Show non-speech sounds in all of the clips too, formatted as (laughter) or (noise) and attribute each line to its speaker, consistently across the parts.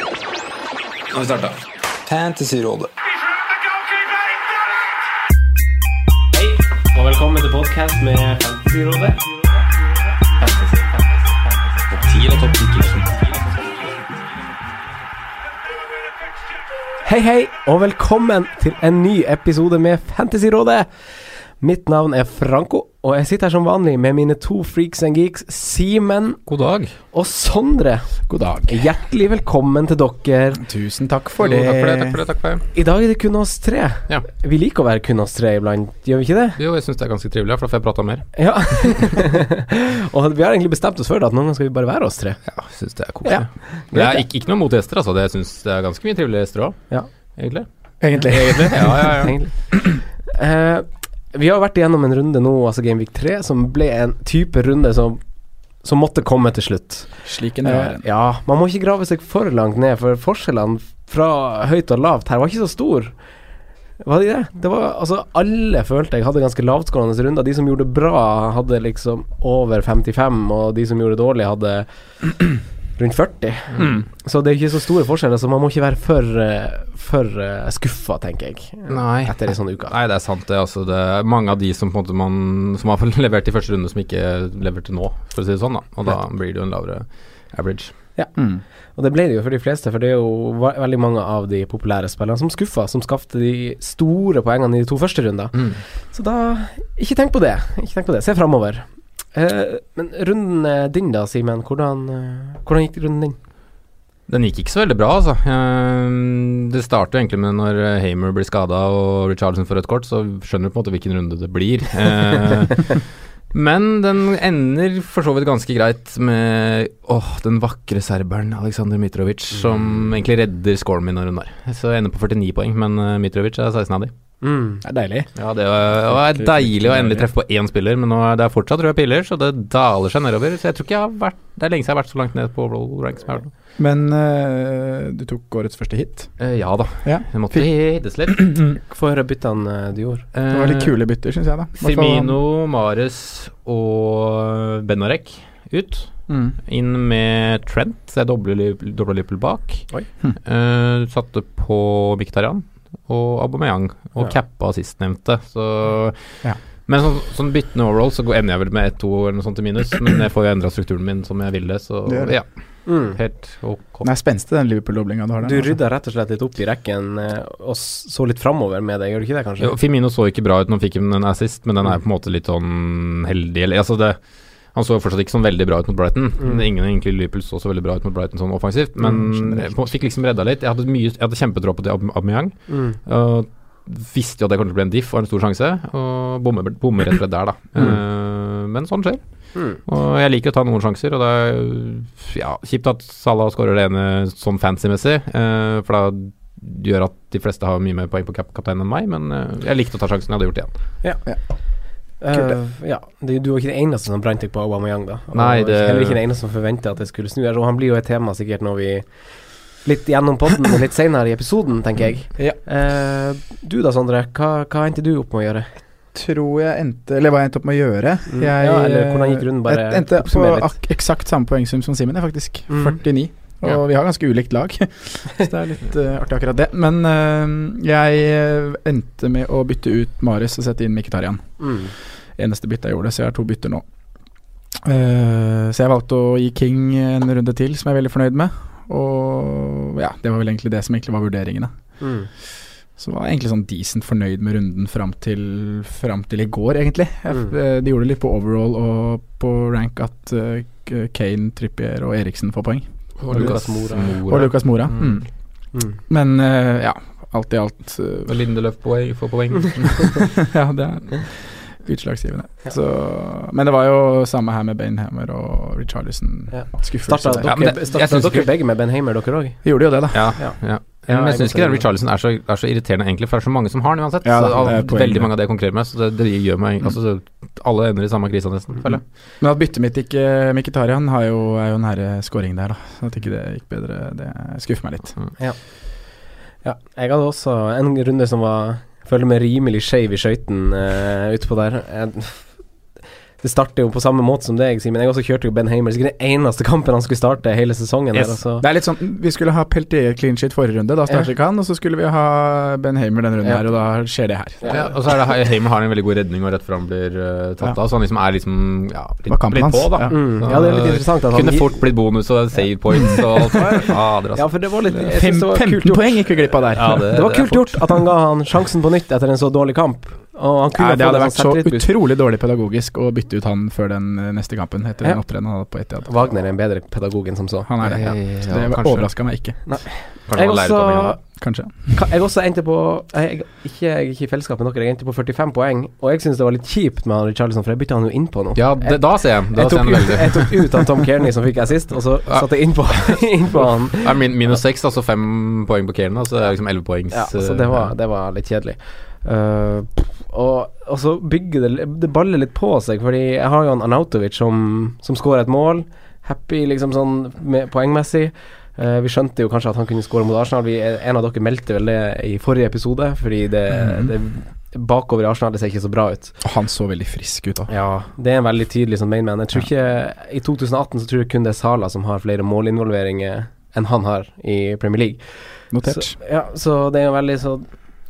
Speaker 1: Nå har vi starta.
Speaker 2: Fantasyrådet.
Speaker 3: Hei, og velkommen til podcast med Fantasyrådet. Hei, hei, og velkommen til en ny episode med Fantasyrådet. Mitt navn er Franco, og jeg sitter her som vanlig med mine to freaks and geeks, Simen
Speaker 4: God dag.
Speaker 3: og Sondre.
Speaker 4: God dag.
Speaker 3: Hjertelig velkommen til dere.
Speaker 4: Tusen takk for,
Speaker 1: Jo,
Speaker 4: det.
Speaker 1: takk for det. Takk for det. Takk for det.
Speaker 3: I dag er det kun oss tre.
Speaker 1: Ja.
Speaker 3: Vi liker å være kun oss tre iblant, gjør vi ikke det?
Speaker 1: Jo, jeg syns det er ganske trivelig, for da får jeg prata mer.
Speaker 3: Ja. (laughs) og vi har egentlig bestemt oss for det, at noen ganger skal vi bare være oss tre.
Speaker 1: Ja, syns det er
Speaker 3: Ja.
Speaker 1: koselig. Men jeg er ikke, ikke noe mot gjester, altså. Det syns det er ganske mye trivelige gjester òg,
Speaker 3: Ja.
Speaker 1: egentlig.
Speaker 4: Egentlig.
Speaker 1: Egentlig? Ja, ja, ja.
Speaker 3: Egentlig. Eh, vi har vært igjennom en runde nå, altså Gameweek 3, som ble en type runde som, som måtte komme til slutt.
Speaker 4: Slik en
Speaker 3: Eh,
Speaker 4: er.
Speaker 3: ja, man må ikke grave seg for langt ned, for forskjellene fra høyt og lavt her var ikke så stor. Var de det? det var, altså, alle følte jeg hadde ganske lavtskårende runder. De som gjorde det bra, hadde liksom over 55, og de som gjorde det dårlig, hadde (clears throat) rundt 40. Så det er ikke så store forskjeller, så man må ikke være for, eh, for eh, skuffa, tenker jeg.
Speaker 1: Nei.
Speaker 3: Etter ei sånn uke.
Speaker 1: Nei, det er sant det. Altså, det er mange av de som, på en måte man, som har (laughs) levert i første runde, som ikke leverte nå, for å si det sånn. da Og da blir det jo en lavere average.
Speaker 4: Mm.
Speaker 3: Og det ble det jo for de fleste, for det er jo ve- veldig mange av de populære spillerne som skuffa, som skapte de store poengene i de to første rundene.
Speaker 1: Mm.
Speaker 3: Så da ikke tenk på det. Ikke tenk på det. Se framover. Eh, men runden eh, din da, Simen. Hvordan, eh, hvordan gikk runden din?
Speaker 1: Den gikk ikke så veldig bra, altså. Ehm, Det starter egentlig med når eh, Hamer blir skada og Richarlison får rødt kort, så skjønner du på en måte hvilken runde det (laughs) blir. Eh, Men den ender for så vidt ganske greit med åh, den vakre serberen Aleksandr Mitrovic, som egentlig redder scoren min når hun der. Så jeg ender på 49 poeng, men eh, Mitrovic er 16 av de.
Speaker 3: Mm.
Speaker 4: Det er deilig.
Speaker 1: Ja, det var, det var deilig å endelig treffe på én spiller, men nå er det fortsatt røde piller, så det daler seg nedover. Så jeg tror ikke jeg har vært Det er lenge siden jeg har vært så langt ned på overall rank som jeg har vært nå.
Speaker 4: Men eh, du tok årets første hit.
Speaker 1: Eh, ja da.
Speaker 4: Ja.
Speaker 1: Jeg måtte hites litt.
Speaker 3: Få høre byttene eh, du gjorde.
Speaker 4: (clears throat) Det var litt kule bytter, syns jeg, da. Hvertfall-
Speaker 1: Semino, Eh, Mares og Benarek ut.
Speaker 4: Mm.
Speaker 1: Inn med Trent, så jeg dobler Liv- dobler Liverpool bak.
Speaker 3: Oi.
Speaker 4: Hm.
Speaker 1: Eh, satte på Mkhitaryan og Aubameyang, og
Speaker 3: Ja.
Speaker 1: cappa sistnevnte. Så
Speaker 4: Ja.
Speaker 1: Men sånn, sånn byttende overall så går- ender jeg vel med 1-2 eller noe sånt i minus, men jeg får jo endra strukturen min som jeg ville, så
Speaker 4: Det gjør det.
Speaker 1: ja,
Speaker 3: Mm.
Speaker 1: helt ok.
Speaker 4: Den er spenstig, den Liverpool-doblinga du har
Speaker 3: Du
Speaker 4: der. altså.
Speaker 3: rydda rett og slett litt opp i rekken eh, og s- så litt framover med det, gjør du ikke det, kanskje? Mm.
Speaker 1: Jo, Firmino så ikke bra ut når han fikk en assist, men den er på en måte litt sånn heldig. Eller, altså det, han så fortsatt ikke sånn veldig bra ut mot Brighton.
Speaker 3: Mm.
Speaker 1: Ingen egentlig i Liverpool så så veldig bra ut mot Brighton sånn offensivt, men
Speaker 4: Mm,
Speaker 1: jeg på- fikk liksom redda litt. Jeg hadde, mye, jeg hadde kjempetro på det Aub- Aubameyang.
Speaker 3: Mm.
Speaker 1: og visste jo at det kom til å bli en diff og en stor sjanse, og bommer bommer rett og slett der, da. Eh, men sånn skjer.
Speaker 3: Mm.
Speaker 1: Og jeg liker å ta noen sjanser, og det er ja, kjipt at Salah skårer det ene sånn fancy-messig, eh, for da gjør at de fleste har mye mer poeng på kap kapteinen enn meg, men eh, jeg likte å ta sjansen, jeg hadde gjort det igjen.
Speaker 3: Eh, ja, du, du var ikke den eneste som brant deg på Aubameyang, da. Og
Speaker 1: Nei, det-
Speaker 3: Heller ikke den eneste som forventa at det skulle snu. her, Og han blir jo et tema sikkert når vi Litt gjennom podden og litt senere i episoden, tenker jeg.
Speaker 4: Ja.
Speaker 3: Eh, du da, Sondre. Hva, hva endte du opp med å gjøre?
Speaker 4: Tror jeg endte Eller hva jeg endte opp med å gjøre.
Speaker 3: Mm.
Speaker 4: Jeg
Speaker 3: Ja, eller hvordan gikk runden? Bare
Speaker 4: jeg endte på
Speaker 3: oppsummer litt.
Speaker 4: ak eksakt samme poengsum som Simen, jeg, faktisk.
Speaker 3: Mm.
Speaker 4: 49. Og
Speaker 1: Ja.
Speaker 4: vi har ganske ulikt lag, (laughs) så det er litt eh, artig akkurat det. Men eh, jeg endte med å bytte ut Marius og sette inn Mkhitarian.
Speaker 3: Mm.
Speaker 4: Eneste bytte jeg gjorde, så jeg har to bytter nå. Eh, så jeg valgte å gi King en runde til, som jeg er veldig fornøyd med. Og ja, det var vel egentlig det som egentlig var vurderingene.
Speaker 3: Mm.
Speaker 4: Så var jeg egentlig sånn decent fornøyd med runden fram til, fram til i går, egentlig. Jeg,
Speaker 3: Mm.
Speaker 4: eh, De gjorde det litt på overall og på rank at eh, K- Kane, Trippier og Eriksen får poeng.
Speaker 1: Og
Speaker 3: Lucas
Speaker 4: Og Lucas Mora.
Speaker 1: Mm.
Speaker 4: Mm.
Speaker 3: Mm.
Speaker 4: Men eh, ja, alt i alt eh,
Speaker 1: Og Lindeløf poeng, får poeng.
Speaker 4: (laughs) Ja, det er utslagsgivende. Så, men det var jo samme her med Bainhammer og Richarlison.
Speaker 3: Ja.
Speaker 4: Skuffelse
Speaker 3: Starta
Speaker 4: der.
Speaker 1: Ja,
Speaker 3: dere,
Speaker 1: men det- jeg
Speaker 3: starta
Speaker 1: syns
Speaker 3: dere
Speaker 1: ikke-
Speaker 3: begge med Ben Hamer, dere òg?
Speaker 4: Gjorde jo det, da.
Speaker 1: Ja, ja.
Speaker 3: Ja.
Speaker 1: Men
Speaker 3: jeg
Speaker 1: jeg
Speaker 3: går
Speaker 1: syns ikke den
Speaker 3: til-
Speaker 1: Richarlison er så, er så irriterende, egentlig, for det er så mange som har den uansett.
Speaker 4: Ja,
Speaker 1: så,
Speaker 4: det er
Speaker 1: av-
Speaker 4: poenget.
Speaker 1: veldig mange av det jeg konkurrerer med, så det, det gjør meg altså, det, Alle ender i samme krisa, nesten, føler jeg.
Speaker 4: Men at byttet mitt ikke Mkhitarian har jo, er jo en herre scoring der, da. Så at ikke det gikk bedre, det skuffer meg litt.
Speaker 3: Ja, jeg hadde også en runde som var Føler meg rimelig skeiv i skøyten eh, utpå der. Jeg Det starter jo på samme måte som deg, Simen. Jeg også kjørte jo Ben Hamer. Sikkert den eneste kampen han skulle starte hele sesongen.
Speaker 1: Yes.
Speaker 3: Her, altså.
Speaker 4: Det er litt sånn, Vi skulle ha Peltier clean sheet forrige runde, da starter ikke han. Og så skulle vi ha Ben Hamer denne runden
Speaker 3: Ja.
Speaker 4: her, og da skjer det her.
Speaker 1: Ja, og så er det Hamer har en veldig god redning, og rett før han blir eh, tatt
Speaker 4: Ja.
Speaker 1: av. Så han liksom er liksom ja,
Speaker 4: var
Speaker 1: litt,
Speaker 4: kampen
Speaker 1: litt
Speaker 4: hans.
Speaker 1: på, da.
Speaker 4: Ja.
Speaker 3: Mm.
Speaker 1: Så,
Speaker 3: Ja, det er litt interessant at han
Speaker 1: Kunne fort blitt bonus og save points og alt. Fader,
Speaker 3: (laughs) Ja,
Speaker 1: altså.
Speaker 3: for det var litt jeg
Speaker 4: Fem,
Speaker 3: synes det var kult
Speaker 4: 15
Speaker 3: gjort.
Speaker 4: poeng gikk vi glipp av der.
Speaker 1: Ja,
Speaker 3: Det var
Speaker 1: er
Speaker 3: kult
Speaker 1: fort.
Speaker 3: gjort at han ga han sjansen på nytt etter en så dårlig kamp. Og han kunne sånn
Speaker 4: Nei, det
Speaker 3: ha
Speaker 4: hadde
Speaker 3: fått
Speaker 4: vært
Speaker 3: en
Speaker 4: så
Speaker 3: selvtillitsboost.
Speaker 4: utrolig dårlig pedagogisk å bytte ut han før den eh, neste kampen, etter
Speaker 3: Ja.
Speaker 4: den opptredenen han hadde på Etiad.
Speaker 3: Wagner er en bedre pedagog enn som så.
Speaker 4: Han er det. Ja.
Speaker 1: Ja,
Speaker 4: Så det
Speaker 1: kanskje.
Speaker 4: overraska meg ikke,
Speaker 1: Kanskje
Speaker 3: Jeg
Speaker 1: man lærer ut av det, ja.
Speaker 3: også,
Speaker 4: kanskje.
Speaker 3: Ka- Jeg også endte på jeg, ikke, jeg er ikke i fellesskap med dere, jeg endte på 45 poeng. Og jeg syns det var litt kjipt med han Richarlison, for jeg bytta han jo innpå nå.
Speaker 1: Ja, det, da ser jeg. Da
Speaker 3: jeg,
Speaker 1: ser
Speaker 3: tok
Speaker 1: jeg den
Speaker 3: ut,
Speaker 1: veldig.
Speaker 3: jeg tok ut av Tom Kearney, som fikk assist, og så
Speaker 1: Ja.
Speaker 3: satte jeg innpå (laughs) inn han.
Speaker 1: Ja, min, minus seks, altså fem poeng på Kane, altså det er liksom elleve poengs
Speaker 3: Ja, så det var, det var litt kjedelig. Eh, og, og så bygger det Det baller litt på seg, fordi jeg har jo han Arnautovic som, som skårer et mål. Happy liksom sånn med, poengmessig. Eh, vi skjønte jo kanskje at han kunne skåre mot Arsenal. Vi, en av dere meldte vel det i forrige episode, fordi det, det bakover i Arsenal det ser ikke så bra ut.
Speaker 4: Og han så veldig frisk ut da.
Speaker 3: Ja, det er en veldig tydelig sånn mainman. Jeg tror ikke I 2018 så tror jeg kun det er Sala som har flere målinvolveringer enn han har i Premier League.
Speaker 4: Notert.
Speaker 3: Så, ja, så det er jo veldig så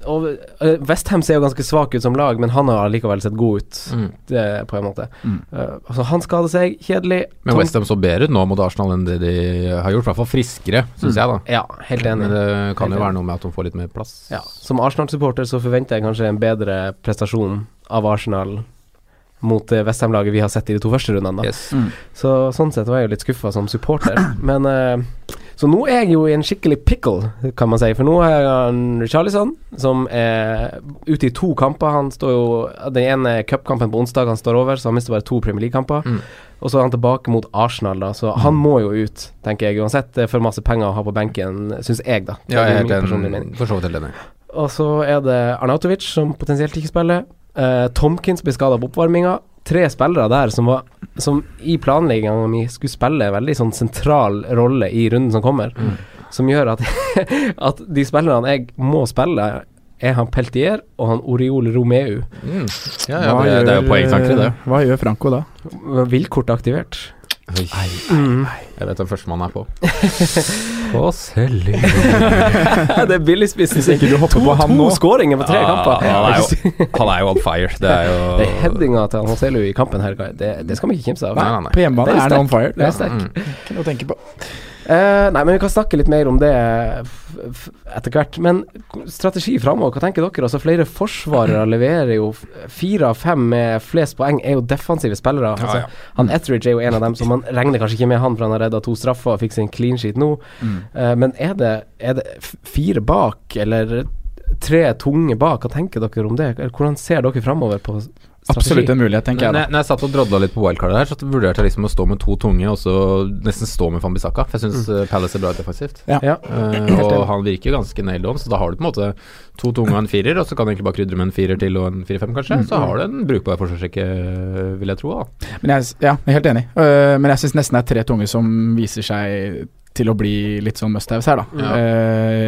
Speaker 3: og eh, Westham ser jo ganske svak ut som lag, men han har likevel sett god ut,
Speaker 1: Mm.
Speaker 3: det, på en måte.
Speaker 4: Mm.
Speaker 3: Eh, altså, han skader seg, kjedelig.
Speaker 1: Men Westham så bedre ut nå mot Arsenal enn det de har gjort, i hvert fall friskere, syns jeg, da.
Speaker 3: Ja, helt Mm. enig.
Speaker 1: Men det kan
Speaker 3: Helt enig.
Speaker 1: jo være noe med at de får litt mer plass.
Speaker 3: Ja, som Arsenal-supporter så forventer jeg kanskje en bedre prestasjon av Arsenal mot det Westham-laget vi har sett i de to første rundene, da.
Speaker 1: Yes.
Speaker 4: Mm.
Speaker 3: Så sånn sett var jeg jo litt skuffa som
Speaker 1: (clears throat)
Speaker 3: supporter. Men eh, Så nå er jeg jo i en skikkelig pickle, kan man si. For nå har jeg han Charlison, som er ute i to kamper. Han står jo Den ene cupkampen på onsdag han står over, så han mister bare to Premier League-kamper.
Speaker 1: Mm.
Speaker 3: Og så er han tilbake mot Arsenal, da, så han må jo ut, tenker jeg. Uansett, det er for masse penger å ha på benken, syns jeg, da. Det
Speaker 1: Ja, jeg er
Speaker 3: er min
Speaker 1: helt
Speaker 3: personlige mening.
Speaker 1: enig. For så vidt helt enig.
Speaker 3: Og så er det Arnautovic som potensielt ikke spiller. Eh, Tomkins blir skada på oppvarminga. Tre spillere der som, var, som i planlegginga mi skulle spille en veldig sånn sentral rolle i runden som kommer,
Speaker 1: Mm.
Speaker 3: som gjør at, (laughs) at de spillerne jeg må spille, er han Peltier og han Oriol Romeu.
Speaker 1: Mm. Ja, ja, det, det er jo poengtanker i
Speaker 3: eh,
Speaker 1: det.
Speaker 4: Hva gjør Franco da?
Speaker 3: Villkort aktivert.
Speaker 1: Oi,
Speaker 3: Mm.
Speaker 1: jeg vet hvem førstemann er
Speaker 3: (laughs)
Speaker 1: på. på selling.
Speaker 3: det er billigspissen
Speaker 4: Hvis ikke du hopper på han
Speaker 3: To
Speaker 4: nå
Speaker 3: skåringer på tre kamper.
Speaker 1: Ah, Ja,
Speaker 3: (laughs)
Speaker 1: han, er jo, han er jo on fire. Det er jo
Speaker 3: Det er headinga til han Marcelo i kampen her, guy. det, det skal man ikke kimse av.
Speaker 1: Nei, nei,
Speaker 4: På hjemmebane
Speaker 3: Det er
Speaker 4: er det
Speaker 3: sterkt.
Speaker 4: on fire.
Speaker 3: Det er
Speaker 4: Det
Speaker 3: sterkt.
Speaker 1: nei. Mm.
Speaker 4: er ikke noe å tenke på.
Speaker 3: Eh, nei, men vi kan snakke litt mer om det f- f- etter hvert. Men k- strategi framover, hva tenker dere? Altså, flere
Speaker 4: (clears throat)
Speaker 3: forsvarere leverer jo f- Fire av fem med flest poeng er jo defensive spillere. Altså,
Speaker 1: ja.
Speaker 3: Han Etheridge er jo en av dem, så man regner kanskje ikke med han, for han har redda to straffer og fikk sin clean sheet nå.
Speaker 4: Mm.
Speaker 3: Eh, men er det, er det f- fire bak, eller tre tunge bak? Hva tenker dere om det? Eller Hvordan ser dere framover på s- strategi?
Speaker 4: Absolutt en mulighet, tenker
Speaker 1: Men
Speaker 4: jeg da.
Speaker 1: jeg, når jeg satt og drodla litt på wildcardet her, så vurderte jeg liksom å stå med to tunge og så nesten stå med Fambisaka. For jeg syns
Speaker 4: Mm.
Speaker 1: Palace er bra defensivt.
Speaker 3: Ja.
Speaker 1: Eh, og han virker ganske nailed on, så da har du på en måte to tunge og en firer, og så kan du egentlig bare krydre med en firer til og en fire-fem, kanskje.
Speaker 4: Mm.
Speaker 1: Så har du en brukbar forsvarsrekke, vil jeg tro. da
Speaker 4: Men jeg, s- ja, jeg er helt enig. Øh, men jeg syns nesten det er tre tunge som viser seg til å bli litt sånn must-haves her, da.
Speaker 1: Ja.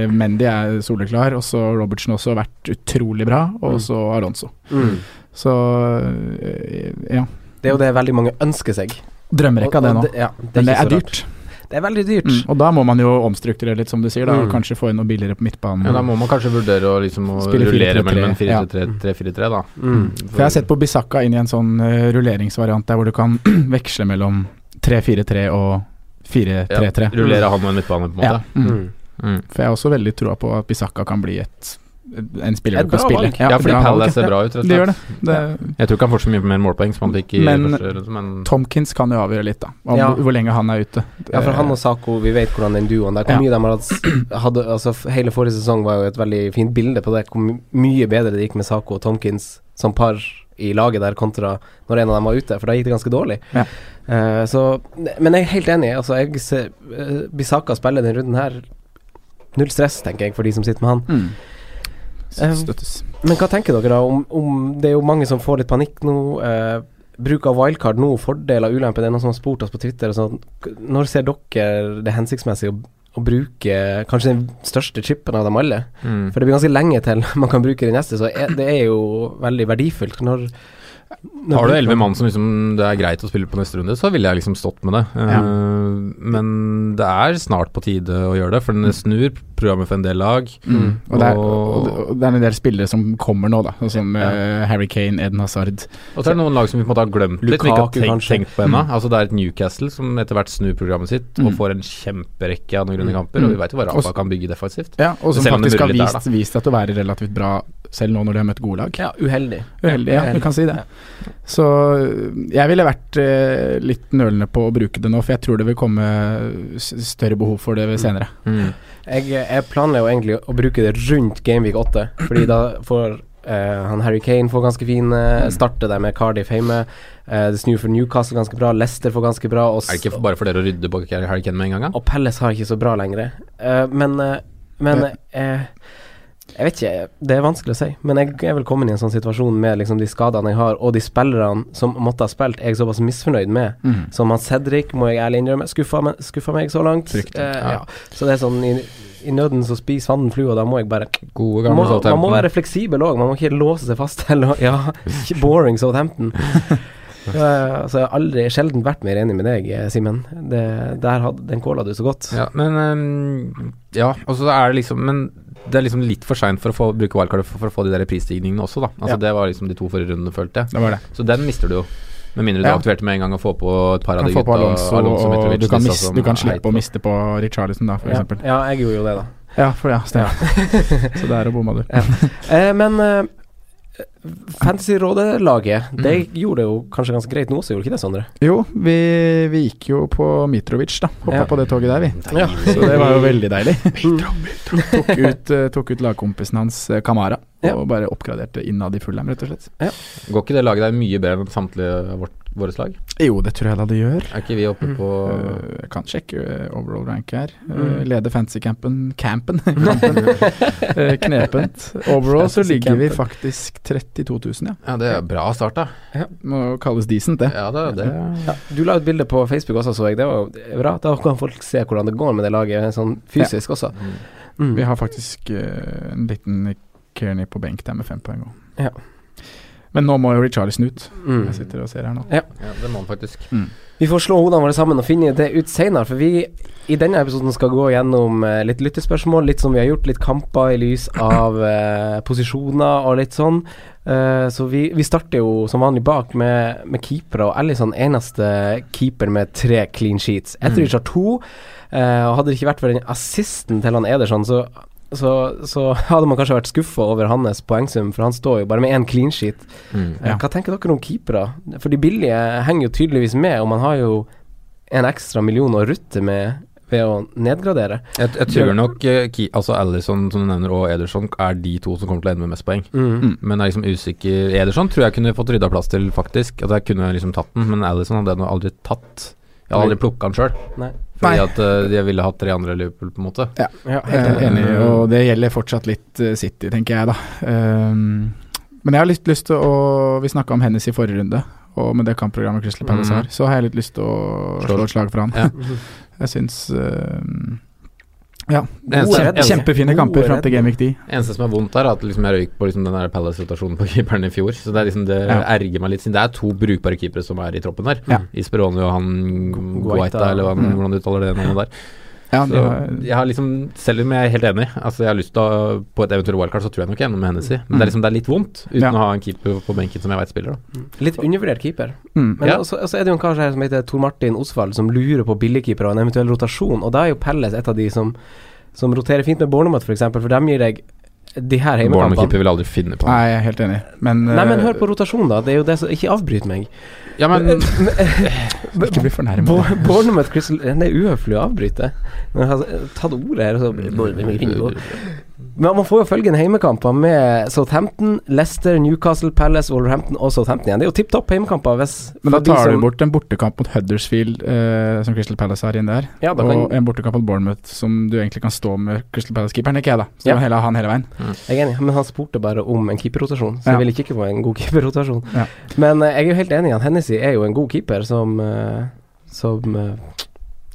Speaker 4: Øh, Mendy er soleklar, og så Robertsen også har vært utrolig bra, og så Alonso.
Speaker 3: Mm.
Speaker 4: Så øh, ja.
Speaker 3: Det er jo det veldig mange ønsker seg.
Speaker 4: Drømmerekka,
Speaker 3: Og-
Speaker 4: det
Speaker 3: og
Speaker 4: nå.
Speaker 3: det- ja, det er
Speaker 4: Men det
Speaker 3: ikke
Speaker 4: er
Speaker 3: så rart.
Speaker 4: dyrt.
Speaker 3: Det er veldig dyrt.
Speaker 4: Mm. Og da må man jo omstrukturere litt, som du sier, da, og
Speaker 3: Mm.
Speaker 4: kanskje få inn noe billigere på midtbanen.
Speaker 1: Ja, Da må man kanskje vurdere å liksom
Speaker 4: Mm.
Speaker 1: å
Speaker 4: Spille 4-3-3,
Speaker 1: rullere mellom en
Speaker 4: ja.
Speaker 1: 4-3-3-4-3, da.
Speaker 3: Mm.
Speaker 4: For jeg har sett på Bisakka inn i en sånn øh, rulleringsvariant der hvor du kan (clears throat) veksle mellom 3-4-3 og 4-3-3.
Speaker 1: Rullere han og en midtbane, på en
Speaker 4: Ja.
Speaker 1: måte.
Speaker 4: Mm.
Speaker 3: Mm.
Speaker 1: Mm.
Speaker 4: For jeg har også veldig troa på at Bisakka kan bli et en spiller
Speaker 3: Et
Speaker 4: du kan
Speaker 3: bra
Speaker 4: spille.
Speaker 3: valg.
Speaker 1: Ja, fordi
Speaker 4: bra valg.
Speaker 1: Palace ser bra ut, rett og
Speaker 4: Det gjør det.
Speaker 1: slett.
Speaker 4: det
Speaker 1: Jeg tror ikke han får så mye mer målpoeng som han fikk i
Speaker 4: Men-
Speaker 1: første runde, men
Speaker 4: Tomkins kan jo avgjøre litt, da. Om
Speaker 3: Ja.
Speaker 4: hvor- hvor lenge han er ute.
Speaker 3: Ja, for han og Sako, vi vet hvordan den duoen der Hvor
Speaker 4: Ja.
Speaker 3: mye de har hatt (clears throat) hadde, altså, f- Hele forrige sesong var jo et veldig fint bilde på det. Hvor my- mye bedre det gikk med Sako og Tomkins som par i laget der, kontra når en av dem var ute, for da gikk det ganske dårlig.
Speaker 4: Ja.
Speaker 3: Eh, så, men jeg er helt enig. Altså, jeg ser, eh, Bisaka spiller den runden her. Null stress, tenker jeg, for de som sitter med han.
Speaker 4: Mm.
Speaker 3: Eh,
Speaker 4: Støttes.
Speaker 3: Men hva tenker dere da om, om Det er jo mange som får litt panikk nå. Eh, bruk av wildcard nå, fordeler og ulemper. Det er noen som har spurt oss på Twitter. og Sånn, k- når ser dere det hensiktsmessig å, å bruke kanskje den største chipen av dem alle? (laughs)
Speaker 1: mm.
Speaker 3: For det blir ganske lenge til man kan bruke den neste, så er, det er jo veldig verdifullt. Når
Speaker 1: Har du elleve mann som liksom, det er greit å spille på neste runde, så ville jeg liksom stått med det. Eh,
Speaker 4: Ja.
Speaker 1: men det er snart på tide å gjøre det, for den snur programmet for en del lag.
Speaker 4: Mm. Og, det er,
Speaker 1: Og-
Speaker 4: og, og det er en del spillere som kommer nå, da. Sånn Som
Speaker 1: Ja.
Speaker 4: eh, Harry Kane, Eden Hazard.
Speaker 1: Og så er det noen lag som vi på en måte har glemt litt, som vi
Speaker 3: Lukaku,
Speaker 1: ikke har tenkt,
Speaker 3: kanskje.
Speaker 1: tenkt på ennå.
Speaker 4: Mm.
Speaker 1: Altså, det er et Newcastle som etter hvert snur programmet sitt og
Speaker 4: Mm.
Speaker 1: får en kjemperekke av noen grønne
Speaker 3: Mm.
Speaker 1: kamper, og vi veit jo hva
Speaker 4: Og s-
Speaker 1: Rafa kan bygge defensivt.
Speaker 4: Ja, og som
Speaker 1: Selv om det
Speaker 4: faktisk har
Speaker 1: mulig der,
Speaker 4: vist, vist at å være relativt bra selv nå når de har møtt gode lag.
Speaker 3: Ja, uheldig.
Speaker 4: Uheldig, ja, du kan si det. Så øh, jeg ville vært øh, litt nølende på å bruke det nå, for jeg tror det vil komme s- større behov for det ved senere.
Speaker 3: Jeg, jeg planla jo egentlig å bruke det rundt Gameweek 8, fordi da får eh, han Harry Kane får ganske fin eh, Starter der med Cardiff hjemme. Eh, det snur for Newcastle ganske bra, Leicester får ganske bra, og, s-
Speaker 1: Er det ikke bare for dere å rydde bak Harry Kane med en gang, da?
Speaker 3: og Palace har ikke så bra lenger. Eh, men eh, men
Speaker 4: Det-
Speaker 3: eh, jeg vet ikke, det er vanskelig å si. Men jeg er vel kommet i en sånn situasjon med liksom, de skadene jeg har, og de spillerne som måtte ha spilt, er jeg såpass misfornøyd med.
Speaker 4: Mm.
Speaker 3: Som han Cedric, må jeg ærlig innrømme, skuffa, meg- skuffa meg så langt.
Speaker 4: Fryktelig,
Speaker 3: Eh,
Speaker 1: ja.
Speaker 3: ja. Så det er sånn, i, i nøden så spiser fanden flua, da må jeg bare
Speaker 1: Gode
Speaker 3: man må, man
Speaker 1: gamle
Speaker 3: må
Speaker 1: Southampton.
Speaker 3: være fleksibel òg, man må ikke låse seg fast (laughs) til å- Ja, ikke boring Southampton. Eh, så jeg har aldri sjelden vært mer enig med deg, eh, Simen. Det- Der hadde den kåla du så godt.
Speaker 1: Ja, men ehm, Ja, og så er det liksom Men det er liksom litt for seint for å få, bruke wildcard for, for å få de der prisstigningene også, da.
Speaker 4: Ja.
Speaker 1: Altså Det var liksom de to forrige rundene, følte jeg.
Speaker 4: Det var det.
Speaker 1: Så den mister du jo. Med mindre du
Speaker 4: Ja.
Speaker 1: aktiverte med en gang og får på et par
Speaker 4: Du
Speaker 1: av
Speaker 4: kan
Speaker 1: de
Speaker 4: få på
Speaker 1: gutta.
Speaker 4: Alonso, og
Speaker 1: Mitrovic,
Speaker 4: du kan,
Speaker 1: disse
Speaker 4: miste,
Speaker 1: som
Speaker 4: du kan
Speaker 1: er
Speaker 4: slippe
Speaker 1: heit.
Speaker 4: å miste på Richarlison, da, for
Speaker 3: ja,
Speaker 4: eksempel.
Speaker 3: ja, jeg gjorde jo det, da.
Speaker 4: Ja, for ja, stemmer. Så der bomma du.
Speaker 3: (laughs) Eh, men eh, Fantasy-rådelaget, det gjorde jo kanskje ganske greit nå, så gjorde ikke det, Sondre?
Speaker 4: Jo, vi, vi gikk jo på Mitrovic, da. Hoppa
Speaker 3: Ja.
Speaker 4: på det toget der, vi.
Speaker 3: Ja.
Speaker 4: Så det var jo veldig deilig. Mm. tok, ut, eh, tok ut lagkompisen hans, eh, Kamara,
Speaker 3: Ja.
Speaker 4: og bare oppgraderte innad i Fulham, rett og slett.
Speaker 1: Går ikke det laget der mye bedre enn samtlige av vårt, våre slag?
Speaker 4: Jo, det tror jeg da det gjør.
Speaker 1: Er ikke vi oppe
Speaker 3: Mm.
Speaker 1: på
Speaker 4: Eh, Jeg kan sjekke eh, overall rank her. Eh,
Speaker 3: Mm.
Speaker 4: Leder fantasycampen Campen! (laughs) Campen. Eh, Knepent. Overall så ligger vi
Speaker 3: Fantasycampen.
Speaker 4: faktisk 32 000, ja.
Speaker 1: Ja, det er bra start, da.
Speaker 4: Må kalles decent, det.
Speaker 1: Ja, det er det.
Speaker 4: Det-
Speaker 3: Ja, du la ut bilde på Facebook også, så jeg. Det var jo bra. Da kan folk se hvordan det går med det laget, sånn fysisk også.
Speaker 1: Mm.
Speaker 3: Mm.
Speaker 4: Vi har faktisk eh, en liten Kearney på benk der med fem poeng òg.
Speaker 3: Ja.
Speaker 4: Men nå må jo Richarlison ut.
Speaker 3: Mm.
Speaker 4: Jeg sitter og ser her nå.
Speaker 1: Ja, det må han faktisk.
Speaker 3: Vi får slå hodene våre sammen og finne det ut senere, for vi i denne episoden skal gå gjennom eh, litt lyttespørsmål, litt som vi har gjort, litt kamper i lys av eh, posisjoner og litt sånn. Eh, så vi, vi starter jo som vanlig bak med, med keepere, og Ellison eneste keeper med tre clean sheets. Etrich har to, eh, og hadde det ikke vært for den assisten til han Ederson, så så, så hadde man kanskje vært skuffa over hans poengsum, for han står jo bare med én clean sheet. Eh,
Speaker 4: Ja.
Speaker 3: Hva tenker dere om keepere? For de billige henger jo tydeligvis med, og man har jo en ekstra million å rutte med ved å nedgradere.
Speaker 1: Jeg, jeg tror nok eh, Ki- Altså Alison, som du nevner, og Ederson er de to som kommer til å ende med mest poeng.
Speaker 3: Mm.
Speaker 1: Men er liksom usikker Ederson tror jeg kunne fått rydda plass til, faktisk. At jeg kunne liksom tatt den, men Alison hadde jeg nå aldri tatt. Jeg hadde aldri plukka han sjøl,
Speaker 3: Nei.
Speaker 1: fordi at eh, jeg ville hatt tre andre i Liverpool, på en måte.
Speaker 3: Ja, helt
Speaker 4: Jeg
Speaker 3: enig.
Speaker 4: er enig, og det gjelder fortsatt litt eh, City, tenker jeg, da. Ehm, men jeg har litt lyst til å Vi snakka om Hennes i forrige runde, og med det kampprogrammet Crystal Palace
Speaker 1: Mhm.
Speaker 3: Mm.
Speaker 4: har, så har jeg litt lyst til å
Speaker 1: Slå-
Speaker 4: slå et slag for han.
Speaker 1: Ja.
Speaker 3: Mhm.
Speaker 4: Jeg syns ehm, Ja.
Speaker 1: Det eneste-
Speaker 4: Kjempe,
Speaker 1: eneste-
Speaker 4: kjempefine
Speaker 3: Gode
Speaker 4: kamper fram til
Speaker 3: redder.
Speaker 4: Gameweek 10.
Speaker 1: Eneste som er vondt, er at liksom jeg røyk på liksom den der Palace-rotasjonen på (laughs) keeperen i fjor. Så det er liksom det
Speaker 4: Ja.
Speaker 1: erger meg litt, siden det er to brukbare keepere som er i troppen der.
Speaker 4: Ja.
Speaker 1: Isperone og han
Speaker 3: Guaita.
Speaker 1: Guaita, eller hva,
Speaker 4: Mm.
Speaker 1: hvordan du uttaler det navnet der.
Speaker 4: Ja, de
Speaker 1: Så
Speaker 4: har,
Speaker 1: jeg har liksom, selv om jeg er helt enig, altså jeg har lyst til å På et eventuelt wildcard, så tror jeg nok jeg er enig med Hennessy. Men det er liksom det er litt vondt,
Speaker 4: Mm.
Speaker 1: uten
Speaker 4: Ja.
Speaker 1: å ha en keeper på benken som jeg veit spiller, da.
Speaker 3: Litt undervurdert keeper.
Speaker 4: mm,
Speaker 3: Men
Speaker 1: Ja.
Speaker 3: også, også er det jo en kar her som heter Tor Martin Osvald, som lurer på billigkeepere og en eventuell rotasjon, og da er jo Pelles et av de som, som roterer fint med Bornermoth, f.eks., for, eksempel, for dem gir deg de her hjemmekampene.
Speaker 1: Bournemouth-keeper vil aldri finne på
Speaker 4: Nei,
Speaker 1: det.
Speaker 4: jeg er helt enig, men,
Speaker 3: Nei, men hør
Speaker 4: eh,
Speaker 3: på rotasjon, da. Det er jo det som Ikke avbryt meg. Eh, (laughs)
Speaker 1: Ja, men
Speaker 4: Ikke bli fornærma.
Speaker 3: Bo- Bournemouth Crystal eh, Det er uhøflig å avbryte. Når jeg altså, har tatt ordet her, og så Men man får jo følgende heimekamper med Southampton, Leicester, Newcastle, Palace, Wolverhampton og Southampton igjen. Det er jo tipp topp heimekamper. Hvis
Speaker 4: Men da
Speaker 3: for de
Speaker 4: tar du
Speaker 3: som-
Speaker 4: bort en bortekamp mot Huddersfield, eh, som Crystal Palace har inne der.
Speaker 3: ja, da
Speaker 4: og
Speaker 3: kan,
Speaker 4: en bortekamp mot Bournemouth som du egentlig kan stå med Crystal Palace-keeperen, ikke jeg, da. Så
Speaker 3: Ja.
Speaker 4: du må heller ha han hele veien.
Speaker 3: Jeg er enig, men han spurte bare om en keeperrotasjon, så
Speaker 4: Ja.
Speaker 3: jeg ville ikke få en god (laughs) keeperrotasjon.
Speaker 4: Ja.
Speaker 3: Men eh, jeg er jo helt enig i at Hennessy er jo en god keeper som eh, som eh,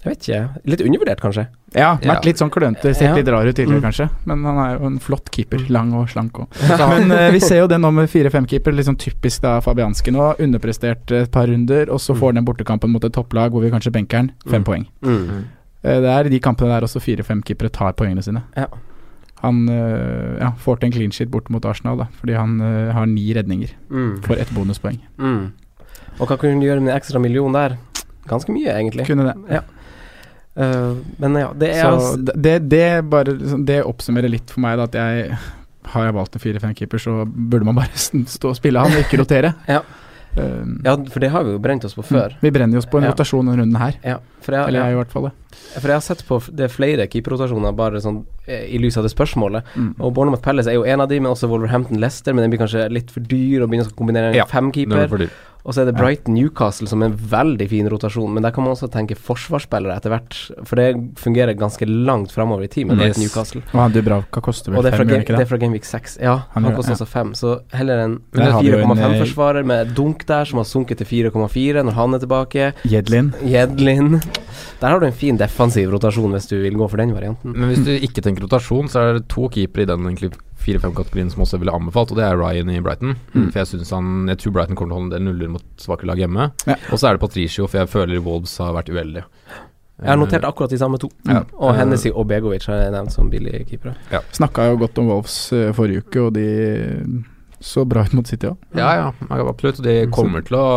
Speaker 3: Jeg vet ikke. Litt undervurdert, kanskje.
Speaker 4: Ja,
Speaker 1: Ja.
Speaker 4: vært litt sånn klønete, sett
Speaker 3: Ja.
Speaker 4: litt rar ut tidligere
Speaker 3: Mm.
Speaker 4: kanskje. Men han er jo en flott keeper. Lang og slank òg. (laughs) Men eh, vi ser jo den nå med fire-fem-keeper, liksom typisk da Fabianski nå. Underprestert et par runder, og så får den bortekampen mot et topplag hvor vi kanskje benker den. Fem
Speaker 3: Mm.
Speaker 4: poeng. Eh, Det er i de kampene der også fire-fem keepere tar poengene sine.
Speaker 3: Ja.
Speaker 4: Han øh, ja, får til en clean sheet bort mot Arsenal, da, fordi han øh, har ni redninger for ett bonuspoeng.
Speaker 3: Mm. Og hva kunne du gjøre med en ekstra million der? Ganske mye, egentlig.
Speaker 4: Kunne det.
Speaker 3: Ja. Eh, men ja, det er
Speaker 4: Så
Speaker 3: altså-
Speaker 4: det, det, bare, liksom, det oppsummerer litt for meg da, at jeg har jeg valgt en fire-fem keeper, så burde man bare (laughs) stå og spille han, og ikke rotere.
Speaker 3: (laughs) Ja.
Speaker 4: Um,
Speaker 3: Ja, for det har vi jo brent oss på før.
Speaker 4: Vi brenner jo oss på en
Speaker 3: Ja.
Speaker 4: rotasjon denne runden her.
Speaker 3: Ja, for jeg,
Speaker 4: Eller jeg, i hvert fall. det.
Speaker 3: For jeg har sett på f- det er flere keeperrotasjoner bare sånn eh, i lys av det spørsmålet.
Speaker 4: Mm.
Speaker 3: Og Bournemouth Palace er jo en av de, men også Wolverhampton Leicester. Men den blir kanskje litt for dyr, og begynner å kombinere en
Speaker 1: Ja, Nå er det
Speaker 3: femkeeper.
Speaker 1: for dyrt.
Speaker 3: Og så er det Brighton Newcastle som er en veldig fin rotasjon, men der kan man også tenke forsvarsspillere etter hvert. For det fungerer ganske langt framover i tid med
Speaker 1: Mm.
Speaker 3: Brighton
Speaker 1: Yes.
Speaker 3: Newcastle.
Speaker 4: Og han Dubravka koster
Speaker 3: Og
Speaker 4: vel
Speaker 3: det er fra,
Speaker 4: fem, gjør han
Speaker 3: game,
Speaker 4: ikke
Speaker 3: det
Speaker 4: det?
Speaker 3: er fra Gameweek 6. Ja,
Speaker 4: Han
Speaker 3: han,
Speaker 4: gjør-
Speaker 3: koster
Speaker 4: ja.
Speaker 3: også 5, så heller en
Speaker 4: Der har vi jo en, eh,
Speaker 3: 4,5-forsvarer med dunk der, som har sunket til 4,4 når han er tilbake.
Speaker 4: Jedlin.
Speaker 3: Jedlin Der har du en fin defensiv rotasjon hvis du vil gå for den varianten.
Speaker 1: Men hvis du ikke tenker rotasjon, så er det to keepere i den egentlig 4-5-kategorien som også ville anbefalt, og det er Ryan i Brighton.
Speaker 4: Mm.
Speaker 1: For jeg synes han Jeg tror Brighton kommer til å holde en del nuller mot svake lag hjemme.
Speaker 4: Ja.
Speaker 1: Og så er det Patricio, for jeg føler Wolves har vært uheldige. Eh,
Speaker 3: Jeg har notert akkurat de samme to.
Speaker 4: Ja.
Speaker 3: Og Hennessy og Begovic har jeg nevnt som billige keepere.
Speaker 4: Snakka jo godt om Wolves øh, forrige uke, og de øh, så bra ut mot City òg.
Speaker 1: Ja, ja, ja, absolutt. Og De kommer til å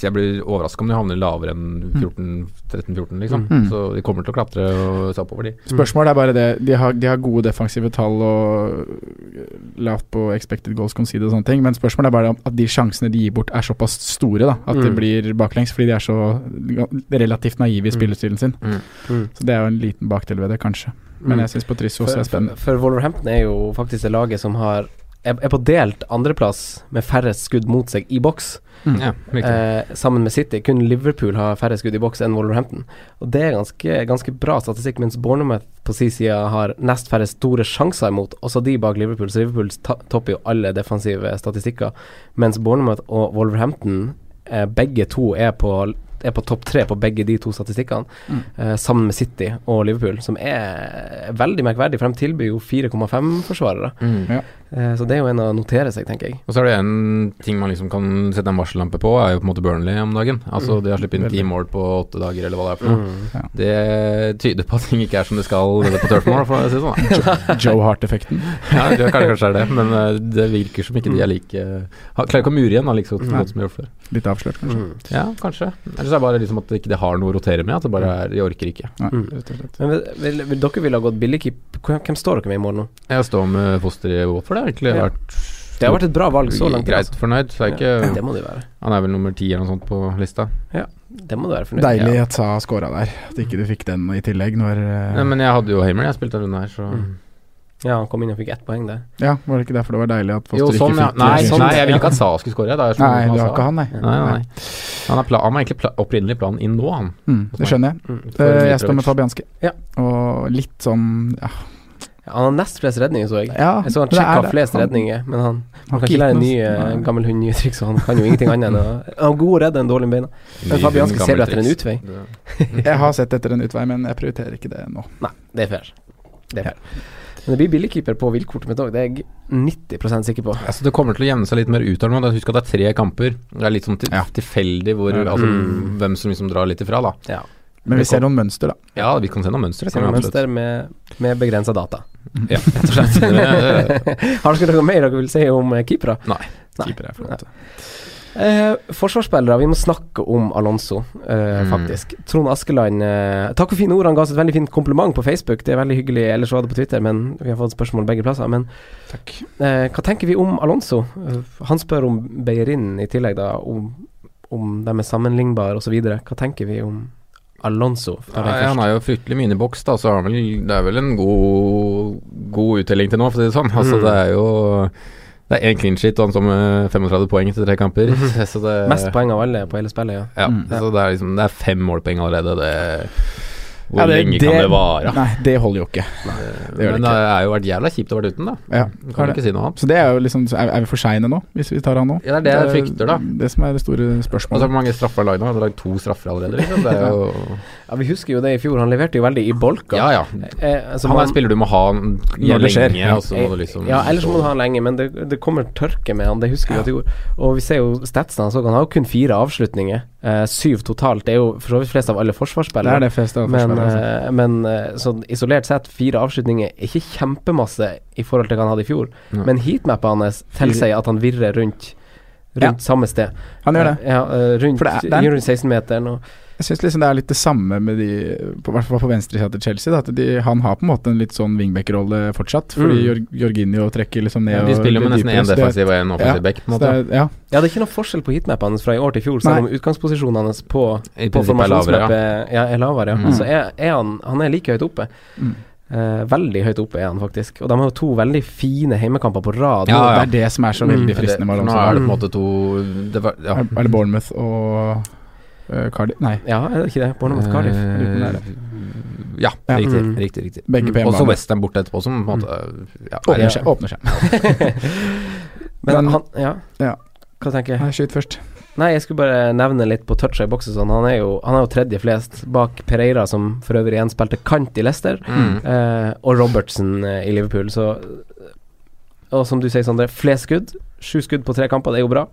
Speaker 1: Jeg blir overraska om de havner lavere enn 14-13-14, liksom.
Speaker 4: Mm.
Speaker 1: Så de kommer til å klatre og se oppover, de.
Speaker 4: Spørsmålet er bare det De har, de har gode defensive tall og lavt på expected goals conceded og sånne ting, men spørsmålet er bare om at de sjansene de gir bort, er såpass store da at det
Speaker 3: Mm.
Speaker 4: blir baklengs, fordi de er så relativt naive i
Speaker 3: Mm.
Speaker 4: spillestilen sin. Så det er jo en liten bakdel ved det, kanskje. Men jeg syns Patricio også
Speaker 3: Mm. For,
Speaker 4: er spennende.
Speaker 3: for Wolverhampton er jo faktisk det laget som har er er på delt andreplass med færrest skudd mot seg i boks,
Speaker 4: Mm.
Speaker 1: Ja, riktig.
Speaker 3: eh, sammen med City. Kun Liverpool har færre skudd i boks enn Wolverhampton. Og det er ganske, ganske bra statistikk, mens Bournemouth på sin side har nest færre store sjanser imot, også de bak Liverpool. Så Liverpool ta topper jo alle defensive statistikker, mens Bournemouth og Wolverhampton eh, begge to er på er på topp tre på begge de to statistikkene,
Speaker 4: Mm.
Speaker 3: eh, sammen med City og Liverpool, som er veldig merkverdig, for de tilbyr jo 4,5-forsvarere.
Speaker 1: Mm.
Speaker 3: Eh, så det er jo en å notere seg, tenker jeg.
Speaker 1: Og så er det en ting man liksom kan sette en varsellampe på, er jo på en måte Burnley om dagen.
Speaker 3: Mm.
Speaker 1: Altså De har sluppet inn ti
Speaker 4: Veldig.
Speaker 1: mål på åtte dager, eller hva det er for noe. Det tyder på at ting ikke er som det skal nede på Turfmore, for å si det sånn. da.
Speaker 4: Joe Hart-effekten.
Speaker 1: (laughs) Ja, det er kanskje, kanskje er det, men eh, det virker som ikke de er like ha- Klarer ikke å mure igjen, da, like så
Speaker 3: Nei.
Speaker 1: godt som de gjorde før.
Speaker 4: Litt avslørt, kanskje.
Speaker 3: Mm.
Speaker 1: Ja, kanskje. Ellers er det bare liksom at det ikke det har noe å rotere med, at det bare er De orker ikke.
Speaker 4: Nei,
Speaker 3: Mm.
Speaker 4: rett og slett.
Speaker 3: Men vil, vil, vil dere ville ha gått billigkeep? Hvem hvem står dere med i morgen nå?
Speaker 1: Jeg står med foster i Watford, det har egentlig
Speaker 3: Ja.
Speaker 1: vært
Speaker 3: Det har vært et bra valg så langt.
Speaker 1: greit fornøyd. Så er
Speaker 3: altså. Ja, det
Speaker 1: ikke,
Speaker 3: må det jo være.
Speaker 1: han er vel nummer ti eller noe sånt på lista.
Speaker 3: Det må du være fornøyd med.
Speaker 4: Deilig at Sa scora der. At ikke du fikk den i tillegg når eh,
Speaker 1: Nei, men jeg hadde jo Hamer, jeg spilte en runde her, så
Speaker 3: Mm. Ja, han kom inn og fikk ett poeng der.
Speaker 4: Ja, var det ikke derfor det var deilig at Foster
Speaker 1: Jo, sånn,
Speaker 4: ikke
Speaker 1: ja.
Speaker 4: fikk
Speaker 1: Nei,
Speaker 4: eh,
Speaker 3: sånn.
Speaker 1: nei jeg ville ikke at Sa skulle score. jeg, Da. Jeg skjønner
Speaker 4: Nei,
Speaker 1: hva
Speaker 4: du
Speaker 1: sa.
Speaker 4: har ikke han, nei.
Speaker 1: Nei, nei, nei. Han, er pla han var egentlig pla opprinnelig planen inn nå, han.
Speaker 4: Mm, det skjønner jeg.
Speaker 3: Mm.
Speaker 1: For
Speaker 4: Eh,
Speaker 1: Mitrovic.
Speaker 4: Jeg står med Fabianski.
Speaker 3: Ja.
Speaker 4: Og litt sånn ja,
Speaker 3: Ja, han har nest flest redninger, så jeg.
Speaker 4: Ja,
Speaker 3: Jeg så han
Speaker 4: det er
Speaker 3: sjekka
Speaker 4: det.
Speaker 3: flest
Speaker 4: Han-
Speaker 3: redninger, men
Speaker 4: han
Speaker 3: han, han kan
Speaker 4: har
Speaker 3: ikke lære en
Speaker 4: gitt
Speaker 3: ny
Speaker 4: noe-
Speaker 3: eh,
Speaker 4: Nei.
Speaker 3: gammel hund nye triks, og han kan jo ingenting annet enn å
Speaker 4: (laughs)
Speaker 3: Han er god og redd enn dårlig med beina. Men Fabianski ser du etter en utvei?
Speaker 4: Jeg har sett etter en utvei, men jeg prioriterer ikke det nå.
Speaker 3: Nei, det er fair. Det er fair. Men det blir billigkeeper på villkortet mitt òg, det er jeg 90 sikker på.
Speaker 1: Altså, det kommer til å jevne seg litt mer ut her nå. da. Husk at det er tre kamper. Det er litt sånn til
Speaker 4: Ja.
Speaker 1: tilfeldig hvor,
Speaker 4: Ja.
Speaker 1: altså,
Speaker 3: Mm.
Speaker 1: hvem som liksom drar litt ifra, da.
Speaker 3: Ja.
Speaker 4: Men vi ser noen mønster, da.
Speaker 1: Ja, vi kan se noen mønstre.
Speaker 3: Ser vi mønster med, med begrensa data.
Speaker 1: Ja, rett og slett. (laughs) Det-
Speaker 3: (laughs) Har dere noe mer dere vil si om eh, keepere? Nei.
Speaker 4: Keeper er flott.
Speaker 3: Eh, forsvarsspillere, vi må snakke om Alonso, eh,
Speaker 1: Mm.
Speaker 3: faktisk. Trond Askeland, eh, takk for fine ord. Han ga oss et veldig fint kompliment på Facebook. Det er veldig hyggelig. Ellers var det på Twitter, men vi har fått spørsmål begge plasser. Men
Speaker 4: Takk.
Speaker 3: eh, hva tenker vi om Alonso? Eh, Han spør om Beirin i tillegg, da. Om, om de er sammenlignbare osv. Hva tenker vi om Alonso? Tar den
Speaker 1: Nei, han
Speaker 3: først.
Speaker 1: har jo fryktelig mye inn i boks, da, så har han vel, det er vel en god, god uttelling til nå, for å si det sånn. (laughs) Altså,
Speaker 3: Mm.
Speaker 1: det er jo Det er én clean sheet og han står med 35 poeng etter tre
Speaker 4: (laughs)
Speaker 1: kamper. (laughs) Så det,
Speaker 3: Mest poeng av alle på hele spillet, ja.
Speaker 1: Ja,
Speaker 4: Mm.
Speaker 1: så det er liksom Det er fem målpoeng allerede. Det Hvor
Speaker 4: Ja, det-
Speaker 1: lenge
Speaker 4: det-
Speaker 1: kan det vare? Eh,
Speaker 4: Nei, det holder jo ikke. det gjør det
Speaker 1: Men det har jo vært jævla kjipt å være uten, da.
Speaker 4: Ja,
Speaker 1: Kan
Speaker 4: er
Speaker 1: du
Speaker 4: det.
Speaker 1: ikke si noe annet.
Speaker 4: Så det er jo liksom Er, er vi for seine nå, hvis vi tar han nå?
Speaker 1: Ja, det er det jeg frykter, da.
Speaker 4: Det som er det store
Speaker 1: Og så
Speaker 3: Altså,
Speaker 4: spørsmålet.
Speaker 1: hvor mange straffer har lagd nå? Han har lagd to straffer allerede, liksom. Det
Speaker 4: (laughs)
Speaker 1: er jo
Speaker 3: Ja, Vi husker jo det i fjor, han leverte jo veldig i bolka.
Speaker 1: Ja ja.
Speaker 3: Eh, så
Speaker 1: Han er
Speaker 3: man-
Speaker 1: en spiller du må ha en-
Speaker 4: Når det skjer.
Speaker 1: lenge, og så må du liksom
Speaker 3: ja, ellers må du ha han lenge, men det, det kommer tørke med han. Det husker vi at det gjorde. Og vi ser jo statsene hans òg. Han har jo kun fire avslutninger. Eh, syv totalt. Det er jo for så vidt flest av alle
Speaker 4: Det
Speaker 3: forsvarsspillere.
Speaker 4: er det fleste av altså.
Speaker 3: Men,
Speaker 4: forsvarerne.
Speaker 3: eh, men eh, sånn isolert sett, fire avslutninger er ikke kjempemasse i forhold til hva han hadde i fjor.
Speaker 1: Nei.
Speaker 3: Men heatmappa hans tilsier at han virrer rundt
Speaker 4: Ja.
Speaker 3: Rundt samme sted.
Speaker 4: Han gjør det.
Speaker 3: Ja, eh, rundt
Speaker 4: For det er- det er-
Speaker 3: rundt 16-meteren og
Speaker 4: Jeg syns liksom det er litt det samme med de på- I hvert fall på venstresida til Chelsea. Da, at de, han har på en måte en litt sånn wingback-rolle fortsatt. Fordi
Speaker 3: Mm.
Speaker 4: Jor Jorginho trekker liksom ned.
Speaker 1: Ja, De
Speaker 4: og
Speaker 1: spiller jo med
Speaker 4: litt
Speaker 1: nesten
Speaker 4: dypere,
Speaker 1: én
Speaker 4: så det-
Speaker 1: defensiv og én offensiv
Speaker 4: Ja,
Speaker 1: back, på en
Speaker 4: så det
Speaker 1: måte.
Speaker 4: er- Ja,
Speaker 3: Ja, det er ikke noe forskjell på heatmappene hans fra i år til i fjor, selv om utgangsposisjonen hans på,
Speaker 1: I
Speaker 3: på
Speaker 1: prinsippet er lavere, ja.
Speaker 3: formasjonsmappet ja, er lavere. Ja.
Speaker 1: Mm.
Speaker 3: Så er, er han, han er like høyt oppe.
Speaker 4: Mm.
Speaker 3: Eh, veldig høyt oppe er han faktisk. Og de har jo to veldig fine heimekamper på rad.
Speaker 1: Ja,
Speaker 3: nå.
Speaker 1: ja.
Speaker 4: Det er det som er så
Speaker 3: Mm.
Speaker 4: veldig
Speaker 1: Ja, det-
Speaker 4: fristende med
Speaker 1: for Nå
Speaker 4: Alonso.
Speaker 1: er det på en
Speaker 3: Mm.
Speaker 1: måte to det var, ja.
Speaker 4: Er er det Bournemouth og uh, Cardiff? Nei,
Speaker 3: ja, er det ikke det? Bournemouth Cardiff.
Speaker 1: Eh,
Speaker 4: Luton er det.
Speaker 1: Ja,
Speaker 4: Ja.
Speaker 1: riktig.
Speaker 3: Mm.
Speaker 1: riktig, riktig.
Speaker 4: begge på
Speaker 1: Og så
Speaker 4: hjemmebane.
Speaker 1: Westham borte etterpå, som på en måte ja,
Speaker 4: Åpner
Speaker 1: er-
Speaker 4: seg. Åpner seg.
Speaker 3: (laughs) Men
Speaker 4: Men-
Speaker 3: han Ja.
Speaker 4: Ja.
Speaker 3: Hva tenker jeg?
Speaker 4: Nei, Skyt først.
Speaker 3: Nei, jeg skulle bare nevne litt på toucha i boks og sånn. Han er jo han er jo tredje flest bak Pereira, som for øvrig igjen spilte kant i Leicester.
Speaker 1: Mm.
Speaker 3: Eh, og Robertson eh, i Liverpool, så eh, Og som du sier, Sondre, flest skudd. Sju skudd på tre kamper, det er jo bra.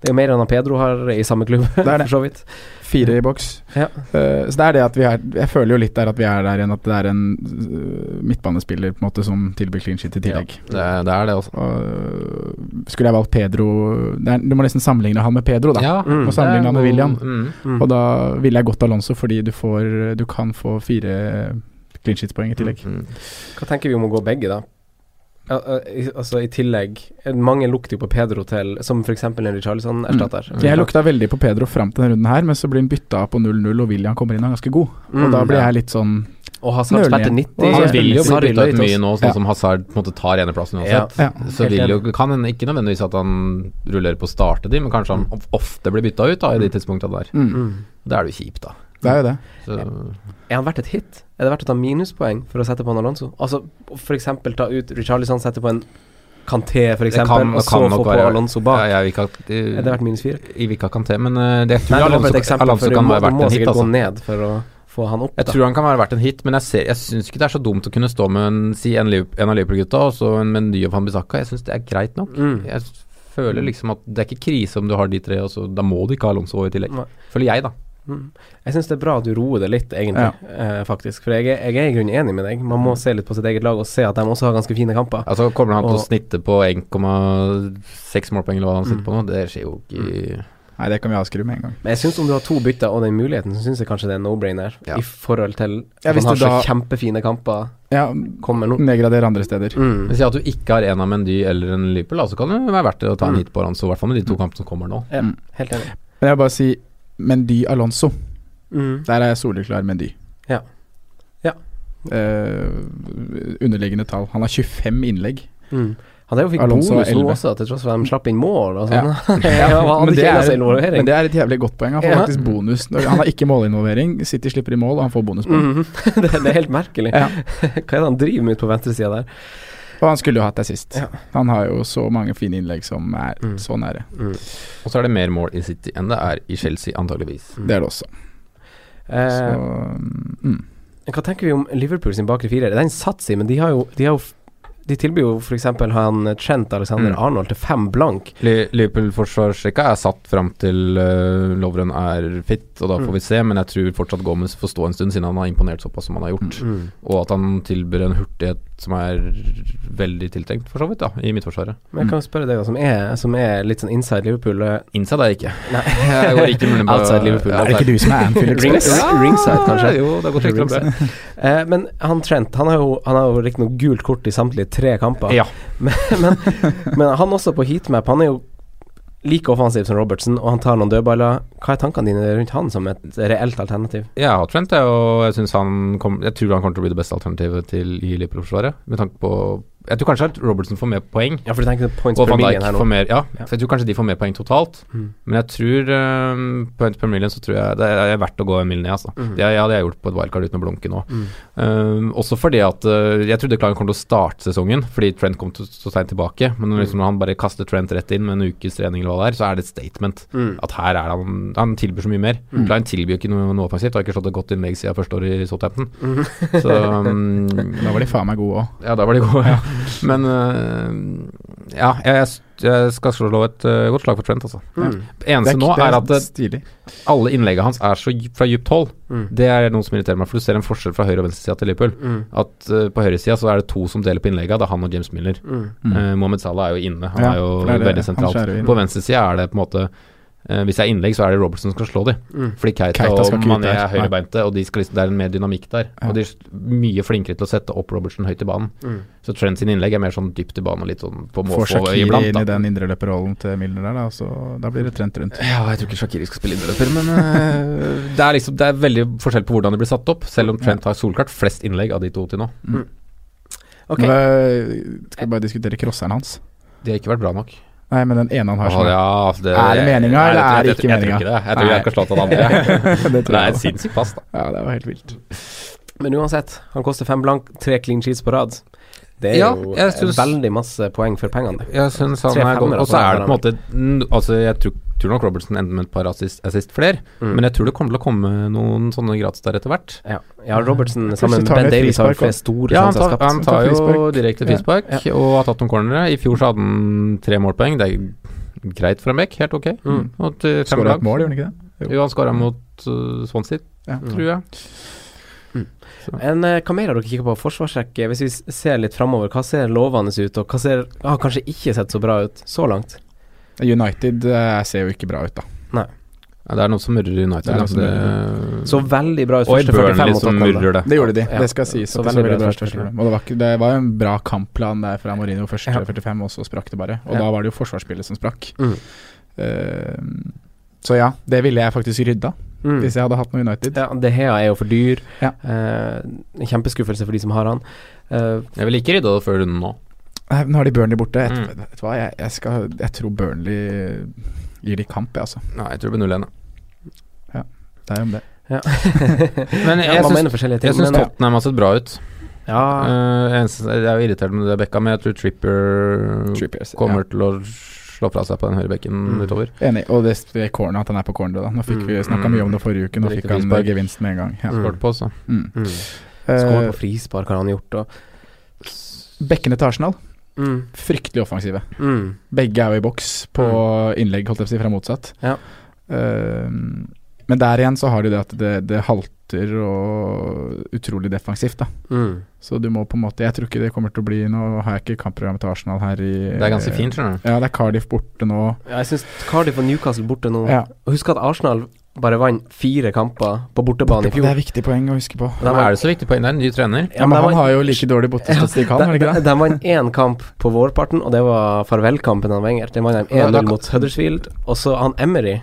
Speaker 3: Det er jo mer enn han Pedro har i samme klubb,
Speaker 4: Det er det.
Speaker 3: (laughs) for så vidt.
Speaker 4: Fire i boks.
Speaker 3: Ja.
Speaker 4: Eh, så det er det at vi er Jeg føler jo litt der at vi er der igjen, at det er en eh, midtbanespiller på en måte som tilbyr clean shit i tillegg.
Speaker 1: Det, det er det altså. også.
Speaker 4: Og, øh, skulle jeg valgt Pedro det er, Du må nesten sammenligne han med Pedro, da.
Speaker 1: Ja,
Speaker 3: Mm.
Speaker 4: Og sammenligne han med William.
Speaker 1: Mm.
Speaker 3: Mm.
Speaker 4: Og da ville jeg gått Alonso, fordi du, får, du kan få fire clean shit-poeng i tillegg.
Speaker 1: Mm.
Speaker 3: Hva tenker vi om å gå begge, da? Ja, eh, i- altså i tillegg eh, Mange lukter jo på Pedro til Som f.eks. en Richarlison erstatter.
Speaker 1: Mm.
Speaker 4: Jeg lukta veldig på Pedro fram til denne runden her, men så blir han bytta av på 0-0, og William kommer inn og er ganske god.
Speaker 3: Mm,
Speaker 4: Og da blir
Speaker 3: ja.
Speaker 4: jeg litt sånn
Speaker 3: Og Hazard
Speaker 4: nøler
Speaker 3: spilte
Speaker 4: igjen.
Speaker 3: 90.
Speaker 4: Og
Speaker 1: Han
Speaker 4: jeg
Speaker 1: vil jo bli
Speaker 4: spiller
Speaker 1: bytta
Speaker 4: litt,
Speaker 1: ut mye
Speaker 4: altså.
Speaker 1: nå,
Speaker 4: Ja.
Speaker 1: sånn som Hazard på en måte tar eneplassen uansett.
Speaker 4: Ja.
Speaker 1: Så
Speaker 3: Helt
Speaker 1: vil jo,
Speaker 3: enig.
Speaker 1: kan en ikke nødvendigvis at han rullerer på å starte de, men kanskje han of- ofte blir bytta ut da, i de tidspunktene der.
Speaker 4: mm,
Speaker 3: Mm.
Speaker 1: Da er det jo kjipt, da.
Speaker 4: Det er jo det.
Speaker 1: Så,
Speaker 3: Er han verdt et hit? Er det verdt å ta minuspoeng for å sette på en Alonso? Altså f.eks. ta ut Richarlison, sette på en Canté,
Speaker 1: Det
Speaker 3: f.eks.,
Speaker 1: kan-
Speaker 3: og så
Speaker 1: kan nok
Speaker 3: få på
Speaker 1: være-
Speaker 3: Alonso bak.
Speaker 1: ja, jeg vil ikke at
Speaker 3: Er det verdt minus fire?
Speaker 1: Jeg vil ikke at Kanté, men eh, det, jeg tror
Speaker 3: Nei, det var bare et
Speaker 1: Alonso,
Speaker 3: eksempel,
Speaker 1: Alonso
Speaker 3: for
Speaker 1: kan
Speaker 3: du må,
Speaker 1: være
Speaker 3: du
Speaker 1: verdt
Speaker 3: må
Speaker 1: en hit,
Speaker 3: sikkert
Speaker 1: altså.
Speaker 3: gå ned for å få han opp,
Speaker 1: Jeg tror han kan være verdt en hit, men jeg, ser- jeg syns ikke det er så dumt å kunne stå med en, si en, Liv- en av Liverpool-gutta og så en Mendy og Fanbisaka. Jeg syns det er greit nok.
Speaker 3: Mm.
Speaker 1: Jeg s- føler liksom at det er ikke krise om du har de tre, og så da må du ikke ha Alonso i tillegg.
Speaker 3: Nei.
Speaker 1: Føler jeg, da.
Speaker 3: Mm. Jeg syns det er bra at du roer det litt, egentlig, eh, faktisk. For jeg, er- jeg er i grunnen enig med deg. Man
Speaker 1: Mm.
Speaker 3: må se litt på sitt eget lag og se at de også har ganske fine kamper.
Speaker 1: Altså Kommer han til å
Speaker 3: Og-
Speaker 1: snitte på 1,6 målpoeng eller hva han sitter
Speaker 3: Mm.
Speaker 1: på nå? Det skjer jo ikke i
Speaker 4: Nei, det kan vi avskrive med en gang.
Speaker 3: Men jeg syns om du har to bytter og den muligheten, så syns jeg kanskje det er en no-brainer.
Speaker 1: Ja.
Speaker 3: I forhold til
Speaker 4: Ja,
Speaker 3: at
Speaker 4: hvis
Speaker 3: han har
Speaker 4: du da-
Speaker 3: så kjempefine kamper
Speaker 4: Ja,
Speaker 3: kommer nå.
Speaker 4: nedgradere andre steder.
Speaker 3: Mm.
Speaker 1: Men si at du ikke har en av Mendy eller en Liverpool, da, så kan det være verdt å ta en
Speaker 3: Mm.
Speaker 1: hit på Alonso, i hvert fall med de to kampene som kommer nå.
Speaker 3: Ja,
Speaker 4: Mm.
Speaker 3: helt enig.
Speaker 4: Men jeg vil bare si Mendy Alonso.
Speaker 3: Mm.
Speaker 4: Der er jeg soleklar Mendy.
Speaker 3: Ja. Ja.
Speaker 4: Eh, underliggende tall. Han har 25 innlegg.
Speaker 3: Mm. Han der jo fikk
Speaker 4: Alonso
Speaker 3: bonus nå
Speaker 4: 11.
Speaker 3: også, til tross for at de slapp inn mål og
Speaker 4: Ja.
Speaker 3: sånn. (laughs) Ja, han
Speaker 4: men,
Speaker 3: hadde
Speaker 4: det
Speaker 3: ikke
Speaker 4: er,
Speaker 3: eneste
Speaker 4: men
Speaker 3: involvering.
Speaker 4: det er et jævlig godt poeng. Han får
Speaker 3: Ja.
Speaker 4: faktisk bonus. Når- Han har ikke målinvolvering. City slipper i mål, og han får bonuspoeng.
Speaker 3: Mhm. (laughs) det, det er helt merkelig.
Speaker 4: Ja.
Speaker 3: (laughs) Hva er det han driver med ute på venstresida der?
Speaker 4: Og han skulle jo hatt det sist.
Speaker 3: Ja.
Speaker 4: Han har jo så mange fine innlegg som er
Speaker 3: Mm.
Speaker 4: så nære.
Speaker 1: Og så er det mer mål i City enn det er i Chelsea, antageligvis.
Speaker 4: Mm. Det er det også. Så,
Speaker 3: Eh,
Speaker 4: mm.
Speaker 3: hva tenker vi om Liverpool sin bakre firer? Den satser, men de har jo De, har jo, f- de tilbyr jo f.eks. han Trent Alexander
Speaker 1: Mm.
Speaker 3: Arnold til fem blank.
Speaker 1: Li- Liverpool-forsvarsrekka er satt fram til uh, Lovren er fit, og da får
Speaker 3: Mm.
Speaker 1: vi se. Men jeg tror fortsatt Gomez får stå en stund, siden han har imponert såpass som han har
Speaker 3: Mm.
Speaker 1: gjort.
Speaker 4: Mm.
Speaker 1: Og at han tilbyr en hurtighet som er veldig tiltenkt, for så vidt, da, i midtforsvaret.
Speaker 3: Men jeg kan jo spørre deg, da, som er, som er litt sånn inside Liverpool eh,
Speaker 1: Inside er jeg ikke.
Speaker 3: Nei.
Speaker 1: (laughs) Jeg går ikke mulig
Speaker 3: (laughs)
Speaker 1: på
Speaker 3: Outside Liverpool.
Speaker 1: Ja,
Speaker 4: Er det ikke du som
Speaker 3: (laughs)
Speaker 4: er Anfield Express?
Speaker 3: Rings- ringside, kanskje?
Speaker 1: Jo, det er godt rykte om det.
Speaker 3: eh, Men han Trent, han har jo, han har jo riktignok gult kort i samtlige tre kamper.
Speaker 1: Ja.
Speaker 3: (laughs) Men, men, men han også på heatmap, han er jo like offensiv som Robertson, og han tar noen dødballer. Hva er tankene dine rundt han som et reelt alternativ?
Speaker 1: Jeg har Trent, jeg, og jeg, synes han kom, jeg tror han kommer til å bli det beste alternativet til i Liverpool-forsvaret. Med tanke på Jeg tror kanskje at Robertson får mer poeng.
Speaker 3: Ja, for du tenker points
Speaker 1: Og
Speaker 3: per
Speaker 1: Van
Speaker 3: million
Speaker 1: Dijk
Speaker 3: her
Speaker 1: får
Speaker 3: nå.
Speaker 1: mer, ja.
Speaker 3: Ja.
Speaker 1: Så jeg tror kanskje de får mer poeng totalt.
Speaker 3: Mm.
Speaker 1: Men jeg tror eh, points per million så tror jeg det er verdt å gå en mil ned, altså.
Speaker 3: Mhm.
Speaker 1: Det hadde jeg gjort på et wildcard uten å blunke nå.
Speaker 3: Mm.
Speaker 1: Eh, også fordi at eh, jeg trodde Klein kom til å starte sesongen, fordi Trent kom til så seint tilbake. Men når
Speaker 3: Mm.
Speaker 1: liksom, når han bare kaster Trent rett inn med en ukes trening eller hva det er, så er det et statement.
Speaker 3: Mm.
Speaker 1: At her er han Han tilbyr så mye mer.
Speaker 3: Mm.
Speaker 1: Klein tilbyr jo ikke noe, noe offensivt. Har ikke slått et godt innlegg siden første år i Southampton.
Speaker 3: Mhm. (laughs)
Speaker 1: Så um,
Speaker 4: Da var de faen meg gode òg.
Speaker 1: Ja, da var de gode. Ja. (laughs) Men øh, ja, jeg, jeg skal slå et øh, godt slag for Trent, altså.
Speaker 3: Mm.
Speaker 1: Eneste nå er at øh,
Speaker 4: Stilig.
Speaker 1: alle innleggene hans er så dy- fra dypt hold.
Speaker 3: Mm.
Speaker 1: Det er noe som irriterer meg, for du ser en forskjell fra høyre- og venstresida til Liverpool.
Speaker 3: Mm.
Speaker 1: At øh, på høyresida så er det to som deler på innlegga, det er han og James Miller.
Speaker 3: Mm.
Speaker 4: Mm.
Speaker 1: Eh, Mohamed Salah er jo inne, han
Speaker 4: Ja,
Speaker 1: er jo
Speaker 4: for det er det-
Speaker 1: veldig
Speaker 4: han
Speaker 1: sentralt.
Speaker 4: skjærer jo inn.
Speaker 1: På venstresida er det på en måte eh, Hvis det er innlegg, så er det Robertson som skal slå de.
Speaker 3: Mm.
Speaker 1: Fordi Keita,
Speaker 4: Keita skal
Speaker 1: og
Speaker 4: ikke ut
Speaker 1: Mané
Speaker 4: der.
Speaker 1: er høyrebeinte, og de skal liksom, det er en mer dynamikk der.
Speaker 4: Ja.
Speaker 1: Og de er mye flinkere til å sette opp Robertson høyt i banen.
Speaker 3: Mm.
Speaker 1: Så Trent sine innlegg er mer sånn dypt i banen og litt sånn på
Speaker 4: Får
Speaker 1: måfå
Speaker 4: Shakiri
Speaker 1: iblant.
Speaker 4: inn i
Speaker 1: Da.
Speaker 4: den indreløperrollen til Milner der, da, så da blir det trent rundt.
Speaker 1: Ja, jeg tror ikke Shakiri skal spille innløper, men øh, (laughs) det, er liksom, det er veldig forskjell på hvordan de blir satt opp, selv om Trent har solklart flest innlegg av de to til nå.
Speaker 3: Ok.
Speaker 4: Nå, eh, skal vi bare diskutere crosseren hans?
Speaker 1: De har ikke vært bra nok.
Speaker 4: Nei, men den ene han har
Speaker 1: Åh, ja, altså,
Speaker 4: Er det meninga,
Speaker 1: Nei,
Speaker 4: eller er det
Speaker 1: tror- jeg-
Speaker 4: ikke
Speaker 1: Jeg tror ikke det. Jeg tror jeg
Speaker 4: meninga?
Speaker 1: skal
Speaker 4: (laughs)
Speaker 1: slå til det andre.
Speaker 4: det
Speaker 1: Det
Speaker 4: tror
Speaker 1: er
Speaker 4: jeg.
Speaker 1: et sinnssykt pass, da.
Speaker 4: Ja, det var helt vilt.
Speaker 3: Men uansett, han koster fem blank, tre clean sheets på rad. Det er
Speaker 1: Ja,
Speaker 3: jo
Speaker 1: jeg
Speaker 3: eh,
Speaker 1: synes-
Speaker 3: veldig masse poeng for pengene. det.
Speaker 1: Jeg syns
Speaker 3: Tre
Speaker 1: han er god.
Speaker 3: femmere
Speaker 1: Og så
Speaker 3: på
Speaker 1: er
Speaker 3: den
Speaker 1: det på en måte mm, Altså, jeg tror, tror nok Robertson ender med et par assist, assist flere,
Speaker 3: Mm.
Speaker 1: men jeg tror det kommer til å komme noen sånne gratis der etter hvert.
Speaker 3: Ja, ja Robertson
Speaker 4: Plutselig
Speaker 3: sammen med
Speaker 4: tar han
Speaker 3: Ben
Speaker 4: et
Speaker 3: Davies har jo
Speaker 4: frispark
Speaker 3: flere
Speaker 4: også.
Speaker 3: store
Speaker 1: Ja, han
Speaker 3: sjanser
Speaker 1: tar,
Speaker 3: skapt.
Speaker 1: han tar jo
Speaker 4: frispark.
Speaker 1: direkte
Speaker 4: Ja.
Speaker 1: frispark og har tatt noen cornere. I fjor så hadde han tre målpoeng. Det er greit for en bekk, helt ok.
Speaker 3: Mm.
Speaker 1: Og til fem
Speaker 4: Skåra
Speaker 1: lag.
Speaker 4: et mål, gjorde han ikke det?
Speaker 1: Jo, han skåra mot uh, Swansea,
Speaker 4: Ja.
Speaker 1: tror jeg.
Speaker 3: En, eh, hva mer har dere kikket på? Forsvarsrekke, hvis vi s- ser litt framover, hva ser lovende ut, og hva ser har kanskje ikke sett så bra ut så langt?
Speaker 4: United eh, ser jo ikke bra ut, da.
Speaker 1: Ja, det er noe som murrer i United.
Speaker 4: Det er noe
Speaker 1: altså,
Speaker 4: som
Speaker 1: det-
Speaker 3: Så veldig bra ut
Speaker 1: og i
Speaker 3: første 45
Speaker 1: Burnley
Speaker 3: mot
Speaker 1: som
Speaker 3: Tottenham, da.
Speaker 1: murrer det.
Speaker 4: Det gjorde de,
Speaker 3: Ja.
Speaker 4: det skal sies.
Speaker 3: Så
Speaker 4: at det så
Speaker 3: veldig
Speaker 4: veldig
Speaker 3: bra
Speaker 4: bra
Speaker 3: første
Speaker 4: ut.
Speaker 3: gang.
Speaker 4: Og det var, ikke, det var jo en bra kampplan der fra Mourinho første
Speaker 3: Ja.
Speaker 4: 45, og så sprakk det bare. Og
Speaker 3: Ja.
Speaker 4: da var det jo forsvarsspillet som sprakk.
Speaker 3: Mm.
Speaker 4: Eh, så ja, det ville jeg faktisk rydda
Speaker 3: Mm.
Speaker 4: hvis jeg hadde hatt noe United.
Speaker 3: Ja, De Hea er jo for dyr.
Speaker 4: Ja.
Speaker 3: Eh, en kjempeskuffelse for de som har han. Eh,
Speaker 1: Jeg vil ikke rydde det før runden nå.
Speaker 4: Nei, Eh, Nå har de Burnley borte. Jeg,
Speaker 1: Mm.
Speaker 4: vet du hva, jeg, jeg, skal, jeg tror Burnley gir de kamp, jeg, altså.
Speaker 1: Nei, jeg tror det blir 0-1.
Speaker 4: Det er jo om det.
Speaker 1: Men
Speaker 3: ja,
Speaker 1: jeg
Speaker 3: man
Speaker 1: syns-
Speaker 3: mener forskjellige ting,
Speaker 1: jeg syns
Speaker 3: men eh,
Speaker 1: Tottenham har sett bra ut.
Speaker 3: ja,
Speaker 1: Eh, eneste, jeg er jo irritert med det Bekka, men jeg tror Tripper
Speaker 4: Trippiers.
Speaker 1: Mm. kommer til å slå fra seg på den høyrebekken
Speaker 3: Mm.
Speaker 1: utover.
Speaker 4: Ja. Enig. Og det, det er corner, at han er på corner, da. Nå fikk vi snakka
Speaker 1: Mm.
Speaker 4: mye om det forrige uke, nå
Speaker 1: Riktig
Speaker 4: fikk han
Speaker 1: frispark.
Speaker 4: gevinsten med en gang. Ja.
Speaker 3: Mm.
Speaker 1: Skåret på, så.
Speaker 4: Mm.
Speaker 3: mm. Skåret
Speaker 4: Eh,
Speaker 3: på frispark har han gjort, og
Speaker 4: bekkene til Arsenal,
Speaker 3: mm.
Speaker 4: fryktelig offensive.
Speaker 3: Mm.
Speaker 4: Begge er jo i boks på innlegg, holdt jeg på å si, fra motsatt.
Speaker 3: Ja.
Speaker 4: Eh, men der igjen så har de det at det, det halter og utrolig defensivt, da.
Speaker 3: Mm.
Speaker 4: Så du må på en måte Jeg tror ikke det kommer til å bli Nå har jeg ikke kampprogrammet til Arsenal her i
Speaker 1: Det er ganske fint, skjønner du.
Speaker 4: Ja, det er Cardiff borte nå.
Speaker 3: Ja, Jeg syns Cardiff og Newcastle borte nå.
Speaker 4: Ja.
Speaker 3: Og Husk at Arsenal bare vant fire kamper på bortebane i
Speaker 4: Det
Speaker 3: fjor.
Speaker 4: er viktig poeng å huske på.
Speaker 3: De
Speaker 1: Men
Speaker 3: vant-
Speaker 1: er det så viktig poeng? Det er en ny trener.
Speaker 4: Ja, men
Speaker 3: de
Speaker 4: han
Speaker 3: vant-
Speaker 4: har jo like dårlig bortestatistikk, han, er det ikke
Speaker 3: De-
Speaker 4: det?
Speaker 3: De vant én kamp på vårparten, og det var farvelkampen han Wenger. Det vant de
Speaker 1: Ja, da
Speaker 3: 1-0
Speaker 1: kan-
Speaker 3: mot Huddersfield. Og så han Emery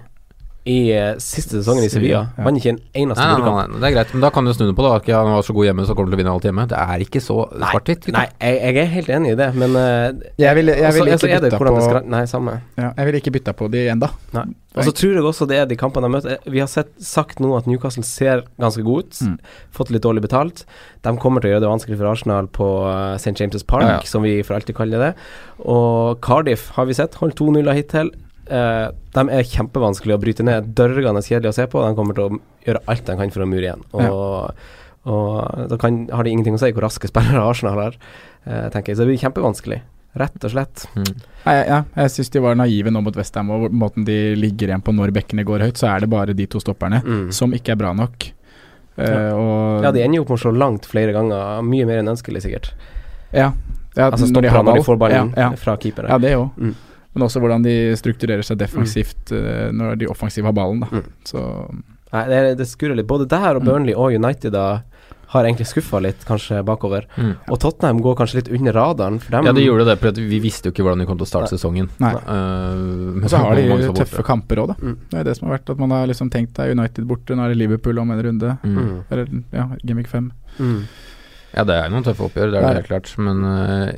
Speaker 3: i eh, siste sesongen i Sevilla.
Speaker 4: Ja.
Speaker 3: Vant ikke en eneste
Speaker 1: Nei, nei,
Speaker 3: bortekamp.
Speaker 1: nei, nei, det er greit, men da kan du snu det på det. da. Ikke han var så god hjemme, så kommer du til å vinne alt hjemme. Det er ikke så svart-hvitt.
Speaker 3: Nei, jeg, jeg er helt enig i det, men eh,
Speaker 4: Jeg ville
Speaker 3: og så-
Speaker 4: vil
Speaker 3: og så
Speaker 4: ikke
Speaker 3: er det
Speaker 4: bytta
Speaker 3: hvordan
Speaker 4: på
Speaker 3: det skal- Nei, samme.
Speaker 4: ja, Jeg ville ikke bytta på de ennå.
Speaker 3: Nei. Og så tror jeg også det er de kampene de møter. Vi har sett, sagt nå at Newcastle ser ganske god ut.
Speaker 4: Mm.
Speaker 3: Fått litt dårlig betalt. De kommer til å gjøre det vanskelig for Arsenal på eh, St. James' Park,
Speaker 1: Ja, ja.
Speaker 3: som vi for alltid kaller det. Og Cardiff har vi sett, holdt 2-0 hittil. Eh, de er kjempevanskelige å bryte ned. Dørgende kjedelig å se på. De kommer til å gjøre alt de kan for å mure igjen. Og, og da kan, har det ingenting å si hvor raske spillere (laughs) Arsenal har, eh, tenker jeg. Så det blir kjempevanskelig, rett og slett.
Speaker 1: Mm.
Speaker 4: Nei, ja, jeg syns de var naive nå mot Westham, og hvor- måten de ligger igjen på når bekkene går høyt, så er det bare de to stopperne
Speaker 3: Mm.
Speaker 4: som ikke er bra nok. Eh,
Speaker 3: Ja.
Speaker 4: og
Speaker 3: Ja, de ender jo opp med å slå langt flere ganger. Mye mer enn ønskelig, sikkert.
Speaker 4: ja, ja,
Speaker 3: Altså
Speaker 4: når de
Speaker 3: stopperne
Speaker 4: har
Speaker 3: når
Speaker 4: ball.
Speaker 3: de får ballen
Speaker 4: Ja, ja.
Speaker 3: fra keepere.
Speaker 4: Ja, det òg.
Speaker 3: Mm.
Speaker 4: Men også hvordan de strukturerer seg defensivt eh, når de offensive har ballen. Da.
Speaker 3: Mm.
Speaker 4: Så
Speaker 3: Nei, det, det skurrer litt. Både der og
Speaker 1: Mm.
Speaker 3: Burnley og United da, har egentlig skuffa litt, kanskje, bakover.
Speaker 1: Mm.
Speaker 3: Og Tottenham går kanskje litt under radaren, for dem
Speaker 1: Ja, de gjorde det, for at vi visste jo ikke hvordan de kom til å starte sesongen.
Speaker 4: Nei.
Speaker 1: Eh, men
Speaker 4: Men så har de
Speaker 1: mange
Speaker 4: jo
Speaker 1: som var borte.
Speaker 4: tøffe kamper òg, da.
Speaker 3: Mm.
Speaker 4: Det er det som har vært at man har liksom tenkt deg United borte, nå er det Liverpool om en runde.
Speaker 1: Mm.
Speaker 3: Mm.
Speaker 4: Eller ja, Gimmick 5.
Speaker 3: Mm.
Speaker 1: Ja, det er noen tøffe oppgjør, det er
Speaker 4: Ja.
Speaker 1: det helt klart. Men eh,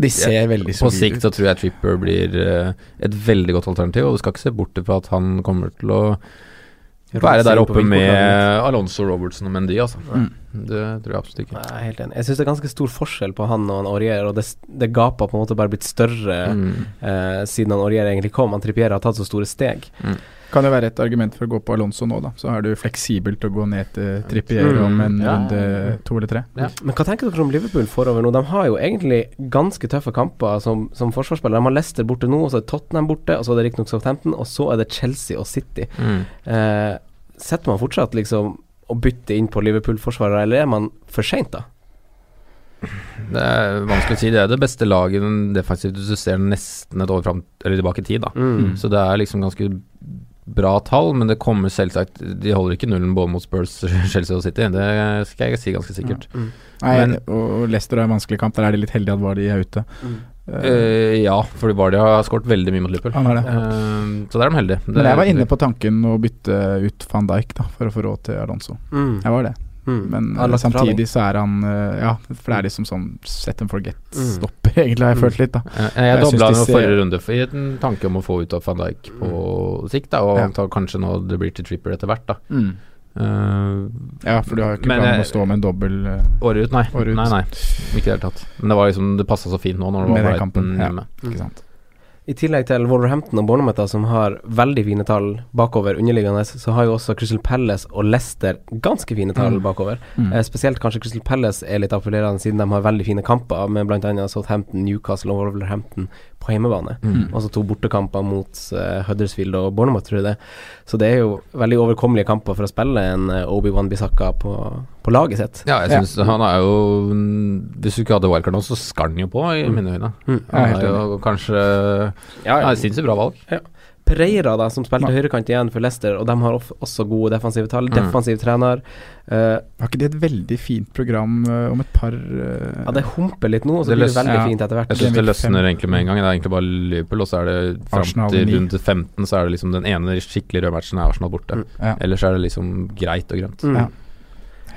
Speaker 4: De ser veldig
Speaker 1: på
Speaker 4: solide
Speaker 1: sikt
Speaker 4: ut.
Speaker 1: så tror jeg Tripper blir eh, et veldig godt alternativ, og du skal ikke se bort fra at han kommer til å være der oppe med Alonso Robertson og Mendy, altså.
Speaker 4: Mm.
Speaker 1: Det tror jeg absolutt ikke.
Speaker 3: Nei, Jeg er helt enig. Jeg syns det er ganske stor forskjell på han og han Aurier, og det, det gapet har på en måte bare blitt større
Speaker 1: Mm.
Speaker 3: eh, siden han Aurier egentlig kom. Han Trippier har tatt så store steg.
Speaker 4: Kan jo være et argument for å gå på Alonso nå, da. Så er du fleksibelt å gå ned til Trippier
Speaker 3: Mm.
Speaker 4: om en
Speaker 1: Ja.
Speaker 4: runde to eller tre.
Speaker 1: Ja.
Speaker 3: Men hva tenker dere om Liverpool forover nå? De har jo egentlig ganske tøffe kamper som, som forsvarsspillere. De har Leicester borte nå, og så er Tottenham borte, og så er det riktignok Southampton, og så er det Chelsea og City.
Speaker 1: Mm.
Speaker 3: Eh, setter man fortsatt liksom å bytte inn på Liverpool-forsvarere, eller er man for seint, da?
Speaker 1: Det er vanskelig å si. Det er det beste laget den defensivt du ser nesten et år fram eller tilbake i tid, da.
Speaker 4: Mm.
Speaker 1: Så det er liksom ganske bra tall, men det kommer selvsagt De holder ikke nullen både mot Spurs, (laughs) Chelsea og City. Det skal jeg si ganske sikkert.
Speaker 4: Nei,
Speaker 1: Men-
Speaker 4: og Leicester er en vanskelig kamp. Der er de litt heldige at Vardy er ute. Eh,
Speaker 1: Eh, ja, fordi Vardy har skåret veldig mye mot Liverpool.
Speaker 4: han er det.
Speaker 1: Eh, så der er de heldige. Det
Speaker 4: Men jeg var
Speaker 1: er-
Speaker 4: inne på tanken å bytte ut van Dijk da, for å få råd til Alonso.
Speaker 3: Mm.
Speaker 4: Jeg var det.
Speaker 3: Mm.
Speaker 4: Men
Speaker 3: Han
Speaker 4: eh,
Speaker 3: la seg fra
Speaker 4: samtidig så er han eh, Ja, for det er liksom sånn set and
Speaker 3: Mm.
Speaker 4: forget-stopper, (laughs) egentlig, har jeg følt litt, da.
Speaker 1: Eh, Jeg,
Speaker 4: Jeg
Speaker 1: doblet
Speaker 4: synes
Speaker 1: dobla
Speaker 4: de
Speaker 1: henne
Speaker 4: ser-
Speaker 1: forrige runde for, i en tanke om å få ut av van Dijk på sikt, da, og
Speaker 4: Mm. Ja.
Speaker 1: antag- kanskje nå det blir til Tripper etter hvert. da
Speaker 3: Mm.
Speaker 1: Eh,
Speaker 4: Ja, for du har jo ikke
Speaker 1: Men
Speaker 4: planen om
Speaker 1: jeg-
Speaker 4: å stå med en dobbel eh,
Speaker 1: Året ut, nei.
Speaker 4: Året ut.
Speaker 1: Nei, nei. Ikke i det hele tatt. Men det var liksom Det passa så fint nå når det
Speaker 4: Med
Speaker 1: var
Speaker 4: den kampen,
Speaker 1: Brighton
Speaker 4: ja.
Speaker 1: hjemme.
Speaker 4: Ikke sant.
Speaker 3: Mm. I tillegg til Wolverhampton og Bournemouth, da, som har veldig fine tall bakover underliggende, så har jo også Crystal Palace og Leicester ganske fine tall
Speaker 4: Mm.
Speaker 3: bakover.
Speaker 4: Mm.
Speaker 3: Eh, spesielt kanskje Crystal Palace er litt appellerende, siden de har veldig fine kamper, med bl.a. Southampton, Newcastle og Wolverhampton på hjemmebane.
Speaker 1: Mm.
Speaker 3: Altså to bortekamper mot eh, Huddersfield og Bournemouth, tror jeg det. Så det er jo veldig overkommelige kamper for å spille en eh, Obi-Wan Bisaka på, på laget sitt.
Speaker 1: Ja, jeg
Speaker 4: Ja.
Speaker 1: synes han er jo Hvis du ikke hadde wildcard nå, så skar han jo på, i mine øyne.
Speaker 4: Jeg
Speaker 3: Mm.
Speaker 4: er
Speaker 1: Han
Speaker 4: helt
Speaker 1: er jo kanskje
Speaker 3: Ja,
Speaker 1: ja, Sinnssykt bra valg.
Speaker 3: Pereira, da, som spilte
Speaker 4: Ja.
Speaker 3: høyrekant igjen for Leicester, og de har of- også gode defensive tall.
Speaker 1: Mm.
Speaker 3: Defensiv trener. Eh,
Speaker 4: Var ikke det et veldig fint program eh, om et par eh,
Speaker 3: ja, det humper litt nå, og så
Speaker 1: Det
Speaker 3: blir det
Speaker 1: løs-
Speaker 3: veldig
Speaker 4: ja.
Speaker 3: fint etter hvert.
Speaker 1: Jeg syns
Speaker 4: Game
Speaker 1: det
Speaker 4: week
Speaker 1: løsner
Speaker 4: fem.
Speaker 1: egentlig med en gang. Det er egentlig bare Liverpool, og så er det fram
Speaker 4: Arsenal
Speaker 1: til
Speaker 4: ni.
Speaker 1: runde 15, så er det liksom den ene skikkelig røde matchen er Arsenal borte.
Speaker 3: Mm.
Speaker 4: Ja.
Speaker 1: Ellers er det liksom greit og grønt.
Speaker 3: Mm.
Speaker 4: Ja.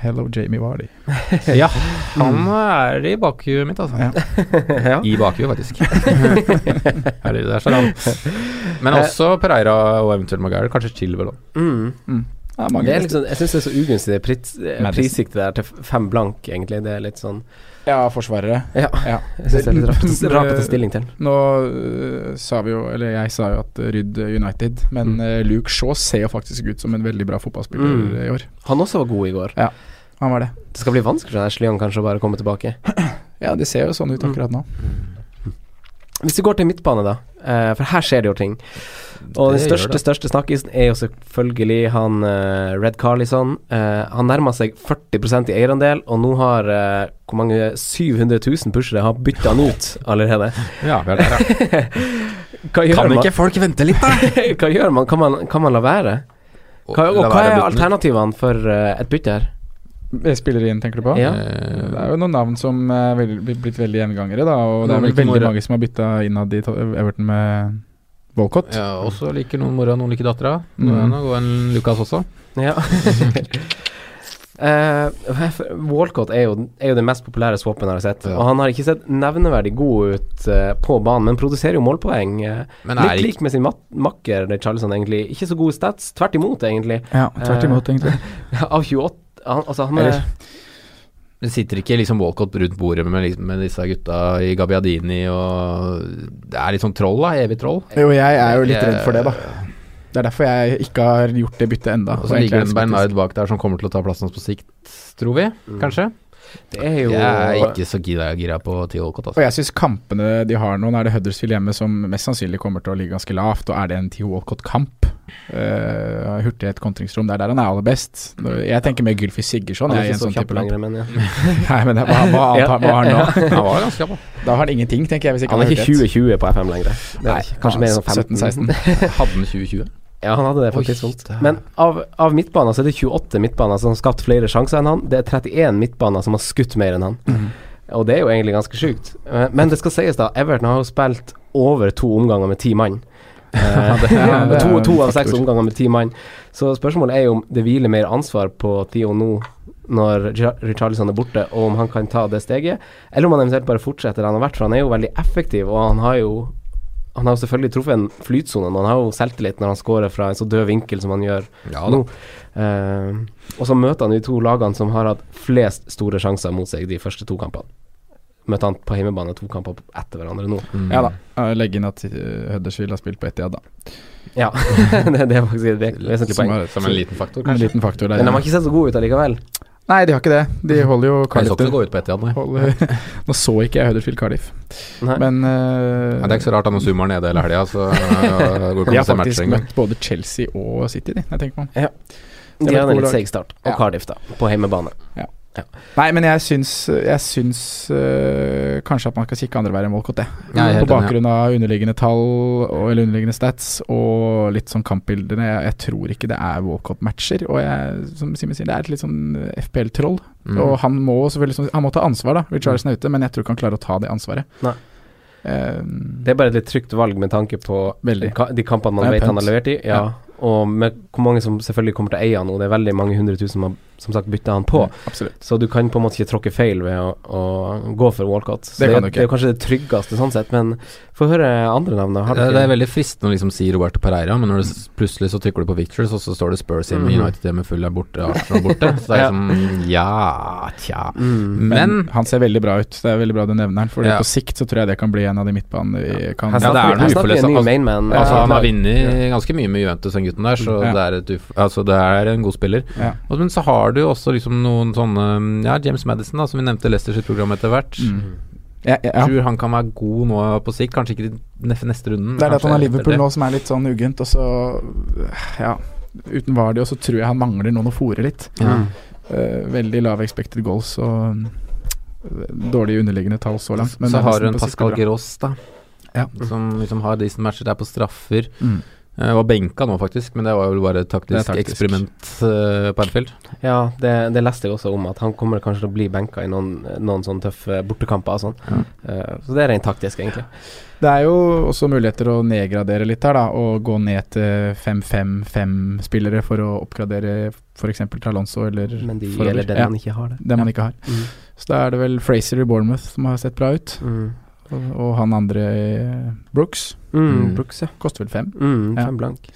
Speaker 4: Hello, Jamie
Speaker 3: (laughs)
Speaker 4: Vardy. Mm.
Speaker 1: Ja, han er i bakhuet mitt, altså.
Speaker 4: Ja.
Speaker 3: (laughs) ja.
Speaker 1: I bakhuet, faktisk. Herlig, der står han. Men
Speaker 3: Eh.
Speaker 1: også Pereira og eventuelt Maguire. Kanskje Chilwell òg.
Speaker 3: Mm.
Speaker 4: Ja, mange
Speaker 3: Det er
Speaker 4: beste.
Speaker 3: liksom, jeg syns det er så ugunstig, det pris- eh,
Speaker 4: Madison.
Speaker 3: prissiktet der til f- fem blank, egentlig. Det er litt sånn
Speaker 4: ja, forsvarere.
Speaker 3: Ja.
Speaker 4: Ja.
Speaker 3: Jeg syns det er litt rart, å- rart å ta stilling til.
Speaker 4: Nå øh, sa vi jo, eller jeg sa jo at Rydd United, men
Speaker 3: Mm.
Speaker 4: øh, Luke Shaw ser jo faktisk ut som en veldig bra fotballspiller
Speaker 3: Mm.
Speaker 4: i år.
Speaker 3: Han også var god i går.
Speaker 4: Han var det.
Speaker 3: Det skal bli vanskelig for Ashley Young kanskje å bare komme tilbake.
Speaker 4: Ja, det ser jo sånn ut
Speaker 3: Mm.
Speaker 4: akkurat nå.
Speaker 3: Hvis vi går til midtbane, da. eh, for her skjer det jo ting. Og den
Speaker 1: Det gjør
Speaker 3: største,
Speaker 1: det.
Speaker 3: største snakkisen er jo selvfølgelig han eh, Red Carlison. Eh, han nærmer seg 40 i eierandel, og nå har eh, hvor mange 700 000 pushere har bytta han ut allerede.
Speaker 1: Ja, vi er der, ja.
Speaker 3: Hva (laughs) gjør
Speaker 1: Kan
Speaker 3: man?
Speaker 1: ikke folk vente litt,
Speaker 3: (laughs)
Speaker 1: da?
Speaker 3: hva gjør man? Kan man, kan man la være? Hva, og hva er alternativene for eh, et bytte her?
Speaker 4: Jeg Spiller inn, tenker du på?
Speaker 3: Ja.
Speaker 4: Det
Speaker 1: Eh,
Speaker 4: er jo noen navn som er vel, blitt veldig gjengangere, da. Og det
Speaker 1: Noen
Speaker 4: er vel
Speaker 1: liker
Speaker 4: veldig
Speaker 1: Mora.
Speaker 4: mange som har bytta innad i to- Everton med Walcott.
Speaker 1: Ja, også liker noen mora, noen liker dattera. Nå
Speaker 4: Mm.
Speaker 1: er det noe en Lukas også.
Speaker 3: Ja. Eh, for- Walcott er jo, er jo den mest populære swappen jeg har sett.
Speaker 1: Ja.
Speaker 3: Og han har ikke sett nevneverdig god ut eh, på banen, men produserer jo målpoeng. eh,
Speaker 1: Men
Speaker 3: Litt
Speaker 1: er ikke
Speaker 3: lik med sin mat makker Charlison, egentlig. Ikke så gode stats, tvert imot, egentlig. (laughs)
Speaker 4: Ja, tvert
Speaker 3: Eh,
Speaker 4: imot, egentlig.
Speaker 3: Av 28 han, Altså, han er
Speaker 4: Eller-
Speaker 1: det sitter ikke liksom Walcott rundt bordet med, liksom, med disse gutta i Gabbiadini og Det er litt sånn troll, da. Evig troll.
Speaker 4: Jo, jeg er jo litt redd for det, da. Det er derfor jeg ikke har gjort det byttet enda
Speaker 1: Og så
Speaker 4: egentlig
Speaker 1: ligger
Speaker 4: er
Speaker 1: det
Speaker 4: jeg
Speaker 1: en
Speaker 4: skeptisk.
Speaker 1: Bernard bak der som kommer til å ta plassen hans på sikt, tror vi. Kanskje.
Speaker 3: Det er Mm. jo
Speaker 1: Jeg er ikke så gira, gira på T. Walcott,
Speaker 4: Og
Speaker 1: altså.
Speaker 4: jeg syns kampene de har nå, nå er det Huddersfield hjemme som mest sannsynlig kommer til å ligge ganske lavt, og er det en Theo Walcott-kamp? Eh, hurtighet, kontringsrom, det er der han er aller best. Nå- Jeg tenker mer Gylfi Sigurdsson.
Speaker 3: Han er
Speaker 4: Jeg, i
Speaker 3: ikke
Speaker 4: en
Speaker 3: så
Speaker 4: sånn
Speaker 3: kjapp
Speaker 4: type lag.
Speaker 3: lenger, men eh, ja.
Speaker 4: (laughs) Nei, men det, hva, hva annet har- hva har han nå?
Speaker 1: (laughs) Han var ganske kjapp, da.
Speaker 4: Da har han ingenting, tenker jeg. Hvis ikke
Speaker 3: Han er ikke
Speaker 4: hurtighet.
Speaker 3: 20-20 på FM lenger. Det er
Speaker 4: Nei,
Speaker 3: han ikke. Kanskje mer sånn 15.
Speaker 4: 17-16.
Speaker 1: Hadde han 2020?
Speaker 3: Ja, han hadde det på
Speaker 1: Oi,
Speaker 3: et tidspunkt.
Speaker 1: det er-
Speaker 3: Men av, av midtbaner så er det 28 midtbaner som har skapt flere sjanser enn han. Det er 31 midtbaner som har skutt mer enn han. Og det er jo egentlig ganske sjukt. Eh, Men det skal sies, da. Everton har jo spilt over to omganger med ti mann.
Speaker 4: (laughs)
Speaker 3: Eh,
Speaker 4: det er- det er
Speaker 3: (laughs) to,
Speaker 4: en
Speaker 3: to av
Speaker 4: faktor.
Speaker 3: seks omganger med ti mann. Så spørsmålet er jo om det hviler mer ansvar på Theo nå når Jar- Richarlison er borte, og om han kan ta det steget, eller om han eventuelt bare fortsetter der han har vært, for han er jo veldig effektiv, og han har jo han har jo selvfølgelig truffet en flytsone, men han har jo selvtillit når han scorer fra en så død vinkel som han gjør
Speaker 1: Ja da.
Speaker 3: nå. Eh, og så møter han de to lagene som har hatt flest store sjanser mot seg de første to kampene. Møter han på hjemmebane to kamper etter hverandre nå. (laughs)
Speaker 1: Mm.
Speaker 4: Ja da. Eh, Legg inn at eh, Huddersfield har spilt på Etiad, da.
Speaker 3: Ja, det, det er faktisk et ve- vesentlig
Speaker 4: Som
Speaker 3: poeng.
Speaker 4: er- eh,
Speaker 1: Som en liten faktor,
Speaker 4: En
Speaker 1: kanskje.
Speaker 4: liten faktor der.
Speaker 3: Men de har
Speaker 4: Ja.
Speaker 3: ikke sett så gode ut allikevel.
Speaker 4: Nei, de har ikke det. De holder jo
Speaker 1: Jeg så ikke det
Speaker 4: Cardiff.
Speaker 1: gå ut på Etiad, nei.
Speaker 4: Holder, (laughs) nå så ikke jeg Huddersfield Cardiff,
Speaker 3: Nei.
Speaker 4: men eh,
Speaker 1: Ja, det er ikke så rart da når Zoomer er nede hele helga,
Speaker 4: (laughs)
Speaker 1: så øh, går det
Speaker 4: De har
Speaker 1: ikke an å se matcher
Speaker 4: faktisk
Speaker 1: engang.
Speaker 4: møtt både Chelsea og City, de. Jeg tenker på. vet
Speaker 3: de hadde
Speaker 4: hvor
Speaker 3: en litt
Speaker 4: lag-
Speaker 3: seig start. Og
Speaker 4: Ja.
Speaker 3: Cardiff, da, på hjemmebane.
Speaker 4: Nei, men jeg syns, jeg syns øh, kanskje at man skal kikke andre veien enn Walcott, det.
Speaker 1: Ja,
Speaker 4: på
Speaker 1: jeg er helt enig,
Speaker 4: bakgrunn av underliggende tall og, eller underliggende stats og litt sånn kampbildene. Jeg, jeg tror ikke det er Walcott-matcher. Og jeg, som Simen sier, det er et litt sånn FPL-troll.
Speaker 1: Mm.
Speaker 4: Og han må selvfølgelig sånn- Han må ta ansvar, da. Richarlison er ute, men jeg tror ikke han klarer å ta det ansvaret.
Speaker 3: Nei.
Speaker 4: Eh,
Speaker 3: Det er bare et litt trygt valg med tanke på
Speaker 4: Veldig.
Speaker 3: ka- de kampene man
Speaker 4: Det er
Speaker 3: vet han
Speaker 4: punt.
Speaker 3: har levert i. Ja. Og med hvor mange som selvfølgelig kommer til å eie han nå. Det er veldig mange hundre tusen som har som sagt bytta han på.
Speaker 4: Absolutt.
Speaker 3: Så du kan på en måte ikke tråkke feil ved å, å gå for Walcott. Så
Speaker 4: Det
Speaker 3: det,
Speaker 4: kan du
Speaker 3: det,
Speaker 4: ikke.
Speaker 3: er jo kanskje det tryggeste sånn sett, men få høre andre navn. da. Har
Speaker 1: Det, det er
Speaker 3: dere-
Speaker 1: veldig fristende å liksom si Roberto Pereira, men når du s- plutselig så trykker du på Victors, og så står det Spurs hjemme,
Speaker 4: Mm.
Speaker 3: Mhm.
Speaker 1: United hjemme, Full er borte, Arsenal borte. Så det er liksom Ja, tja.
Speaker 3: mm.
Speaker 1: Men
Speaker 4: han ser veldig bra ut. Det er veldig bra du nevner han. For
Speaker 1: Ja.
Speaker 4: på sikt så tror jeg det kan bli en av de midtbanene vi kan
Speaker 3: Her snakker-
Speaker 1: Ja, det er noe
Speaker 3: her snakker vi
Speaker 1: uforløst,
Speaker 3: en ny
Speaker 1: altså.
Speaker 3: mainman.
Speaker 1: altså, han har
Speaker 3: Eh,
Speaker 1: vunnet ganske mye med Juventus, den gutten der, så
Speaker 4: Ja.
Speaker 1: det, er et uf altså, det er en god spiller.
Speaker 4: Ja.
Speaker 1: Og, men så har du jo også liksom noen sånne Ja, James Madison, da, som vi nevnte i Leicester sitt program etter hvert.
Speaker 4: Mm. Ja, ja, ja.
Speaker 1: Tror han kan være god nå på sikt, kanskje ikke i nef- neste runden. men
Speaker 4: Det er det at han
Speaker 1: Mm, kanskje
Speaker 4: har
Speaker 1: etter
Speaker 4: Liverpool
Speaker 1: det.
Speaker 4: nå som er litt sånn uggent, og så Ja. Uten Vardy, og så tror jeg han mangler noen å fòre litt.
Speaker 1: Ja.
Speaker 3: Mm.
Speaker 4: Eh, veldig lave expected goals og mm, dårlige underliggende tall så langt.
Speaker 1: så
Speaker 4: det er
Speaker 1: har du
Speaker 4: nesten
Speaker 1: en
Speaker 4: på sikt
Speaker 1: Pascal
Speaker 4: bra.
Speaker 1: Gross, da.
Speaker 4: Ja.
Speaker 1: Som liksom har decent matcher. Det er på straffer.
Speaker 4: Mm.
Speaker 1: Jeg var benka nå, faktisk, men det var jo bare et
Speaker 4: Det
Speaker 1: taktisk,
Speaker 4: er taktisk.
Speaker 1: eksperiment eh, på Anfield.
Speaker 3: Ja, det, det leste jeg også om, at han kommer kanskje til å bli benka i noen, noen sånne tøffe bortekamper og sånn. Eh, så det er rent taktisk, egentlig.
Speaker 4: Det er jo også muligheter å nedgradere litt her, da. Og gå ned til 5-5-5-spillere for å oppgradere f.eks. Talonso eller
Speaker 3: Men de
Speaker 4: forover.
Speaker 3: gjelder den
Speaker 4: ja,
Speaker 3: man ikke har, det.
Speaker 4: den man ikke har.
Speaker 3: Mm.
Speaker 4: Så da er det vel Fraser i Bournemouth som har sett bra ut.
Speaker 3: Mm.
Speaker 4: Og, og han andre eh, Brooks
Speaker 1: Mm.
Speaker 3: Mm, Brooks, ja.
Speaker 4: koster vel fem.
Speaker 3: Mm,
Speaker 4: Ja.
Speaker 3: Fem blank.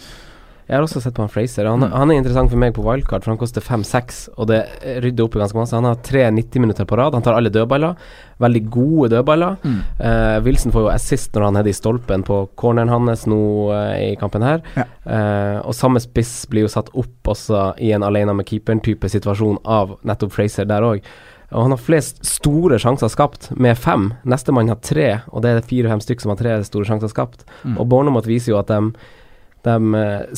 Speaker 3: Jeg har også sett på han Fraser. Han,
Speaker 4: Mm.
Speaker 3: han er interessant for meg på wildcard, for han koster 5-6, og det rydder opp i ganske masse. Han har tre 90-minutter på rad. Han tar alle dødballer. Veldig gode dødballer.
Speaker 1: Mm.
Speaker 3: Eh, Wilson får jo assist når han er i stolpen på corneren hans nå eh, i kampen her.
Speaker 4: Ja.
Speaker 3: Eh, og samme spiss blir jo satt opp også i en alene med keeperen-type situasjon av nettopp Fraser der òg. Og han har flest store sjanser skapt, med fem. Nestemann har tre, og det er fire-fem stykk som har tre store sjanser skapt.
Speaker 4: Mm.
Speaker 3: Og Bournemouth viser jo at de,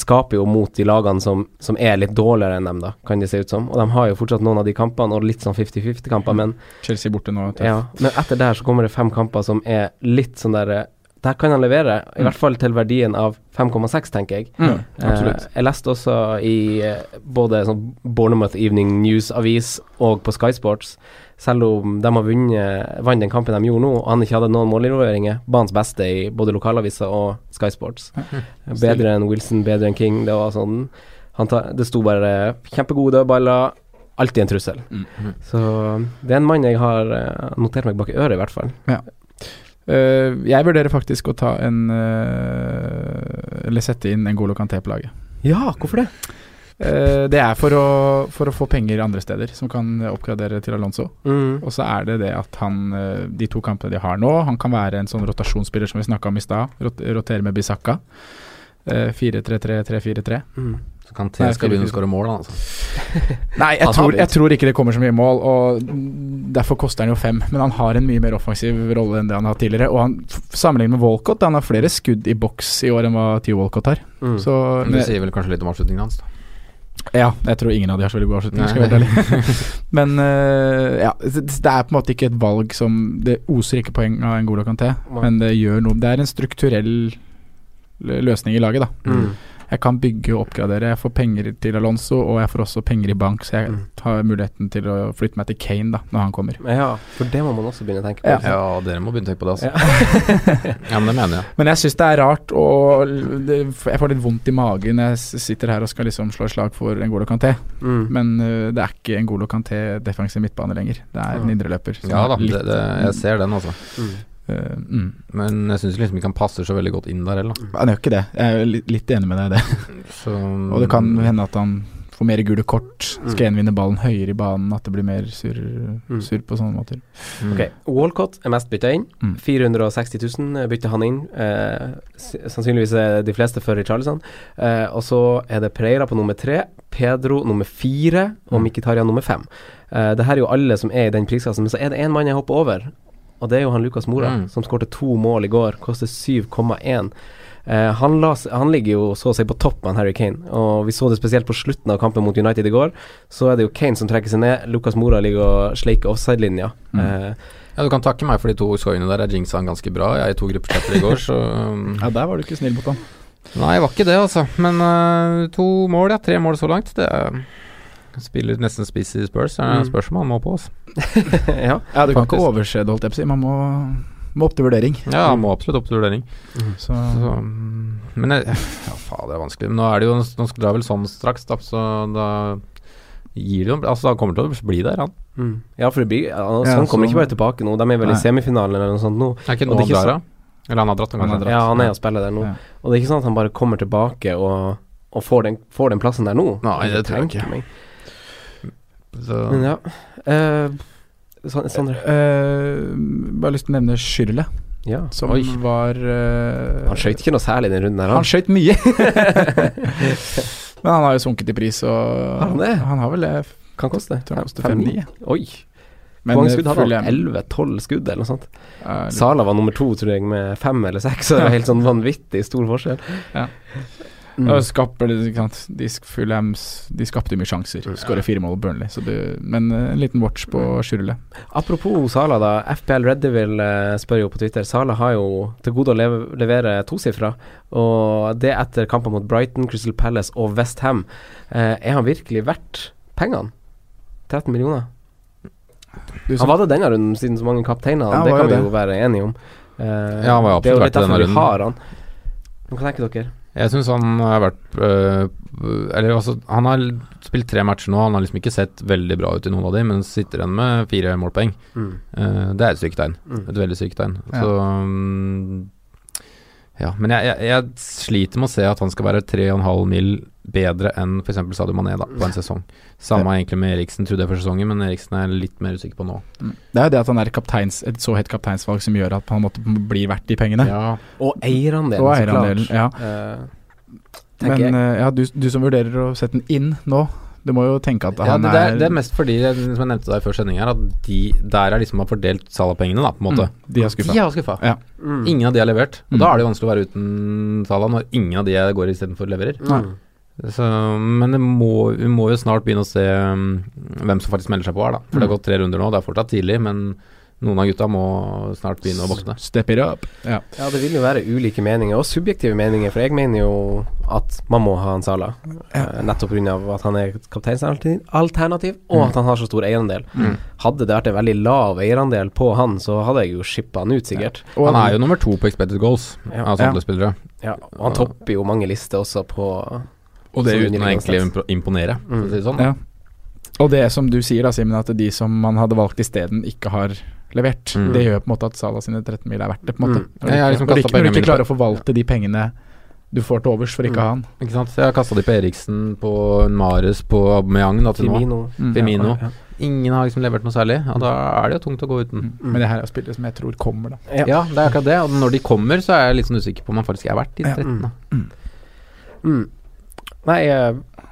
Speaker 3: skaper jo mot de lagene som, som er litt dårligere enn dem, da, kan det se ut som. Og de har jo fortsatt noen av de kampene, og litt sånn 50-50-kamper,
Speaker 4: Mm.
Speaker 3: men,
Speaker 4: Chelsea borte nå. tøff.
Speaker 3: ja, men etter der så kommer det fem kamper som er litt sånn der eh, Der kan han levere, i hvert fall til verdien av 5,6, tenker jeg.
Speaker 4: Mm.
Speaker 3: Eh,
Speaker 4: Absolutt.
Speaker 3: jeg leste også i eh, både sånn Bournemouth Evening News-avis og på Sky Sports, selv om de har vunnet vant den kampen de gjorde nå, og han ikke hadde noen målinvolveringer, banens beste i både lokalaviser og Sky Sports. (laughs) Bedre enn Wilson, bedre enn King. Det var sånn han tar- Det sto bare kjempegode dødballer. Alltid en trussel. Så det er en mann jeg har eh, notert meg bak i øret, i hvert fall.
Speaker 4: Eh, jeg vurderer faktisk å ta en eh, Eller sette inn en Golo Kanté på laget.
Speaker 3: Ja, hvorfor det?
Speaker 4: Eh, det er for å, for å få penger andre steder, som kan oppgradere til Alonso.
Speaker 3: Mm.
Speaker 4: Og så er det det at han eh, De to kampene de har nå, han kan være en sånn rotasjonsspiller som vi snakka om i stad. Rot rotere med Eh, Bisakka. 4-3-3-3-4-3.
Speaker 3: Mm.
Speaker 1: Så kan
Speaker 4: Nei,
Speaker 1: T skal begynne å skåre mål, da. Altså.
Speaker 4: Nei, jeg
Speaker 3: Altså, Han har
Speaker 4: tror, jeg
Speaker 3: mot.
Speaker 4: tror ikke det kommer så mye mål, og derfor koster han jo fem. Men han har en mye mer offensiv rolle enn det han har hatt tidligere. Og han f- sammenlignet med Walcott, han har flere skudd i boks i år enn hva Theo Walcott har.
Speaker 3: Mm.
Speaker 4: Så eh,
Speaker 1: Men Det sier vel kanskje litt om avslutningen hans, da.
Speaker 4: Ja, jeg tror ingen av de har så veldig god avslutning. Skal jeg
Speaker 1: Nei.
Speaker 4: være helt ærlig. (laughs) Men eh, ja, det det er på en måte ikke et valg som Det oser ikke poeng av en god Kanté,
Speaker 3: Nei.
Speaker 4: men det gjør noe. Det er en strukturell l- løsning i laget, da.
Speaker 3: Mm.
Speaker 4: Jeg kan bygge og oppgradere. Jeg får penger til Alonso, og jeg får også penger i bank, så jeg
Speaker 3: Mm.
Speaker 4: har muligheten til å flytte meg til Kane da, når han kommer.
Speaker 3: Ja, for det må man også begynne å tenke på.
Speaker 4: Ja.
Speaker 1: Ja, dere må begynne å tenke på det, altså. Ja, men det mener jeg.
Speaker 4: (laughs) Men jeg syns det er rart, og det, jeg får litt vondt i magen når jeg s- sitter her og skal liksom slå et slag for en god Kanté.
Speaker 3: Mm.
Speaker 4: Men øh, det er ikke en god Kanté defensiv midtbane lenger. Det er en
Speaker 3: Ja.
Speaker 4: indreløper. som
Speaker 1: Ja
Speaker 4: er
Speaker 1: da,
Speaker 4: litt,
Speaker 1: det, det, jeg ser den, altså.
Speaker 3: Mm.
Speaker 4: øh, mm.
Speaker 1: Men jeg syns liksom ikke han passer så veldig godt inn der heller.
Speaker 4: Han gjør ikke det. Jeg er litt, litt enig med deg i det.
Speaker 1: Så
Speaker 4: Og det kan hende at han får mer gule kort. Skal
Speaker 1: Mm.
Speaker 4: gjenvinne ballen høyere i banen, at det blir mer surr
Speaker 3: Mm.
Speaker 4: surr på sånne måter.
Speaker 1: Mm.
Speaker 3: Ok, Walcott er mest bytta inn.
Speaker 4: Mm.
Speaker 3: 460 000 bytter han inn. Eh, s- sannsynligvis er de fleste før Richarlison. Eh, og så er det Preira på nummer tre, Pedro nummer fire og
Speaker 4: Mm.
Speaker 3: Mkhitaryan nummer fem. Eh, det her er jo alle som er i den priskassen, men så er det én mann jeg hopper over. Og det er jo han Lukas Mora,
Speaker 1: Mm.
Speaker 3: som skårte to mål i går. Koster 7,1. Eh, han, la, s- han ligger jo så å si på topp med han Harry Kane, og vi så det spesielt på slutten av kampen mot United i går. Så er det jo Kane som trekker seg ned. Lukas Mora ligger og sleiker offside-linja.
Speaker 4: Mm.
Speaker 3: Eh,
Speaker 1: Ja, du kan takke meg for de to skøyene der. Jeg jinxa han ganske bra. Jeg tok gruppechatter i går, så um,
Speaker 4: Ja, der var du ikke snill mot han.
Speaker 1: Nei, jeg var ikke det, altså. Men øh, to mål, ja. Tre mål så langt. Det er Spiller nesten spiss i Spurs. Det er
Speaker 3: Mm.
Speaker 1: spørs om han må på, altså.
Speaker 3: (laughs) ja.
Speaker 4: Ja, du kan
Speaker 1: Faktisk.
Speaker 4: ikke overse det, holdt jeg på å si. Man må, må opp til vurdering.
Speaker 1: Ja, han må absolutt opp til vurdering.
Speaker 4: Så,
Speaker 1: Så, mm, men jeg, ja, faen, det er vanskelig. Men nå er det jo Nå skal det vel sånn straks, da, så da gir det jo Altså, han kommer til å bli der, han.
Speaker 3: Mm. ja, for det blir ja, Sånn
Speaker 4: Ja,
Speaker 3: kommer
Speaker 4: så-
Speaker 3: ikke bare tilbake nå. De er vel
Speaker 4: Nei.
Speaker 3: i semifinalen eller noe sånt nå.
Speaker 1: Er ikke
Speaker 3: Og det
Speaker 1: nå han
Speaker 3: er ikke
Speaker 1: drar, da? Eller han har dratt, han
Speaker 4: Han
Speaker 1: kanskje?
Speaker 4: har dratt.
Speaker 3: Ja, han er og spiller der nå.
Speaker 4: Ja.
Speaker 3: Og det er ikke sånn at han bare kommer tilbake og, og får, den, får den plassen der nå.
Speaker 1: Nei, det tror jeg
Speaker 3: tenker
Speaker 1: ikke.
Speaker 3: meg.
Speaker 1: Så,
Speaker 3: Men ja. Eh, San- Sondre.
Speaker 4: Eh, bare lyst til å nevne Schürrle,
Speaker 3: Ja.
Speaker 4: som
Speaker 1: Oi.
Speaker 4: var eh,
Speaker 3: Han skøyt ikke noe særlig den runden her.
Speaker 4: Han skøyt mye! (laughs) Men han har jo sunket i pris, og
Speaker 3: Har han det?
Speaker 4: har vel det. Jeg
Speaker 3: Kan koste
Speaker 4: Tror han koster
Speaker 3: Fem-
Speaker 4: 5-9.
Speaker 3: Oi.
Speaker 4: Men
Speaker 3: Hvor mange
Speaker 4: eh,
Speaker 3: skudd hadde han?
Speaker 4: Fulham
Speaker 3: Elleve-tolv skudd eller noe sånt.
Speaker 4: er litt-
Speaker 3: Sala var nummer to, tror jeg, med fem eller seks. Så det var helt sånn vanvittig stor forskjell.
Speaker 4: Ja.
Speaker 3: Mm.
Speaker 4: Og skaper, det, ikke sant? De, sk- Fulhams, de skapte mye sjanser. Skårer fire mål på Burnley. Så du, men eh, en liten watch på Schürrle.
Speaker 3: Apropos Sala, da. FPL Red Devil eh, spør jo på Twitter. Sala har jo til gode å leve, levere tosifra, og det etter kamper mot Brighton, Crystal Palace og Westham. Eh, er han virkelig verdt pengene? 13 millioner.
Speaker 4: Du
Speaker 3: Han
Speaker 4: som-
Speaker 3: var det denne runden, siden så mange kapteiner
Speaker 4: Ja,
Speaker 3: Det
Speaker 4: var jo
Speaker 3: kan vi
Speaker 4: det.
Speaker 3: jo være enige om. Eh,
Speaker 1: Ja, han var jo
Speaker 3: det er jo
Speaker 1: absolutt verdt
Speaker 3: litt
Speaker 1: det
Speaker 3: derfor
Speaker 1: denne
Speaker 3: vi
Speaker 1: runden.
Speaker 3: har han. Men Hva tenker dere?
Speaker 1: Jeg syns han har vært øh, Eller altså, han har spilt tre matcher nå. Han har liksom ikke sett veldig bra ut i noen av de, men sitter igjen med fire målpoeng.
Speaker 3: Mm.
Speaker 1: Eh, det er et sykt tegn.
Speaker 3: Mm.
Speaker 1: Et veldig sykt tegn.
Speaker 4: Ja.
Speaker 1: Så mm, Ja, men jeg, jeg, jeg sliter med å se at han skal være 3,5 mil bedre enn f.eks. Sadio Mané da, på en sesong. Samme egentlig med Eriksen, trodde jeg for sesongen, men Eriksen er jeg litt mer usikker på nå.
Speaker 4: Mm. Det er jo det at han er kapteins, et så hett kapteinsvalg som gjør at han måtte bli verdt de pengene.
Speaker 1: Ja,
Speaker 3: Og eierandelen,
Speaker 4: Og
Speaker 3: så
Speaker 4: eierandelen, ja.
Speaker 3: klart. Eh, tenker
Speaker 4: Men
Speaker 3: jeg.
Speaker 4: eh, ja, du, du som vurderer å sette den inn nå, du må jo tenke at
Speaker 1: ja
Speaker 4: han
Speaker 1: det, det, er,
Speaker 4: er
Speaker 1: det er mest fordi, eh, som jeg nevnte deg før sending her, at de der er liksom har fordelt Salah-pengene, da, på en måte.
Speaker 4: Mm, de er skuffa.
Speaker 1: De er skuffa.
Speaker 3: Mm.
Speaker 1: Ingen av de har levert. Og
Speaker 4: Mm.
Speaker 1: Da er det jo vanskelig å være uten Salah når ingen av de jeg går istedenfor leverer.
Speaker 3: Mm.
Speaker 1: Så, men det må, vi må jo snart begynne å se um, hvem som faktisk melder seg på her, da. For
Speaker 4: Mm.
Speaker 1: det har gått tre runder nå, det er fortsatt tidlig, men noen av gutta må snart begynne å våkne.
Speaker 4: Step it up. Ja.
Speaker 3: Ja, det vil jo være ulike meninger, og subjektive meninger, for jeg mener jo at man må ha en Sala. eh, Nettopp pga. at han er et kapteinsalternativ, alternativ, og at han har så stor eierandel.
Speaker 4: Mm.
Speaker 1: Mm.
Speaker 3: Hadde det vært en veldig lav eierandel på han, så hadde jeg jo shippa han ut, sikkert.
Speaker 4: Og
Speaker 1: Han er jo nummer to på expected goals
Speaker 3: Ja.
Speaker 1: av
Speaker 4: Ja.
Speaker 1: samtlige spillere,
Speaker 3: Ja, og han topper jo mange lister også på
Speaker 1: og det
Speaker 3: Så
Speaker 1: uten å
Speaker 3: underliggende
Speaker 1: egentlig
Speaker 3: stats.
Speaker 1: impro- imponere, for å si det sånn.
Speaker 4: Mm. Ja. Og det som du sier da, Simen, at de som man hadde valgt isteden, ikke har levert.
Speaker 1: Mm.
Speaker 4: Det gjør på en måte at Salah sine 13 mil er verdt det, på en måte.
Speaker 3: Mm.
Speaker 4: Når,
Speaker 1: Jeg har
Speaker 4: du
Speaker 1: liksom
Speaker 4: ikke- når, du
Speaker 1: kastet
Speaker 4: ikke, når du
Speaker 1: pengene
Speaker 4: ikke
Speaker 1: mine
Speaker 4: klarer å forvalte de pengene du får til overs for ikke å ha han.
Speaker 1: Ikke sant? Så jeg har kasta de på Eriksen, på Mares, på Aubameyang da, til nå.
Speaker 3: Mm. Firmino.
Speaker 1: Firmino.
Speaker 3: Ja.
Speaker 1: Ingen har liksom levert noe særlig, og da er det jo tungt å gå uten.
Speaker 4: Mm. Men det her er spillere som jeg tror kommer, da.
Speaker 3: Ja.
Speaker 1: Ja, det er akkurat det, og når de kommer, så er jeg litt sånn usikker på om han faktisk er verdt de
Speaker 4: Ja.
Speaker 1: 13. Da.
Speaker 3: Mm. Nei, eh,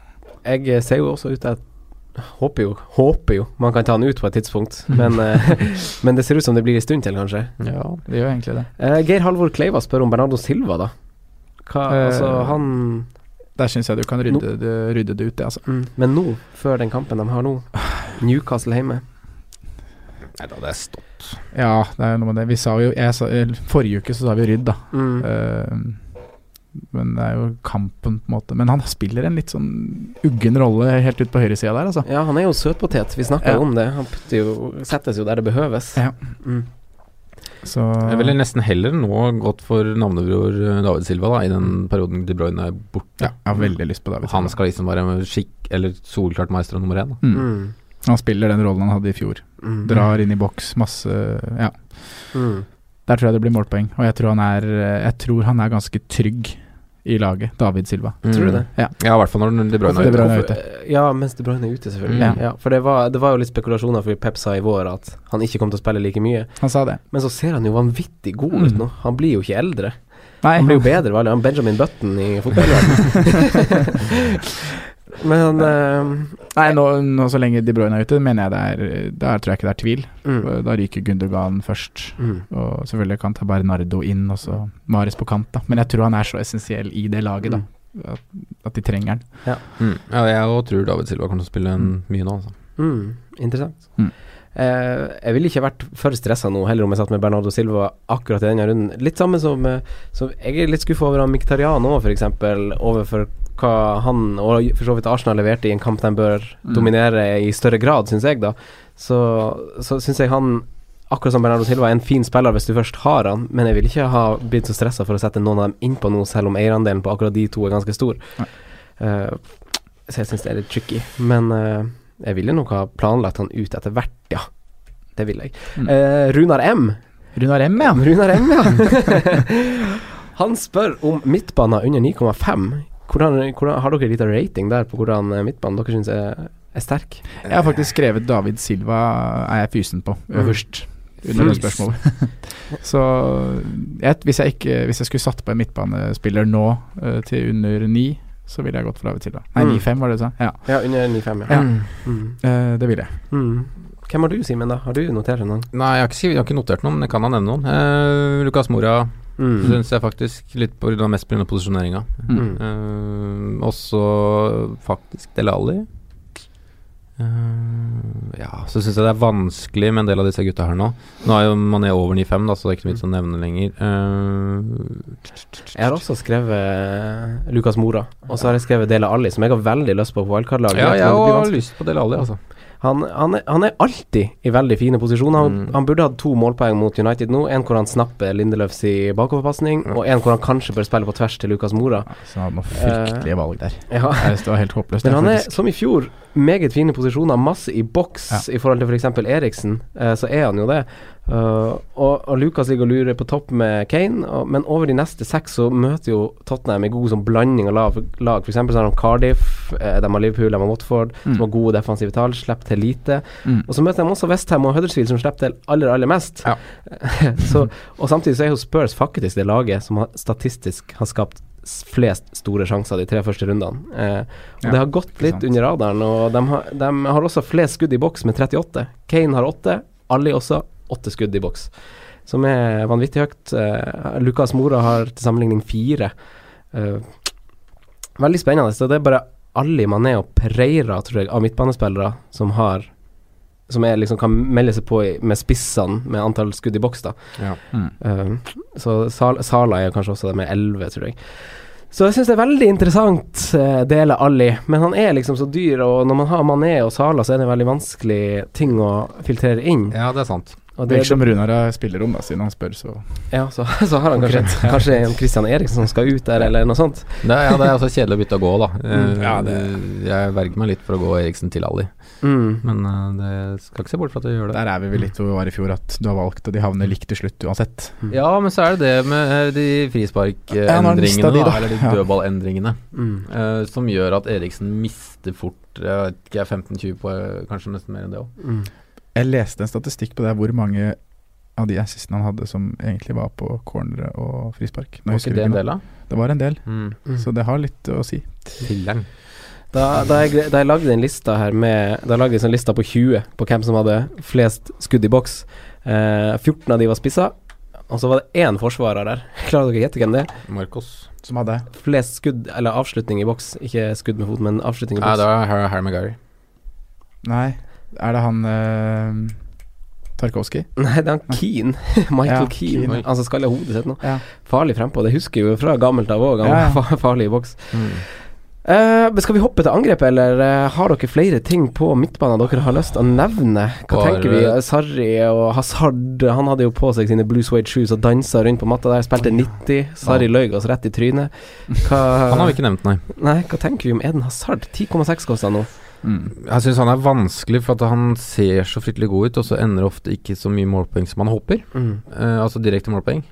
Speaker 3: jeg ser jo også ut til at Håper jo, håper jo man kan ta han ut på et tidspunkt, men, eh, (laughs) men det ser ut som det blir en stund til, kanskje.
Speaker 1: Ja.
Speaker 4: Det gjør egentlig det.
Speaker 3: Eh, Geir Halvor Kleiva spør om Bernardo Silva, da. Hva,
Speaker 4: Eh,
Speaker 3: altså, han
Speaker 4: Der syns jeg du kan rydde, det, rydde det ut, det, altså.
Speaker 3: mm. Men nå, før den kampen de har nå, Newcastle hjemme
Speaker 1: Nei da, det er stopp.
Speaker 3: Eh,
Speaker 4: Ja, det er jo noe med det. Vi sa jo jeg sa, eller, Forrige uke så sa vi rydd, da.
Speaker 3: mm.
Speaker 4: Eh, Men det er jo kampen, på en måte. Men han spiller en litt sånn uggen rolle helt ut på høyresida der, altså.
Speaker 3: Ja, han er jo søtpotet. Vi snakka
Speaker 4: Ja.
Speaker 3: jo om det. Han putter jo, settes jo der det behøves.
Speaker 4: Ja.
Speaker 3: Mm.
Speaker 4: Så
Speaker 1: Jeg ville nesten heller nå gått for navnebror eh, David Silva da, i den perioden De Bruyne er borte.
Speaker 4: ja, Jeg har veldig lyst på David.
Speaker 1: Han
Speaker 4: Silva.
Speaker 1: skal liksom være med skikk eller solklart maestro nummer én. Da.
Speaker 4: mm.
Speaker 3: Mm.
Speaker 4: Han spiller den rollen han hadde i fjor.
Speaker 3: Mm.
Speaker 4: Drar inn i boks, masse Ja.
Speaker 3: Mm.
Speaker 4: Der tror jeg det blir målpoeng. Og jeg tror han er, jeg tror han er ganske trygg i laget, David Silva.
Speaker 3: Tror du det?
Speaker 1: Mm. Ja, i hvert fall når De Bruyne
Speaker 4: Det er
Speaker 1: er ute.
Speaker 4: bra. Mm.
Speaker 3: Hvorfor-
Speaker 4: er ute.
Speaker 3: eh, Ja, mens De Bruyne er ute, selvfølgelig.
Speaker 4: Ja.
Speaker 3: Ja. for det var, det var jo litt spekulasjoner fordi Pep sa i vår at han ikke kom til å spille like mye.
Speaker 4: Han sa det.
Speaker 3: Men så ser han jo vanvittig god ut
Speaker 4: Mm.
Speaker 3: nå. Han blir jo ikke eldre.
Speaker 4: Nei,
Speaker 3: Han blir jo bedre, vel? Han er Benjamin Button i fotballverdenen. (laughs) Men eh,
Speaker 4: nei nå, nå så lenge De Bruyne er ute, mener jeg det er Der tror jeg ikke det er tvil.
Speaker 3: mm,
Speaker 4: Da ryker Gundogan først.
Speaker 3: mm.
Speaker 4: Og selvfølgelig kan ta Bernardo inn, og så Mares på kant, da. Men jeg tror han er så essensiell i det laget, da. At, at de trenger han.
Speaker 1: Mm. Ja, jeg òg tror David Silva kommer til å spille en, mye nå. Altså.
Speaker 3: Mm, interessant.
Speaker 4: Mm.
Speaker 3: Eh, jeg ville ikke vært for stressa nå, heller om jeg satt med Bernardo Silva akkurat i denne runden. Litt samme som, eh, som Jeg er litt skuffa over han Miktarian òg, f.eks. Overfor hva han og for så vidt Arsenal leverte i en kamp de bør
Speaker 4: Mm.
Speaker 3: dominere i større grad, syns jeg, da. Så, så syns jeg han Akkurat som Bernardo Silva er en fin spiller hvis du først har han, men jeg vil ikke ha blitt så stressa for å sette noen av dem innpå nå, selv om eierandelen på akkurat de to er ganske stor.
Speaker 4: Nei.
Speaker 3: Eh, så jeg syns det er litt tricky. Men eh, jeg ville nok ha planlagt han ut etter hvert, ja. Det vil jeg.
Speaker 4: Mm.
Speaker 3: Eh, Runar M.
Speaker 4: Runar M, ja.
Speaker 3: Runar M,
Speaker 4: (laughs)
Speaker 3: ja. han spør om midtbaner under 9,5. Hvordan, hvordan, har dere en liten rating der på hvordan eh, midtbanen dere syns er, er sterk?
Speaker 4: Jeg har faktisk skrevet David Silva er jeg fysen på, øverst. Under det
Speaker 3: Fys.
Speaker 4: spørsmålet. (laughs) Så jeg, hvis, jeg ikke, hvis jeg skulle satt på en midtbanespiller nå eh, til under ni, så ville jeg gått for David Silva. Nei,
Speaker 3: Mm.
Speaker 4: 9-5 var det du sa? Ja,
Speaker 3: Ja, under 9,5, ja.
Speaker 4: Ja.
Speaker 3: Mm.
Speaker 4: eh, det ville jeg.
Speaker 3: Mm. Hvem har du, Simen? da? Har du notert noen?
Speaker 1: Nei, jeg har, ikke, skrevet- jeg har ikke notert noen, men jeg kan ha nevnt noen. Eh, Lukas Mora
Speaker 3: Mm.
Speaker 1: syns jeg faktisk litt på, grunn av- mest pga. posisjoneringa.
Speaker 4: Mm.
Speaker 3: Mm.
Speaker 1: Eh, også faktisk Del Alli. Eh, ja, så syns jeg det er vanskelig med en del av disse gutta her nå. Nå er jo Mané over 9,5, da, så det er ikke noe vits å nevne lenger. Ehm,
Speaker 3: Jeg har også skrevet Lukas Mora, og så har jeg skrevet Dele Alli, som jeg har veldig lyst på på
Speaker 1: Eh,
Speaker 3: wildcard-laget.
Speaker 1: ja,
Speaker 3: Jeg
Speaker 1: jeg
Speaker 3: tror det blir
Speaker 1: har
Speaker 3: vanskelig.
Speaker 1: lyst på Del Alli, altså.
Speaker 3: Han, han, er, han er alltid i veldig fine posisjoner. Han,
Speaker 1: Mm.
Speaker 3: han burde hatt to målpoeng mot United nå. En hvor han snapper Lindeløfs i bakoverpasning, og en hvor han kanskje bør spille på tvers til Lukas Mora.
Speaker 4: Ja, Så han hadde noen fryktelige valg der.
Speaker 3: Ja.
Speaker 4: Jeg synes Eh, Det var helt håpløst.
Speaker 3: (laughs) Men
Speaker 4: det,
Speaker 3: han er,
Speaker 4: faktisk.
Speaker 3: som i fjor, meget fine posisjoner, masse i boks i forhold til f.eks. Eriksen. eh, så er han jo det. Eh, og, og Lucas ligger og lurer på topp med Kane, og, men over de neste seks så møter jo Tottenham en god sånn blanding av lav, lag. F.eks. så har de Cardiff, eh, de har Liverpool, de har Watford,
Speaker 4: Mm.
Speaker 3: som har gode defensive tall, slipper til lite.
Speaker 4: Mm.
Speaker 3: Og så møter de også Westham og Huddersfield, som slipper til aller, aller mest.
Speaker 1: Ja.
Speaker 3: (laughs) så, og samtidig så er jo Spurs faktisk det laget som har, statistisk har skapt s- flest store sjanser de tre første rundene. Eh, og
Speaker 4: Ja,
Speaker 3: det har gått
Speaker 4: ikke
Speaker 3: litt
Speaker 4: sant.
Speaker 3: under radaren, og de har, de har også flest skudd i boks med 38. Kane har åtte, Ali også åtte skudd i boks, som er vanvittig høyt. Eh, Lucas Mora har til sammenligning fire. Eh, veldig spennende. Så det er bare Ali Mané og Pereira, tror jeg, av midtbanespillere som har som er liksom kan melde seg på i, med spissene med antall skudd i boks, da.
Speaker 4: Mm.
Speaker 3: Eh, så Sal Sala er kanskje også det med 11, tror jeg. Så jeg syns det er veldig interessant, uh, dele Ali. Men han er liksom så dyr, og når man har Mané og Sala, så er det en veldig vanskelig ting å filtrere inn.
Speaker 1: Ja, det er sant.
Speaker 4: Det
Speaker 3: Og det,
Speaker 4: virker som Runar har spillerom, da, siden han spør, så
Speaker 3: ja, så, (laughs) så har han kanskje, kanskje en Christian Eriksen som skal ut der, eller noe sånt.
Speaker 1: Det er, ja, det er også kjedelig å bytte å gå, da. Eh,
Speaker 4: Mm, ja, det-
Speaker 1: Jeg verger meg litt for å gå Eriksen til Alli,
Speaker 3: Mm.
Speaker 1: men eh, det skal ikke se bort fra at jeg gjør det.
Speaker 4: Der er vi vel litt hvor vi var i fjor, at du har valgt, og de havner likt til slutt uansett.
Speaker 1: Ja, men så er det det med eh, de
Speaker 4: Ja, nå har han mistet
Speaker 1: frisparkendringene,
Speaker 4: de,
Speaker 1: da,
Speaker 4: da.
Speaker 1: eller de
Speaker 4: Ja.
Speaker 1: dødballendringene,
Speaker 3: Mm.
Speaker 1: eh, som gjør at Eriksen mister fort eh, jeg vet ikke, 15-20 på eh, kanskje nesten mer enn det òg.
Speaker 3: Mm.
Speaker 4: Jeg leste en statistikk på det, hvor mange av de assistene han hadde som egentlig var på cornere og frispark. Nå
Speaker 1: Var
Speaker 4: husker jeg
Speaker 1: ikke det en
Speaker 4: nå.
Speaker 1: del av?
Speaker 4: det var en del,
Speaker 1: Mm.
Speaker 3: Mm.
Speaker 4: så det har litt å si.
Speaker 1: Filleren.
Speaker 3: Da, da, jeg, da jeg lagde den lista her med Da jeg lagde en sånn lista på 20 på hvem som hadde flest skudd i boks. Eh, 14 av de var spissa, og så var det én forsvarer der. (laughs) Klarer dere å gjette hvem det er?
Speaker 1: Marcos.
Speaker 4: Som hadde
Speaker 3: Flest skudd, eller avslutning i boks. Ikke skudd med foten, men avslutning i
Speaker 1: Nei,
Speaker 3: boks.
Speaker 1: det var Harry Maguire.
Speaker 4: Nei, er det han eh, Tarkovskij.
Speaker 3: Nei, det er han Keane. (laughs)
Speaker 4: Ja,
Speaker 3: Michael Keane.
Speaker 1: Keane.
Speaker 3: Han som skaller hodet sitt nå.
Speaker 4: Ja.
Speaker 3: Farlig frempå. Det husker vi jo fra gammelt av òg. Han
Speaker 4: Ja, ja.
Speaker 3: var fa- farlig i boks.
Speaker 1: Mm.
Speaker 3: Eh, men skal vi hoppe til angrepet, eller eh, har dere flere ting på midtbanen dere har lyst til å nevne? Hva
Speaker 1: Bare-
Speaker 3: tenker vi? Sarri og Hazard Han hadde jo på seg sine blue suede shoes og dansa rundt på matta der. Spilte 90. Sarri løy oss rett i trynet. Hva,
Speaker 1: Han har vi ikke nevnt, nei.
Speaker 3: Nei, hva tenker vi om Eden Hazard? 10,6 koster han nå.
Speaker 4: Mm.
Speaker 1: Jeg syns han er vanskelig, for at han ser så fryktelig god ut, og så ender det ofte ikke så mye målpoeng som han håper. Eh, altså direkte målpoeng.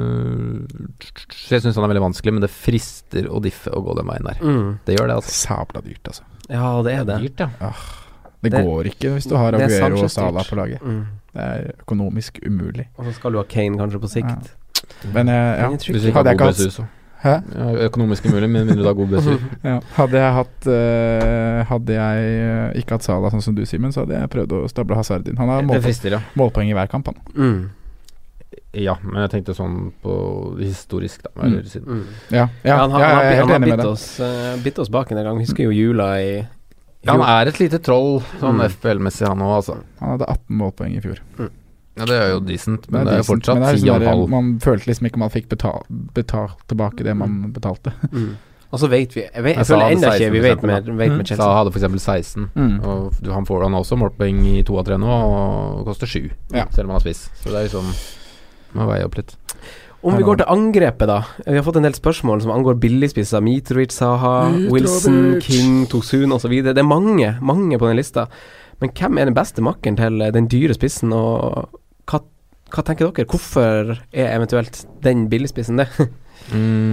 Speaker 1: Eh, så jeg syns han er veldig vanskelig, men det frister å diffe og gå den veien der.
Speaker 3: Mm.
Speaker 1: Det gjør det, altså.
Speaker 4: Sabla dyrt, altså.
Speaker 3: Ja, det er det.
Speaker 1: Dyrt, ja.
Speaker 4: Det,
Speaker 3: Det-
Speaker 4: går ikke hvis du har
Speaker 3: det er
Speaker 4: Aguero og
Speaker 3: Sanchez
Speaker 4: Sala
Speaker 3: dyrt.
Speaker 4: på laget.
Speaker 3: Mm.
Speaker 4: Det er økonomisk umulig.
Speaker 3: Og så skal du ha Kane kanskje på sikt.
Speaker 4: Ja. Men jeg, ja.
Speaker 3: Men jeg tror ikke-
Speaker 1: Hvis vi ikke
Speaker 4: Hadde
Speaker 1: har
Speaker 4: jeg
Speaker 1: god
Speaker 4: ikke hatt-
Speaker 1: BSU, så.
Speaker 4: Hæ?
Speaker 1: Ja, økonomisk umulig, med mindre du har god BSU.
Speaker 4: Ja. Hadde jeg hatt eh, Hadde jeg eh, ikke hatt Sala sånn som du, Simen, så hadde jeg prøvd å stable Hazard inn. Han har
Speaker 1: Det
Speaker 4: målpoeng,
Speaker 1: frister, (laughs) ja.
Speaker 4: målpoeng i hver kamp, han.
Speaker 3: Mm.
Speaker 1: Ja, men jeg tenkte sånn på historisk, da. Eller,
Speaker 4: Mm.
Speaker 1: siden.
Speaker 3: Mm.
Speaker 4: Ja, ja,
Speaker 3: Ja, han har,
Speaker 4: ja,
Speaker 3: han har,
Speaker 4: jeg er
Speaker 3: han
Speaker 4: helt
Speaker 3: har
Speaker 4: enig med
Speaker 3: bitt,
Speaker 4: deg.
Speaker 3: oss, eh, bitt oss baken en gang. Husker jo jula i
Speaker 1: Ja, han er et lite troll, sånn
Speaker 3: Mm.
Speaker 1: FPL-messig, han òg, altså.
Speaker 4: Han hadde 18 målpoeng i fjor.
Speaker 1: Ja, det er jo decent, men
Speaker 4: Det
Speaker 1: det er, liksom
Speaker 4: decent, men
Speaker 1: fortsatt
Speaker 4: det er sånn der,
Speaker 1: 10,5.
Speaker 4: Man følte liksom ikke man fikk betalt, betalt tilbake det man betalte.
Speaker 3: Mm. Og så vet vi Jeg, vet,
Speaker 1: Jeg
Speaker 3: jeg
Speaker 1: sa
Speaker 3: føler
Speaker 1: han
Speaker 3: ennå
Speaker 1: 16
Speaker 3: ikke vi vet med, vet
Speaker 4: Mm.
Speaker 3: med
Speaker 1: Sa
Speaker 3: Chelsea.
Speaker 1: hadde f.eks. 16. Og du- han får han har også målpoeng i to av tre nå, og koster sju,
Speaker 4: Ja.
Speaker 1: selv om han har spiss. Så det er liksom Må veie opp litt.
Speaker 3: Om vi går til angrepet, da. Vi har fått en del spørsmål som angår billigspisser. Mitrovic, Saha,
Speaker 4: Mitrovic.
Speaker 3: Wilson, King, Tosun osv. Det er mange, mange på den lista. Men hvem er den beste makkeren til eh, den dyre spissen, og hva, hva tenker dere? Hvorfor er eventuelt den billigspissen det?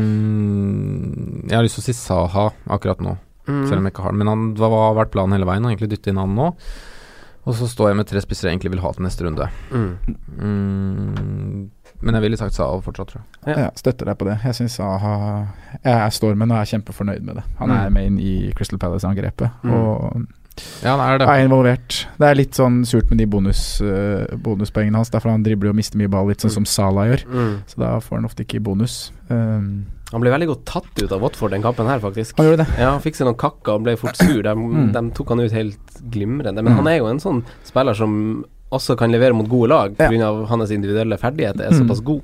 Speaker 1: Mm, jeg har lyst til å si Saha akkurat nå. Selv om jeg ikke har den. Men han, hva har vært planen hele veien? Å egentlig dytte inn han nå. Og så står jeg med tre spisser jeg egentlig vil ha til neste runde.
Speaker 3: Mm.
Speaker 1: Mm, men jeg ville sagt Saha fortsatt, tror jeg.
Speaker 4: Ja. støtter deg på det. Jeg syns Aha Jeg står med den og er kjempefornøyd med det. Han er
Speaker 1: Mm.
Speaker 4: main i Crystal Palace-angrepet
Speaker 3: Mm.
Speaker 4: og
Speaker 1: Ja, han er det.
Speaker 4: er involvert. Det er litt sånn surt med de bonus, eh, bonuspoengene hans, derfor han dribler og mister mye ball, litt sånn som Salah gjør.
Speaker 3: Mm.
Speaker 4: Så da får han ofte ikke bonus. Um,
Speaker 3: Han ble veldig godt tatt ut av Watford den kampen her, faktisk.
Speaker 4: han gjorde det.
Speaker 3: Ja, han fikk seg noen kakker og ble fort sur. De,
Speaker 4: Mm.
Speaker 3: de tok han ut helt glimrende. Men
Speaker 4: Mm.
Speaker 3: han er jo en sånn spiller som også kan levere mot gode lag
Speaker 4: Ja.
Speaker 3: pga. av hans individuelle ferdigheter er
Speaker 4: Mm.
Speaker 3: såpass god.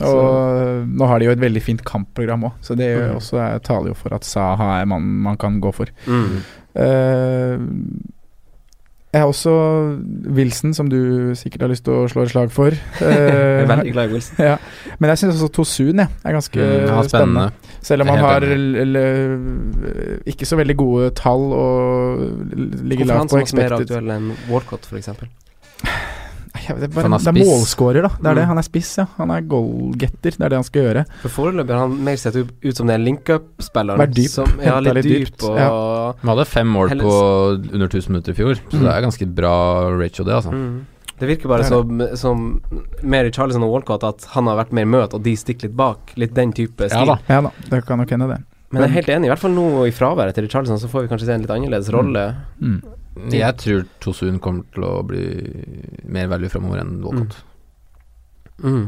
Speaker 4: Og nå har de jo et veldig fint kampprogram òg, så det gjør
Speaker 3: Mm.
Speaker 4: også, er- taler jo for at Saha er mannen man kan gå for. Eh, jeg har også Wilson, som du sikkert har lyst til å slå et slag
Speaker 3: (laughs)
Speaker 4: for.
Speaker 3: (laughs) Jeg
Speaker 4: Eh,
Speaker 3: er veldig glad i Wilson.
Speaker 4: ja. Men jeg syns også Tosun jeg, er ganske
Speaker 1: Mm, han er
Speaker 4: spennende.
Speaker 1: spennende.
Speaker 4: Selv om
Speaker 1: Jeg
Speaker 4: han
Speaker 1: er
Speaker 4: har
Speaker 1: helt
Speaker 4: l- l- ikke så veldig gode tall og ligger
Speaker 3: Hvorfor er han
Speaker 4: lavt på
Speaker 3: som også mer
Speaker 4: expected.
Speaker 3: aktuell enn Walcott, f.eks.? Det
Speaker 4: Nei, jeg vet ikke,
Speaker 1: For han
Speaker 4: bare,
Speaker 1: er
Speaker 4: det er
Speaker 1: spiss.
Speaker 4: målscorer, da. Det er det.
Speaker 3: Mm.
Speaker 4: Han er spiss, ja. Han er goalgetter. Det er det han skal gjøre.
Speaker 3: For Foreløpig har han mer sett ut ut som den link-up-spilleren.
Speaker 4: Vær dyp.
Speaker 3: Som, ja,
Speaker 4: Henta
Speaker 3: litt,
Speaker 4: litt dypt,
Speaker 3: dyp og
Speaker 1: Vi hadde fem mål på under 1000 minutter i fjor, så det er ganske bra ratio, det, altså.
Speaker 3: mm. Det virker bare
Speaker 4: Det er
Speaker 3: som, som mer i Charlison og Walcott at han har vært mer møt, og de stikker litt bak. Litt den type stil.
Speaker 1: Ja da.
Speaker 4: Ja da, det kan nok hende, det.
Speaker 3: Men jeg er helt enig, i hvert fall nå i fraværet til Richarlison, så får vi kanskje se en litt annerledes rolle.
Speaker 4: Mm.
Speaker 1: Jeg tror Tosun kommer til å bli mer value framover enn Walcott.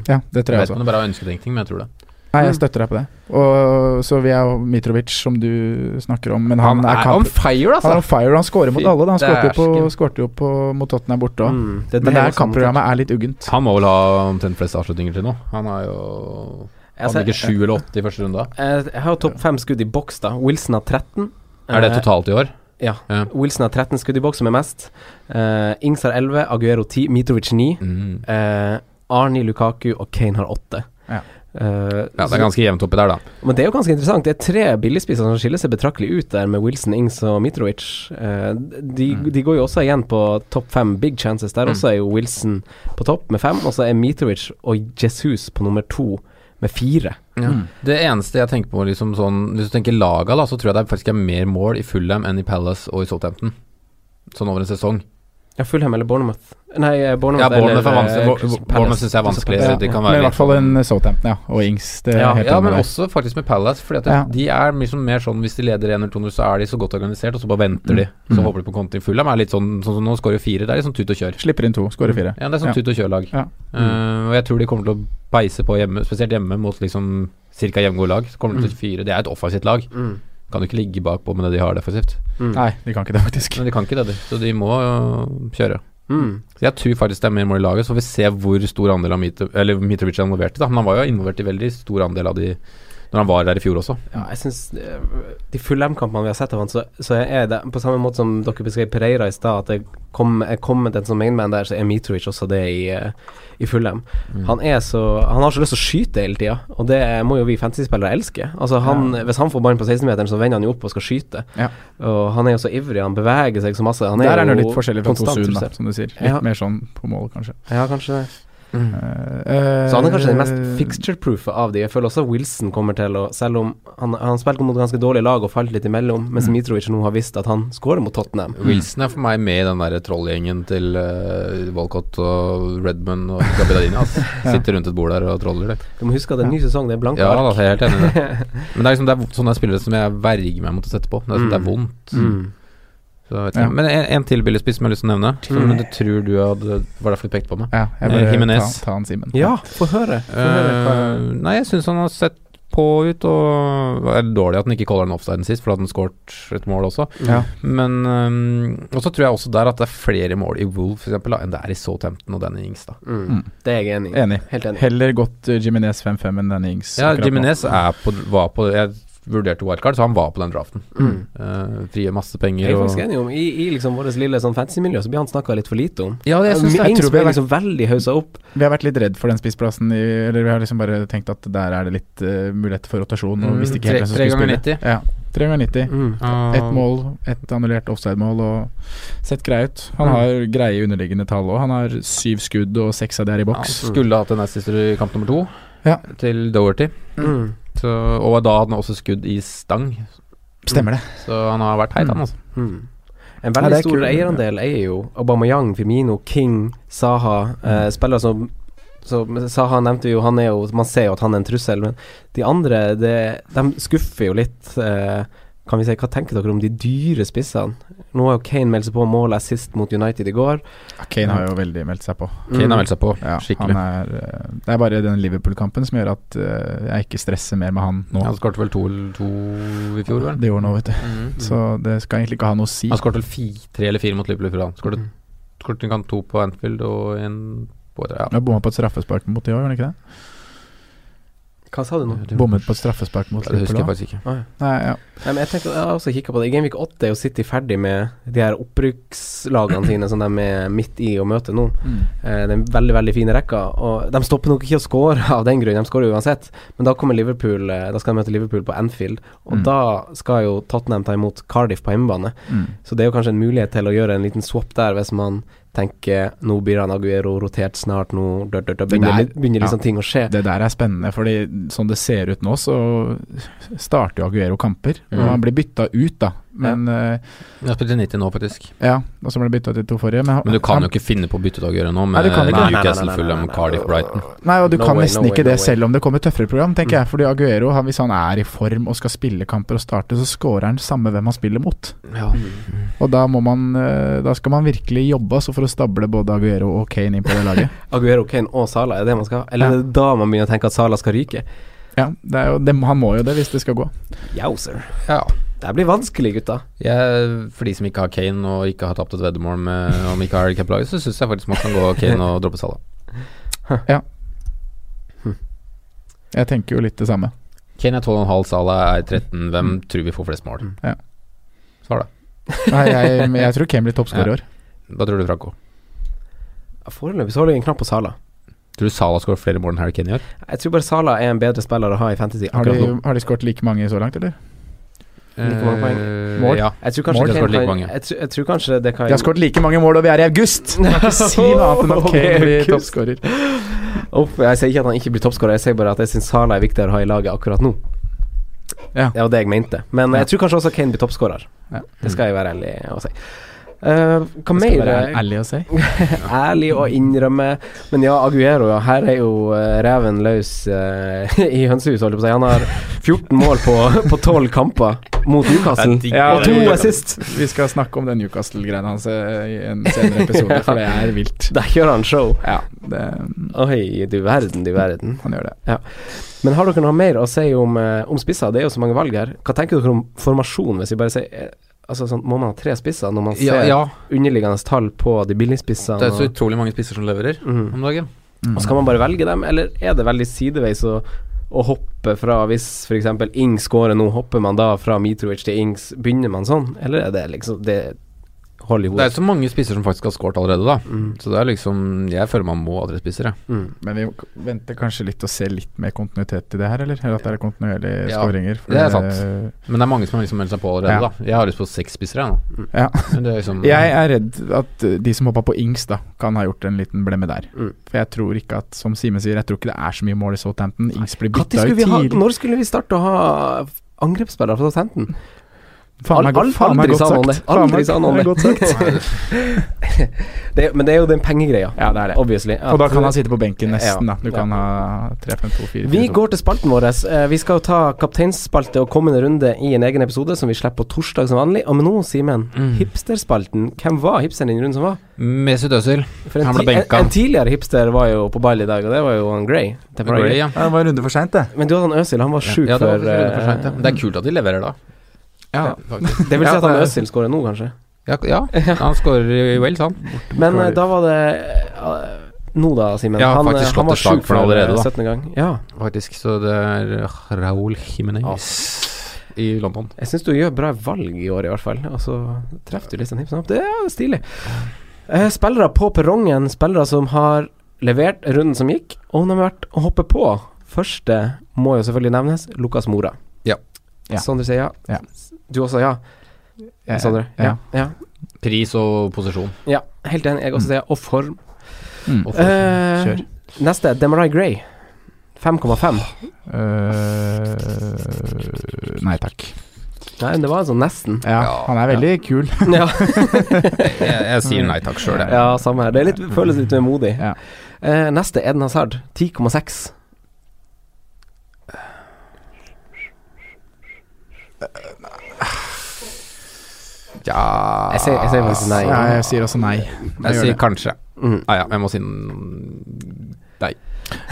Speaker 4: Ja, det Mm. tror jeg
Speaker 1: Jeg vet
Speaker 4: også.
Speaker 1: ikke om det Mm. bare er ønsketenkning, men jeg tror det.
Speaker 4: Nei, jeg støtter deg på det. Og så vil jeg jo Mitrovic, som du snakker om, men han, er kamp...
Speaker 1: fire, altså.
Speaker 4: Han er on fire, og han scorer mot
Speaker 1: Fy
Speaker 4: alle. da. Han skårte jo, på,
Speaker 1: dæsken.
Speaker 4: skårte jo på, mot Tottenham borte òg.
Speaker 3: Mm. Det,
Speaker 4: Men det
Speaker 3: er
Speaker 4: her kampprogrammet er litt uggent.
Speaker 1: Han må vel ha omtrent flest avslutninger til nå. Han har jo
Speaker 3: Jeg,
Speaker 1: Hadde
Speaker 3: ser-
Speaker 1: ikke sju eller åtte i første runde?
Speaker 3: Altså, jeg, jeg har jo topp fem skudd i boks, da. Wilson har 13.
Speaker 1: Er det
Speaker 3: Eh,
Speaker 1: totalt i år?
Speaker 3: Ja.
Speaker 1: Ja.
Speaker 3: Wilson har 13 skudd i boks, som er mest. Eh, Ings har 11, Aguero 10, Mitrovic 9.
Speaker 1: Mm.
Speaker 3: eh, Arni Lukaku og Kane har 8.
Speaker 4: Ja.
Speaker 3: Eh,
Speaker 1: Ja, det
Speaker 3: så-
Speaker 1: er ganske jevnt oppi der, da.
Speaker 3: men det er jo ganske interessant. Det er tre billigspisser som skiller seg betraktelig ut der, med Wilson, Ings og Mitrovic. Eh, de,
Speaker 4: Mm.
Speaker 3: de går jo også igjen på topp fem big chances.
Speaker 1: Mm.
Speaker 3: Der også er jo Wilson på topp med fem, og så er Mitrovic og Jesus på nummer to med fire.
Speaker 4: Mm.
Speaker 1: Det eneste jeg tenker på, liksom sånn Hvis du tenker laga, da, så tror jeg det faktisk er mer mål i Fulham enn i Palace og i Southampton. Sånn over en sesong.
Speaker 3: Ja, Fulham eller Bournemouth? Nei, eh, Bournemouth
Speaker 1: Ja, Bournemouth
Speaker 3: eller,
Speaker 1: er
Speaker 3: eh,
Speaker 1: vanskelig. Bo-
Speaker 3: Crystal
Speaker 1: Bo-
Speaker 3: Palace.
Speaker 1: Bournemouth synes jeg er vanskelig,
Speaker 3: Crystal
Speaker 1: så de
Speaker 3: Palace,
Speaker 1: kan
Speaker 4: Men i
Speaker 1: være
Speaker 4: hvert fall en Southampton, ja. Og Ings. Det er
Speaker 3: Ja,
Speaker 4: jeg helt
Speaker 1: Ja,
Speaker 4: enig
Speaker 1: men
Speaker 4: med deg.
Speaker 1: også faktisk med Palace, Fordi at
Speaker 4: Ja.
Speaker 1: de er liksom mer sånn hvis de leder 1-2-0, så er de så godt organisert, og så bare venter de.
Speaker 4: Mm.
Speaker 1: Så håper de på konti. Fulham er litt sånn sånn som nå, skårer fire. Det er litt sånn tut og kjør.
Speaker 4: Slipper inn to, skårer fire.
Speaker 1: Ja, det er
Speaker 4: Ja.
Speaker 1: sånn tut og kjør-lag.
Speaker 4: Ja.
Speaker 1: Eh, og jeg tror de kommer til å beise på hjemme, spesielt hjemme mot liksom ca. jevngode lag. Så kommer de til fire. Det er et offensivt lag.
Speaker 3: Mm.
Speaker 1: Kan jo ikke ligge bakpå med det de har defensivt.
Speaker 3: Mm.
Speaker 4: Nei, de kan ikke det, faktisk.
Speaker 1: Men de kan ikke det, de. Så de må øh, kjøre.
Speaker 3: Mm.
Speaker 1: Så Jeg tror faktisk det er mer mål i laget, så får vi se hvor stor andel av Mitro, eller Mitrovic er involvert i. da Men han var jo involvert i veldig stor andel av de når han var der i fjor også.
Speaker 3: Ja, jeg synes eh, De Fulham-kampene vi har sett av han, så, så er det på samme måte som dere beskrev Pereira i stad, at det kom, er kommet en som mainman der, så er Mitrovic også det i, eh, i Fulham.
Speaker 4: Mm.
Speaker 3: Han er så Han har så lyst til å skyte hele tida, og det må jo vi fantasy-spillere elske. Altså han, Hvis han får ballen på 16-meteren, så vender han jo opp og skal skyte.
Speaker 4: Ja.
Speaker 3: Og han er jo så ivrig, han beveger seg så masse. Han
Speaker 4: Der er han jo
Speaker 3: jo
Speaker 4: litt forskjellig fra
Speaker 3: konstant
Speaker 4: Tosun, da,
Speaker 3: trussel.
Speaker 4: som du sier. Litt
Speaker 3: Ja.
Speaker 4: mer sånn på mål, kanskje.
Speaker 3: Ja, kanskje det.
Speaker 4: Eh,
Speaker 3: Så han er kanskje den mest
Speaker 4: eh,
Speaker 3: fixture-proofe av de. Jeg føler også Wilson kommer til å Selv om han, han spilte mot ganske dårlige lag og falt litt imellom, mens
Speaker 4: Mm.
Speaker 3: Mitrovic nå har visst at han skårer mot Tottenham.
Speaker 1: Wilson er for meg med i den der trollgjengen til uh, Walcott og Redman og Gabidadini.
Speaker 3: (laughs)
Speaker 1: Altså. Sitter rundt et bord der og troller. Det.
Speaker 3: Du må huske at det er en ny sesong, det er blanke
Speaker 1: Ja, da,
Speaker 3: ark.
Speaker 1: jeg er helt enig i
Speaker 3: (laughs)
Speaker 1: det. Men det er, liksom, det er sånne spillere som jeg verger meg mot å sette på. Det er, sånn, det er vondt.
Speaker 3: Mm.
Speaker 1: Så jeg vet ikke.
Speaker 4: Ja.
Speaker 1: Men en, en til billigspiss som jeg har lyst til å nevne, som
Speaker 3: Mm.
Speaker 1: du tror du hadde, var derfor du pekte på meg.
Speaker 4: Ja, jeg
Speaker 1: Eh,
Speaker 4: bør ta,
Speaker 1: Jimenez.
Speaker 4: ta han Simen.
Speaker 3: Ja, få høre. Få høre
Speaker 1: Eh,
Speaker 3: hva-
Speaker 1: nei, jeg syns han har sett på ut, og det er dårlig at han ikke caller den offside sist, for da hadde han skåret et mål også.
Speaker 4: Ja.
Speaker 1: Men ehm, Og så tror jeg også der at det er flere mål i Wolf for eksempel, da, enn det er i Southampton og Danny Ings. da
Speaker 3: Mm.
Speaker 4: Mm.
Speaker 3: Det er jeg enig i.
Speaker 4: Enig.
Speaker 3: Helt enig.
Speaker 4: Heller gått eh, Jimenez 5-5 enn Danny Ings.
Speaker 1: Ja,
Speaker 4: akkurat nå.
Speaker 1: Jimenez er på, var på Jeg vurderte wildcard, så han var på den draften.
Speaker 3: Mm.
Speaker 1: Uh, masse
Speaker 3: Jeg
Speaker 1: penger
Speaker 3: er faktisk
Speaker 1: og
Speaker 3: enig om I, i liksom vårt lille sånn fancy-miljø så blir han snakka litt for lite om.
Speaker 1: Ja, det, jeg synes det er
Speaker 4: jeg
Speaker 3: Ings
Speaker 4: tror vi
Speaker 3: blir
Speaker 4: har
Speaker 3: liksom veldig hausa opp.
Speaker 4: Vi har vært litt redd for den spissplassen, i, eller vi har liksom bare tenkt at der er det litt eh, mulighet for rotasjon. Og
Speaker 1: Mm,
Speaker 4: hvis det ikke
Speaker 1: tre-
Speaker 4: helt hvem som
Speaker 1: tre
Speaker 4: skulle
Speaker 1: ganger
Speaker 4: spille. Ja, tre ganger 90.
Speaker 3: Mm.
Speaker 1: Ah,
Speaker 4: Ett mål, ett annullert offside-mål og sett grei ut. Han
Speaker 1: Mm.
Speaker 4: har greie underliggende tall òg. Han har syv skudd og seks av de er i
Speaker 1: ja,
Speaker 4: boks.
Speaker 1: Skulle hatt en assist i kamp nummer to,
Speaker 4: Ja.
Speaker 1: til Doherty.
Speaker 3: Mm.
Speaker 1: Så, og da hadde han også skudd i stang,
Speaker 4: Stemmer det.
Speaker 1: så han har vært heit, han altså.
Speaker 3: Mm. En
Speaker 4: Ja,
Speaker 3: veldig
Speaker 4: det er
Speaker 3: stor
Speaker 4: kul,
Speaker 3: eierandel eier jo Aubameyang, Firmino, King, Saha.
Speaker 1: Hmm.
Speaker 3: Eh, spillere som som Saha nevnte vi jo, han er jo Man ser jo at han er en trussel, men de andre, det, de skuffer jo litt. Eh, kan vi si, Hva tenker dere om de dyre spissene? Nå har jo Kane meldt seg på målet sist mot United i går. Hmm.
Speaker 4: Kane har jo veldig meldt seg på.
Speaker 1: Kane har meldt seg på,
Speaker 4: Ja, han
Speaker 1: skikkelig.
Speaker 4: er, eh, det er bare den Liverpool-kampen som gjør at eh, jeg ikke stresser mer med han nå.
Speaker 1: Han skåret vel to eller to i fjor, vel?
Speaker 4: Det gjorde han nå, vet du.
Speaker 1: Mm.
Speaker 3: Mhm.
Speaker 4: Så det skal egentlig ikke ha noe å si.
Speaker 1: Han skåret vel fi, tre eller fire mot Liverpool i fjor. Han skåret
Speaker 3: Mm.
Speaker 1: skåret en kamp to på Anfield og en på ja.
Speaker 4: Han bomma på et straffespark mot de òg, gjorde han ikke det?
Speaker 3: Hva sa du nå?
Speaker 1: Det-
Speaker 4: Bommet på et straffespark mot
Speaker 1: Ja, Det husker
Speaker 4: Liverpool
Speaker 1: jeg
Speaker 4: òg.
Speaker 1: faktisk ikke.
Speaker 3: Ah, ja.
Speaker 4: Nei, ja.
Speaker 3: Nei, men jeg tenker, jeg har også kikket på det. I Gameweek 8 er jo City ferdig med de her opprykkslagene sine som de er midt i å møte nå.
Speaker 4: Mm.
Speaker 3: Eh, Det er en veldig veldig fine rekker. Og De stopper nok ikke å score av den grunn, de skårer jo uansett. Men da kommer Liverpool eh, Da skal de møte Liverpool på Anfield. Og
Speaker 4: Mm.
Speaker 3: da skal jo Tottenham ta imot Cardiff på hjemmebane.
Speaker 4: Mm.
Speaker 3: Så det er jo kanskje en mulighet til å gjøre en liten swap der, hvis man tenker nå blir han Aguero rotert snart, nå dør, dør, dør,
Speaker 4: Men
Speaker 3: begynner,
Speaker 4: det er-
Speaker 3: begynner liksom
Speaker 4: ja.
Speaker 3: ting å skje.
Speaker 4: Det der er spennende, fordi sånn det ser ut nå, så starter jo Aguero kamper. Og
Speaker 1: Mm.
Speaker 4: han blir bytta ut, da. Men eh,
Speaker 1: Jeg har spilt i 90 nå, faktisk.
Speaker 4: Ja, og så ble han bytta ut de to forrige. Men, han-
Speaker 1: Men du kan
Speaker 4: han,
Speaker 1: jo ikke finne på å bytte ut Aguero nå,
Speaker 4: Nei,
Speaker 1: med
Speaker 4: du kan ikke.
Speaker 1: Newcastle,
Speaker 3: Nei, nei, nei, nei, nei,
Speaker 1: Fulham,
Speaker 3: nei.
Speaker 1: Cardiff, Brighton.
Speaker 4: Nei, og du
Speaker 3: No
Speaker 4: kan
Speaker 3: way,
Speaker 4: nesten
Speaker 3: no
Speaker 4: ikke
Speaker 3: way,
Speaker 4: det,
Speaker 3: no way. Mm.
Speaker 4: selv om det kommer tøffere program, tenker jeg. Fordi Aguero, han, hvis han er i form og skal spille kamper og starte, så scorer han samme hvem han spiller mot.
Speaker 1: Ja.
Speaker 4: Og da må man eh, Da skal man virkelig jobbe altså, for å stable både Aguero og Kane inn på det
Speaker 3: (laughs)
Speaker 4: laget.
Speaker 3: Aguero, Kane og Salah, er det man skal ha? Eller
Speaker 4: Ja.
Speaker 3: er det da man begynner å tenke at Salah skal ryke?
Speaker 4: ja, det er jo, det, han må jo det hvis det skal gå.
Speaker 3: Yowzer.
Speaker 1: ja.
Speaker 3: Det blir vanskelig, gutta.
Speaker 1: Jeg, for de som ikke har Kane og ikke har tapt et veddemål med om ikke har Cap-laget, så syns jeg faktisk man kan gå Kane og droppe Salah.
Speaker 4: Jeg tenker jo litt det samme.
Speaker 1: Kane er 12,5, Salah er 13. Hvem
Speaker 4: Mm.
Speaker 1: tror vi får flest mål?
Speaker 4: Ja.
Speaker 1: Svar det.
Speaker 4: Nei, jeg, men jeg tror Kane blir toppskårer i år.
Speaker 1: Da tror du Franco.
Speaker 3: Foreløpig så har du en knapp på Salah.
Speaker 1: Tror du Salah skårer flere mål enn Harry Kane gjør?
Speaker 3: Jeg tror bare Salah er en bedre spiller å ha i fantasy
Speaker 4: Har
Speaker 3: akkurat
Speaker 4: de,
Speaker 3: nå.
Speaker 4: har de skåret like mange så langt, eller?
Speaker 3: Like mange poeng.
Speaker 1: Eh,
Speaker 4: Mål?
Speaker 1: Ja.
Speaker 3: Jeg tror
Speaker 1: Mål?
Speaker 3: kanskje,
Speaker 1: Jeg
Speaker 3: Kane
Speaker 1: skåret like
Speaker 3: kan,
Speaker 1: mange.
Speaker 3: jeg tror, jeg tror kanskje det kan
Speaker 4: De har skåret like mange mål, og vi er i
Speaker 3: (laughs)
Speaker 4: august! Jeg kan ikke si noe annet enn at Kane blir
Speaker 3: August.
Speaker 4: toppskårer.
Speaker 3: Opp, Jeg sier ikke at han ikke blir toppskårer, jeg sier bare at jeg syns Salah er viktigere å ha i laget akkurat nå.
Speaker 4: Ja.
Speaker 3: Det var det jeg mente. Men jeg tror kanskje også Kane blir toppskårer.
Speaker 4: Ja.
Speaker 3: Det skal jeg være ærlig og si. Eh, hva
Speaker 4: Skal
Speaker 3: mer
Speaker 4: være ærlig å si.
Speaker 3: (laughs) Ærlig å innrømme. Men ja, Aguero, ja. Her er jo eh, reven løs eh, (laughs) i hønsehuset, holdt jeg på å si. Han har 14 mål på, (laughs) på 12 kamper mot Newcastle.
Speaker 1: Det er digg.
Speaker 4: Ja,
Speaker 3: og to
Speaker 4: det-
Speaker 3: assist.
Speaker 4: Vi skal snakke om den Newcastle-greia hans eh, i en senere episode, for det er vilt.
Speaker 3: Der gjør han show.
Speaker 4: Ja, det,
Speaker 3: Oi, du verden, du verden.
Speaker 4: han gjør det.
Speaker 3: Men har dere noe mer å si om, eh, om spisser? Det er jo så mange valg her. Hva tenker dere om formasjon, hvis vi bare sier eh, Altså sånn, Må man ha tre spisser når man
Speaker 1: Ja,
Speaker 3: ser
Speaker 1: ja,
Speaker 3: underliggende tall på de billigspissene?
Speaker 1: det er så
Speaker 3: og-
Speaker 1: utrolig mange spisser som leverer
Speaker 3: Mhm.
Speaker 1: om dagen.
Speaker 4: Mm.
Speaker 3: Og Skal man bare velge dem, eller er det veldig sideveis å, å hoppe fra Hvis f.eks. Ings scorer nå, hopper man da fra Mitrovic til Ings? Begynner man sånn, eller er det liksom det Hold i
Speaker 1: Det er
Speaker 3: hodet.
Speaker 1: så mange spisser som faktisk har skåret allerede, da.
Speaker 3: Mm,
Speaker 1: Så det er liksom Jeg føler man må ha tre spisser, jeg.
Speaker 3: mm.
Speaker 4: Men vi venter kanskje litt og ser litt mer kontinuitet i det her, eller? Eller at det er kontinuerlige
Speaker 1: Ja,
Speaker 4: skåringer? for
Speaker 1: det er
Speaker 4: det-
Speaker 1: Men det er mange som har liksom meldt seg på allerede,
Speaker 4: Ja.
Speaker 1: da. Jeg har lyst på seks spisser, jeg nå.
Speaker 4: Ja.
Speaker 1: Men Det er liksom
Speaker 4: eh, Jeg er redd at eh, de som hoppa på Ings, da kan ha gjort en liten blemme der.
Speaker 3: Mm.
Speaker 4: For jeg tror ikke at, som Simen sier, jeg tror ikke det er så mye mål i Southampton. Ings blir bytta
Speaker 3: Katti, skulle
Speaker 4: ut
Speaker 3: vi ha,
Speaker 4: tidlig.
Speaker 3: når skulle vi starte å ha angrepsspillere fra Southampton?
Speaker 4: Faen meg godt-
Speaker 3: Al- al-
Speaker 4: faen meg
Speaker 3: aldri
Speaker 4: godt
Speaker 3: sa noen
Speaker 4: sagt.
Speaker 3: det.
Speaker 4: Faen meg-
Speaker 3: Aldri sa noen
Speaker 4: det er
Speaker 3: det.
Speaker 4: godt sagt.
Speaker 3: (laughs) Det, men det er jo den pengegreia,
Speaker 4: Ja, det er det.
Speaker 3: obviously.
Speaker 4: Og da
Speaker 3: At-
Speaker 4: kan han sitte på benken nesten, da.
Speaker 3: Ja.
Speaker 4: Du kan
Speaker 3: Ja.
Speaker 4: ha 3, 5, 2, 4
Speaker 3: Vi går til spalten vår. Eh, Vi skal jo ta kapteinsspalte og kommende runde i en egen episode som vi slipper på torsdag som vanlig. Og men nå, Simen,
Speaker 1: Mm.
Speaker 3: hipsterspalten. Hvem var hipsteren i den runden som var?
Speaker 1: Mesut Özil.
Speaker 3: For en,
Speaker 1: Han ble
Speaker 3: ti- en,
Speaker 1: benka.
Speaker 3: en tidligere hipster var jo på ball i dag, og det var jo han Gray. Temporary.
Speaker 1: Gray, ja.
Speaker 4: Det var en runde for seint, det.
Speaker 3: Men du hadde han Øsil, han var sjuk
Speaker 1: Ja, det, var
Speaker 3: før
Speaker 1: litt for sent, ja.
Speaker 3: eh,
Speaker 1: det er kult at de leverer da.
Speaker 4: Ja.
Speaker 1: faktisk.
Speaker 3: Det vil si
Speaker 4: Ja,
Speaker 3: at han
Speaker 4: det er-
Speaker 3: Øsil skårer nå, kanskje.
Speaker 1: Ja, ja, (laughs) han scorer i Wales, han.
Speaker 3: Men eh, da var det eh, Nå da, Simen.
Speaker 1: Ja,
Speaker 3: han, eh,
Speaker 1: faktisk slått
Speaker 3: han
Speaker 1: et
Speaker 3: var
Speaker 1: slag
Speaker 3: sjuk
Speaker 1: for han
Speaker 3: før, eh,
Speaker 1: allerede, da.
Speaker 3: 17. gang. Ja.
Speaker 1: Faktisk, så det er eh, Raúl Jiménez i London.
Speaker 3: Jeg syns du gjør bra valg i år, i hvert fall. Og så treffer du litt sånn hipp som happ. Det er stilig. Eh, spillere på perrongen, spillere som har levert runden som gikk, og de har vært å hoppe på. Første må jo selvfølgelig nevnes, Lukas Mora.
Speaker 1: Ja.
Speaker 4: Ja.
Speaker 3: Sondre sier ja.
Speaker 4: Ja.
Speaker 3: Du også ja, Sondre?
Speaker 4: ja.
Speaker 3: ja.
Speaker 1: Pris og posisjon.
Speaker 3: Ja, helt enig. Jeg også sier ja. Og form.
Speaker 4: Mm.
Speaker 1: Og form.
Speaker 3: Eh,
Speaker 4: Kjør.
Speaker 3: neste, Demarai Gray. 5,5.
Speaker 4: Eh, nei takk.
Speaker 3: Nei, det var altså
Speaker 4: (laughs)
Speaker 3: nesten.
Speaker 4: Ja,
Speaker 1: Ja,
Speaker 4: han er veldig kul.
Speaker 3: ja.
Speaker 1: Jeg, jeg sier nei takk sjøl, jeg.
Speaker 3: ja, samme her. Det er litt, føles litt vemodig.
Speaker 4: Ja.
Speaker 3: Eh, neste, Eden Hazard. 10,6.
Speaker 1: Ja
Speaker 3: Jeg sier- jeg sier faktisk nei.
Speaker 4: Ja, jeg sier også nei.
Speaker 1: Jeg sier kanskje.
Speaker 3: Mm.
Speaker 1: Nei, Ah, ja, jeg må si n-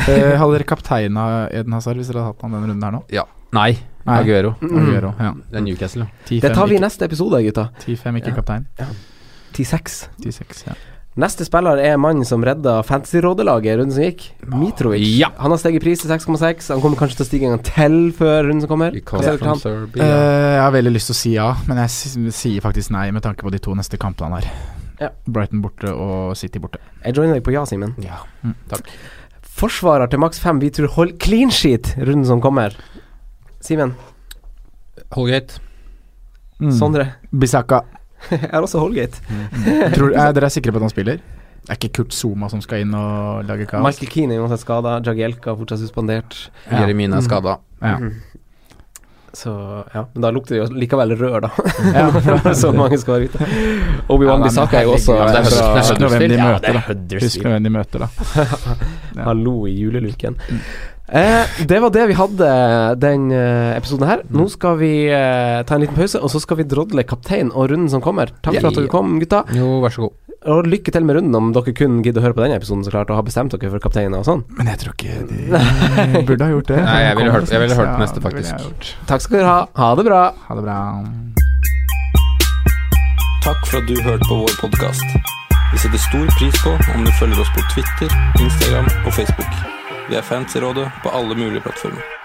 Speaker 4: Eh, hadde dere kapteina Eden Hazard hvis dere hadde hatt han denne runden her nå?
Speaker 1: nei.
Speaker 4: Nei.
Speaker 1: Aguero.
Speaker 4: Aguero, ja.
Speaker 1: Det er Newcastle. ja.
Speaker 4: 10-5,
Speaker 3: Mm. Det tar vi i
Speaker 4: ikke-
Speaker 3: neste episode, gutta.
Speaker 4: 10-5, ikke
Speaker 3: Ja.
Speaker 4: kaptein.
Speaker 3: 10-6.
Speaker 4: 10-6, ja.
Speaker 3: Neste spiller er mannen som redda fantasyrådelaget i runden som gikk. Mitrovic.
Speaker 1: Ja.
Speaker 3: Han har steget i pris til 6,6. Han kommer kanskje til å stige en gang til før runden som kommer. Hva
Speaker 1: Because
Speaker 3: sier dere til
Speaker 1: from
Speaker 3: han?
Speaker 1: Serbia.
Speaker 4: Eh, jeg har veldig lyst til å si ja, men jeg si- sier faktisk nei med tanke på de to neste kampene her.
Speaker 3: Ja.
Speaker 4: Brighton borte og City borte.
Speaker 3: Jeg joiner deg på ja, Simen.
Speaker 1: Ja.
Speaker 4: Mm.
Speaker 1: Takk.
Speaker 3: Forsvarer til maks 5. Vi tror hold clean sheet runden som kommer. Simen.
Speaker 1: Holgate.
Speaker 4: Mm.
Speaker 3: Sondre. (laughs)
Speaker 4: Bisaka.
Speaker 3: Jeg har også Holgate.
Speaker 4: Tror, er dere er sikre på at han spiller? Det er ikke Kurt Zuma som skal inn og lage kaos?
Speaker 3: Michael Keane er uansett skada. Jagielka er fortsatt suspendert.
Speaker 4: Ja.
Speaker 1: Jeremine er skada.
Speaker 4: Ja.
Speaker 3: Så ja, men da lukter det jo likevel rør, da.
Speaker 4: (laughs) Ja.
Speaker 3: (laughs) så mange skal være ute.
Speaker 4: Ja, nei,
Speaker 3: Obi-Wan
Speaker 4: men
Speaker 3: Bissaka er jo også
Speaker 4: herregud,
Speaker 1: det er
Speaker 3: fra-
Speaker 4: Husk nå hvem de
Speaker 1: Ja,
Speaker 4: møter, da. Husk nå hvem de møter, da. Ja.
Speaker 3: Hallo i juleluken.
Speaker 4: Mm.
Speaker 3: Eh, det var det vi hadde den eh, episoden her. Nå skal vi eh, ta en liten pause, og så skal vi drodle kaptein og runden som kommer. Takk for at dere kom, gutta.
Speaker 1: Jo, vær så god.
Speaker 3: Og lykke til med runden, om dere kun gidder å høre på denne episoden, så klart, og har bestemt dere for kapteiner og sånn.
Speaker 4: Men jeg tror ikke
Speaker 1: (laughs)
Speaker 4: de burde ha gjort det.
Speaker 1: Nei, jeg
Speaker 4: Kommer
Speaker 1: ville hørt- jeg ville
Speaker 4: snart,
Speaker 1: hørt
Speaker 4: ja,
Speaker 1: neste,
Speaker 4: det ville jeg
Speaker 1: faktisk.
Speaker 4: gjort.
Speaker 3: Takk skal dere ha. Ha det bra.
Speaker 4: Ha det bra.
Speaker 2: Takk for at du hørte på vår podkast. Vi setter stor pris på om du følger oss på Twitter, Instagram og Facebook. Vi er fans i rådet på alle mulige plattformer.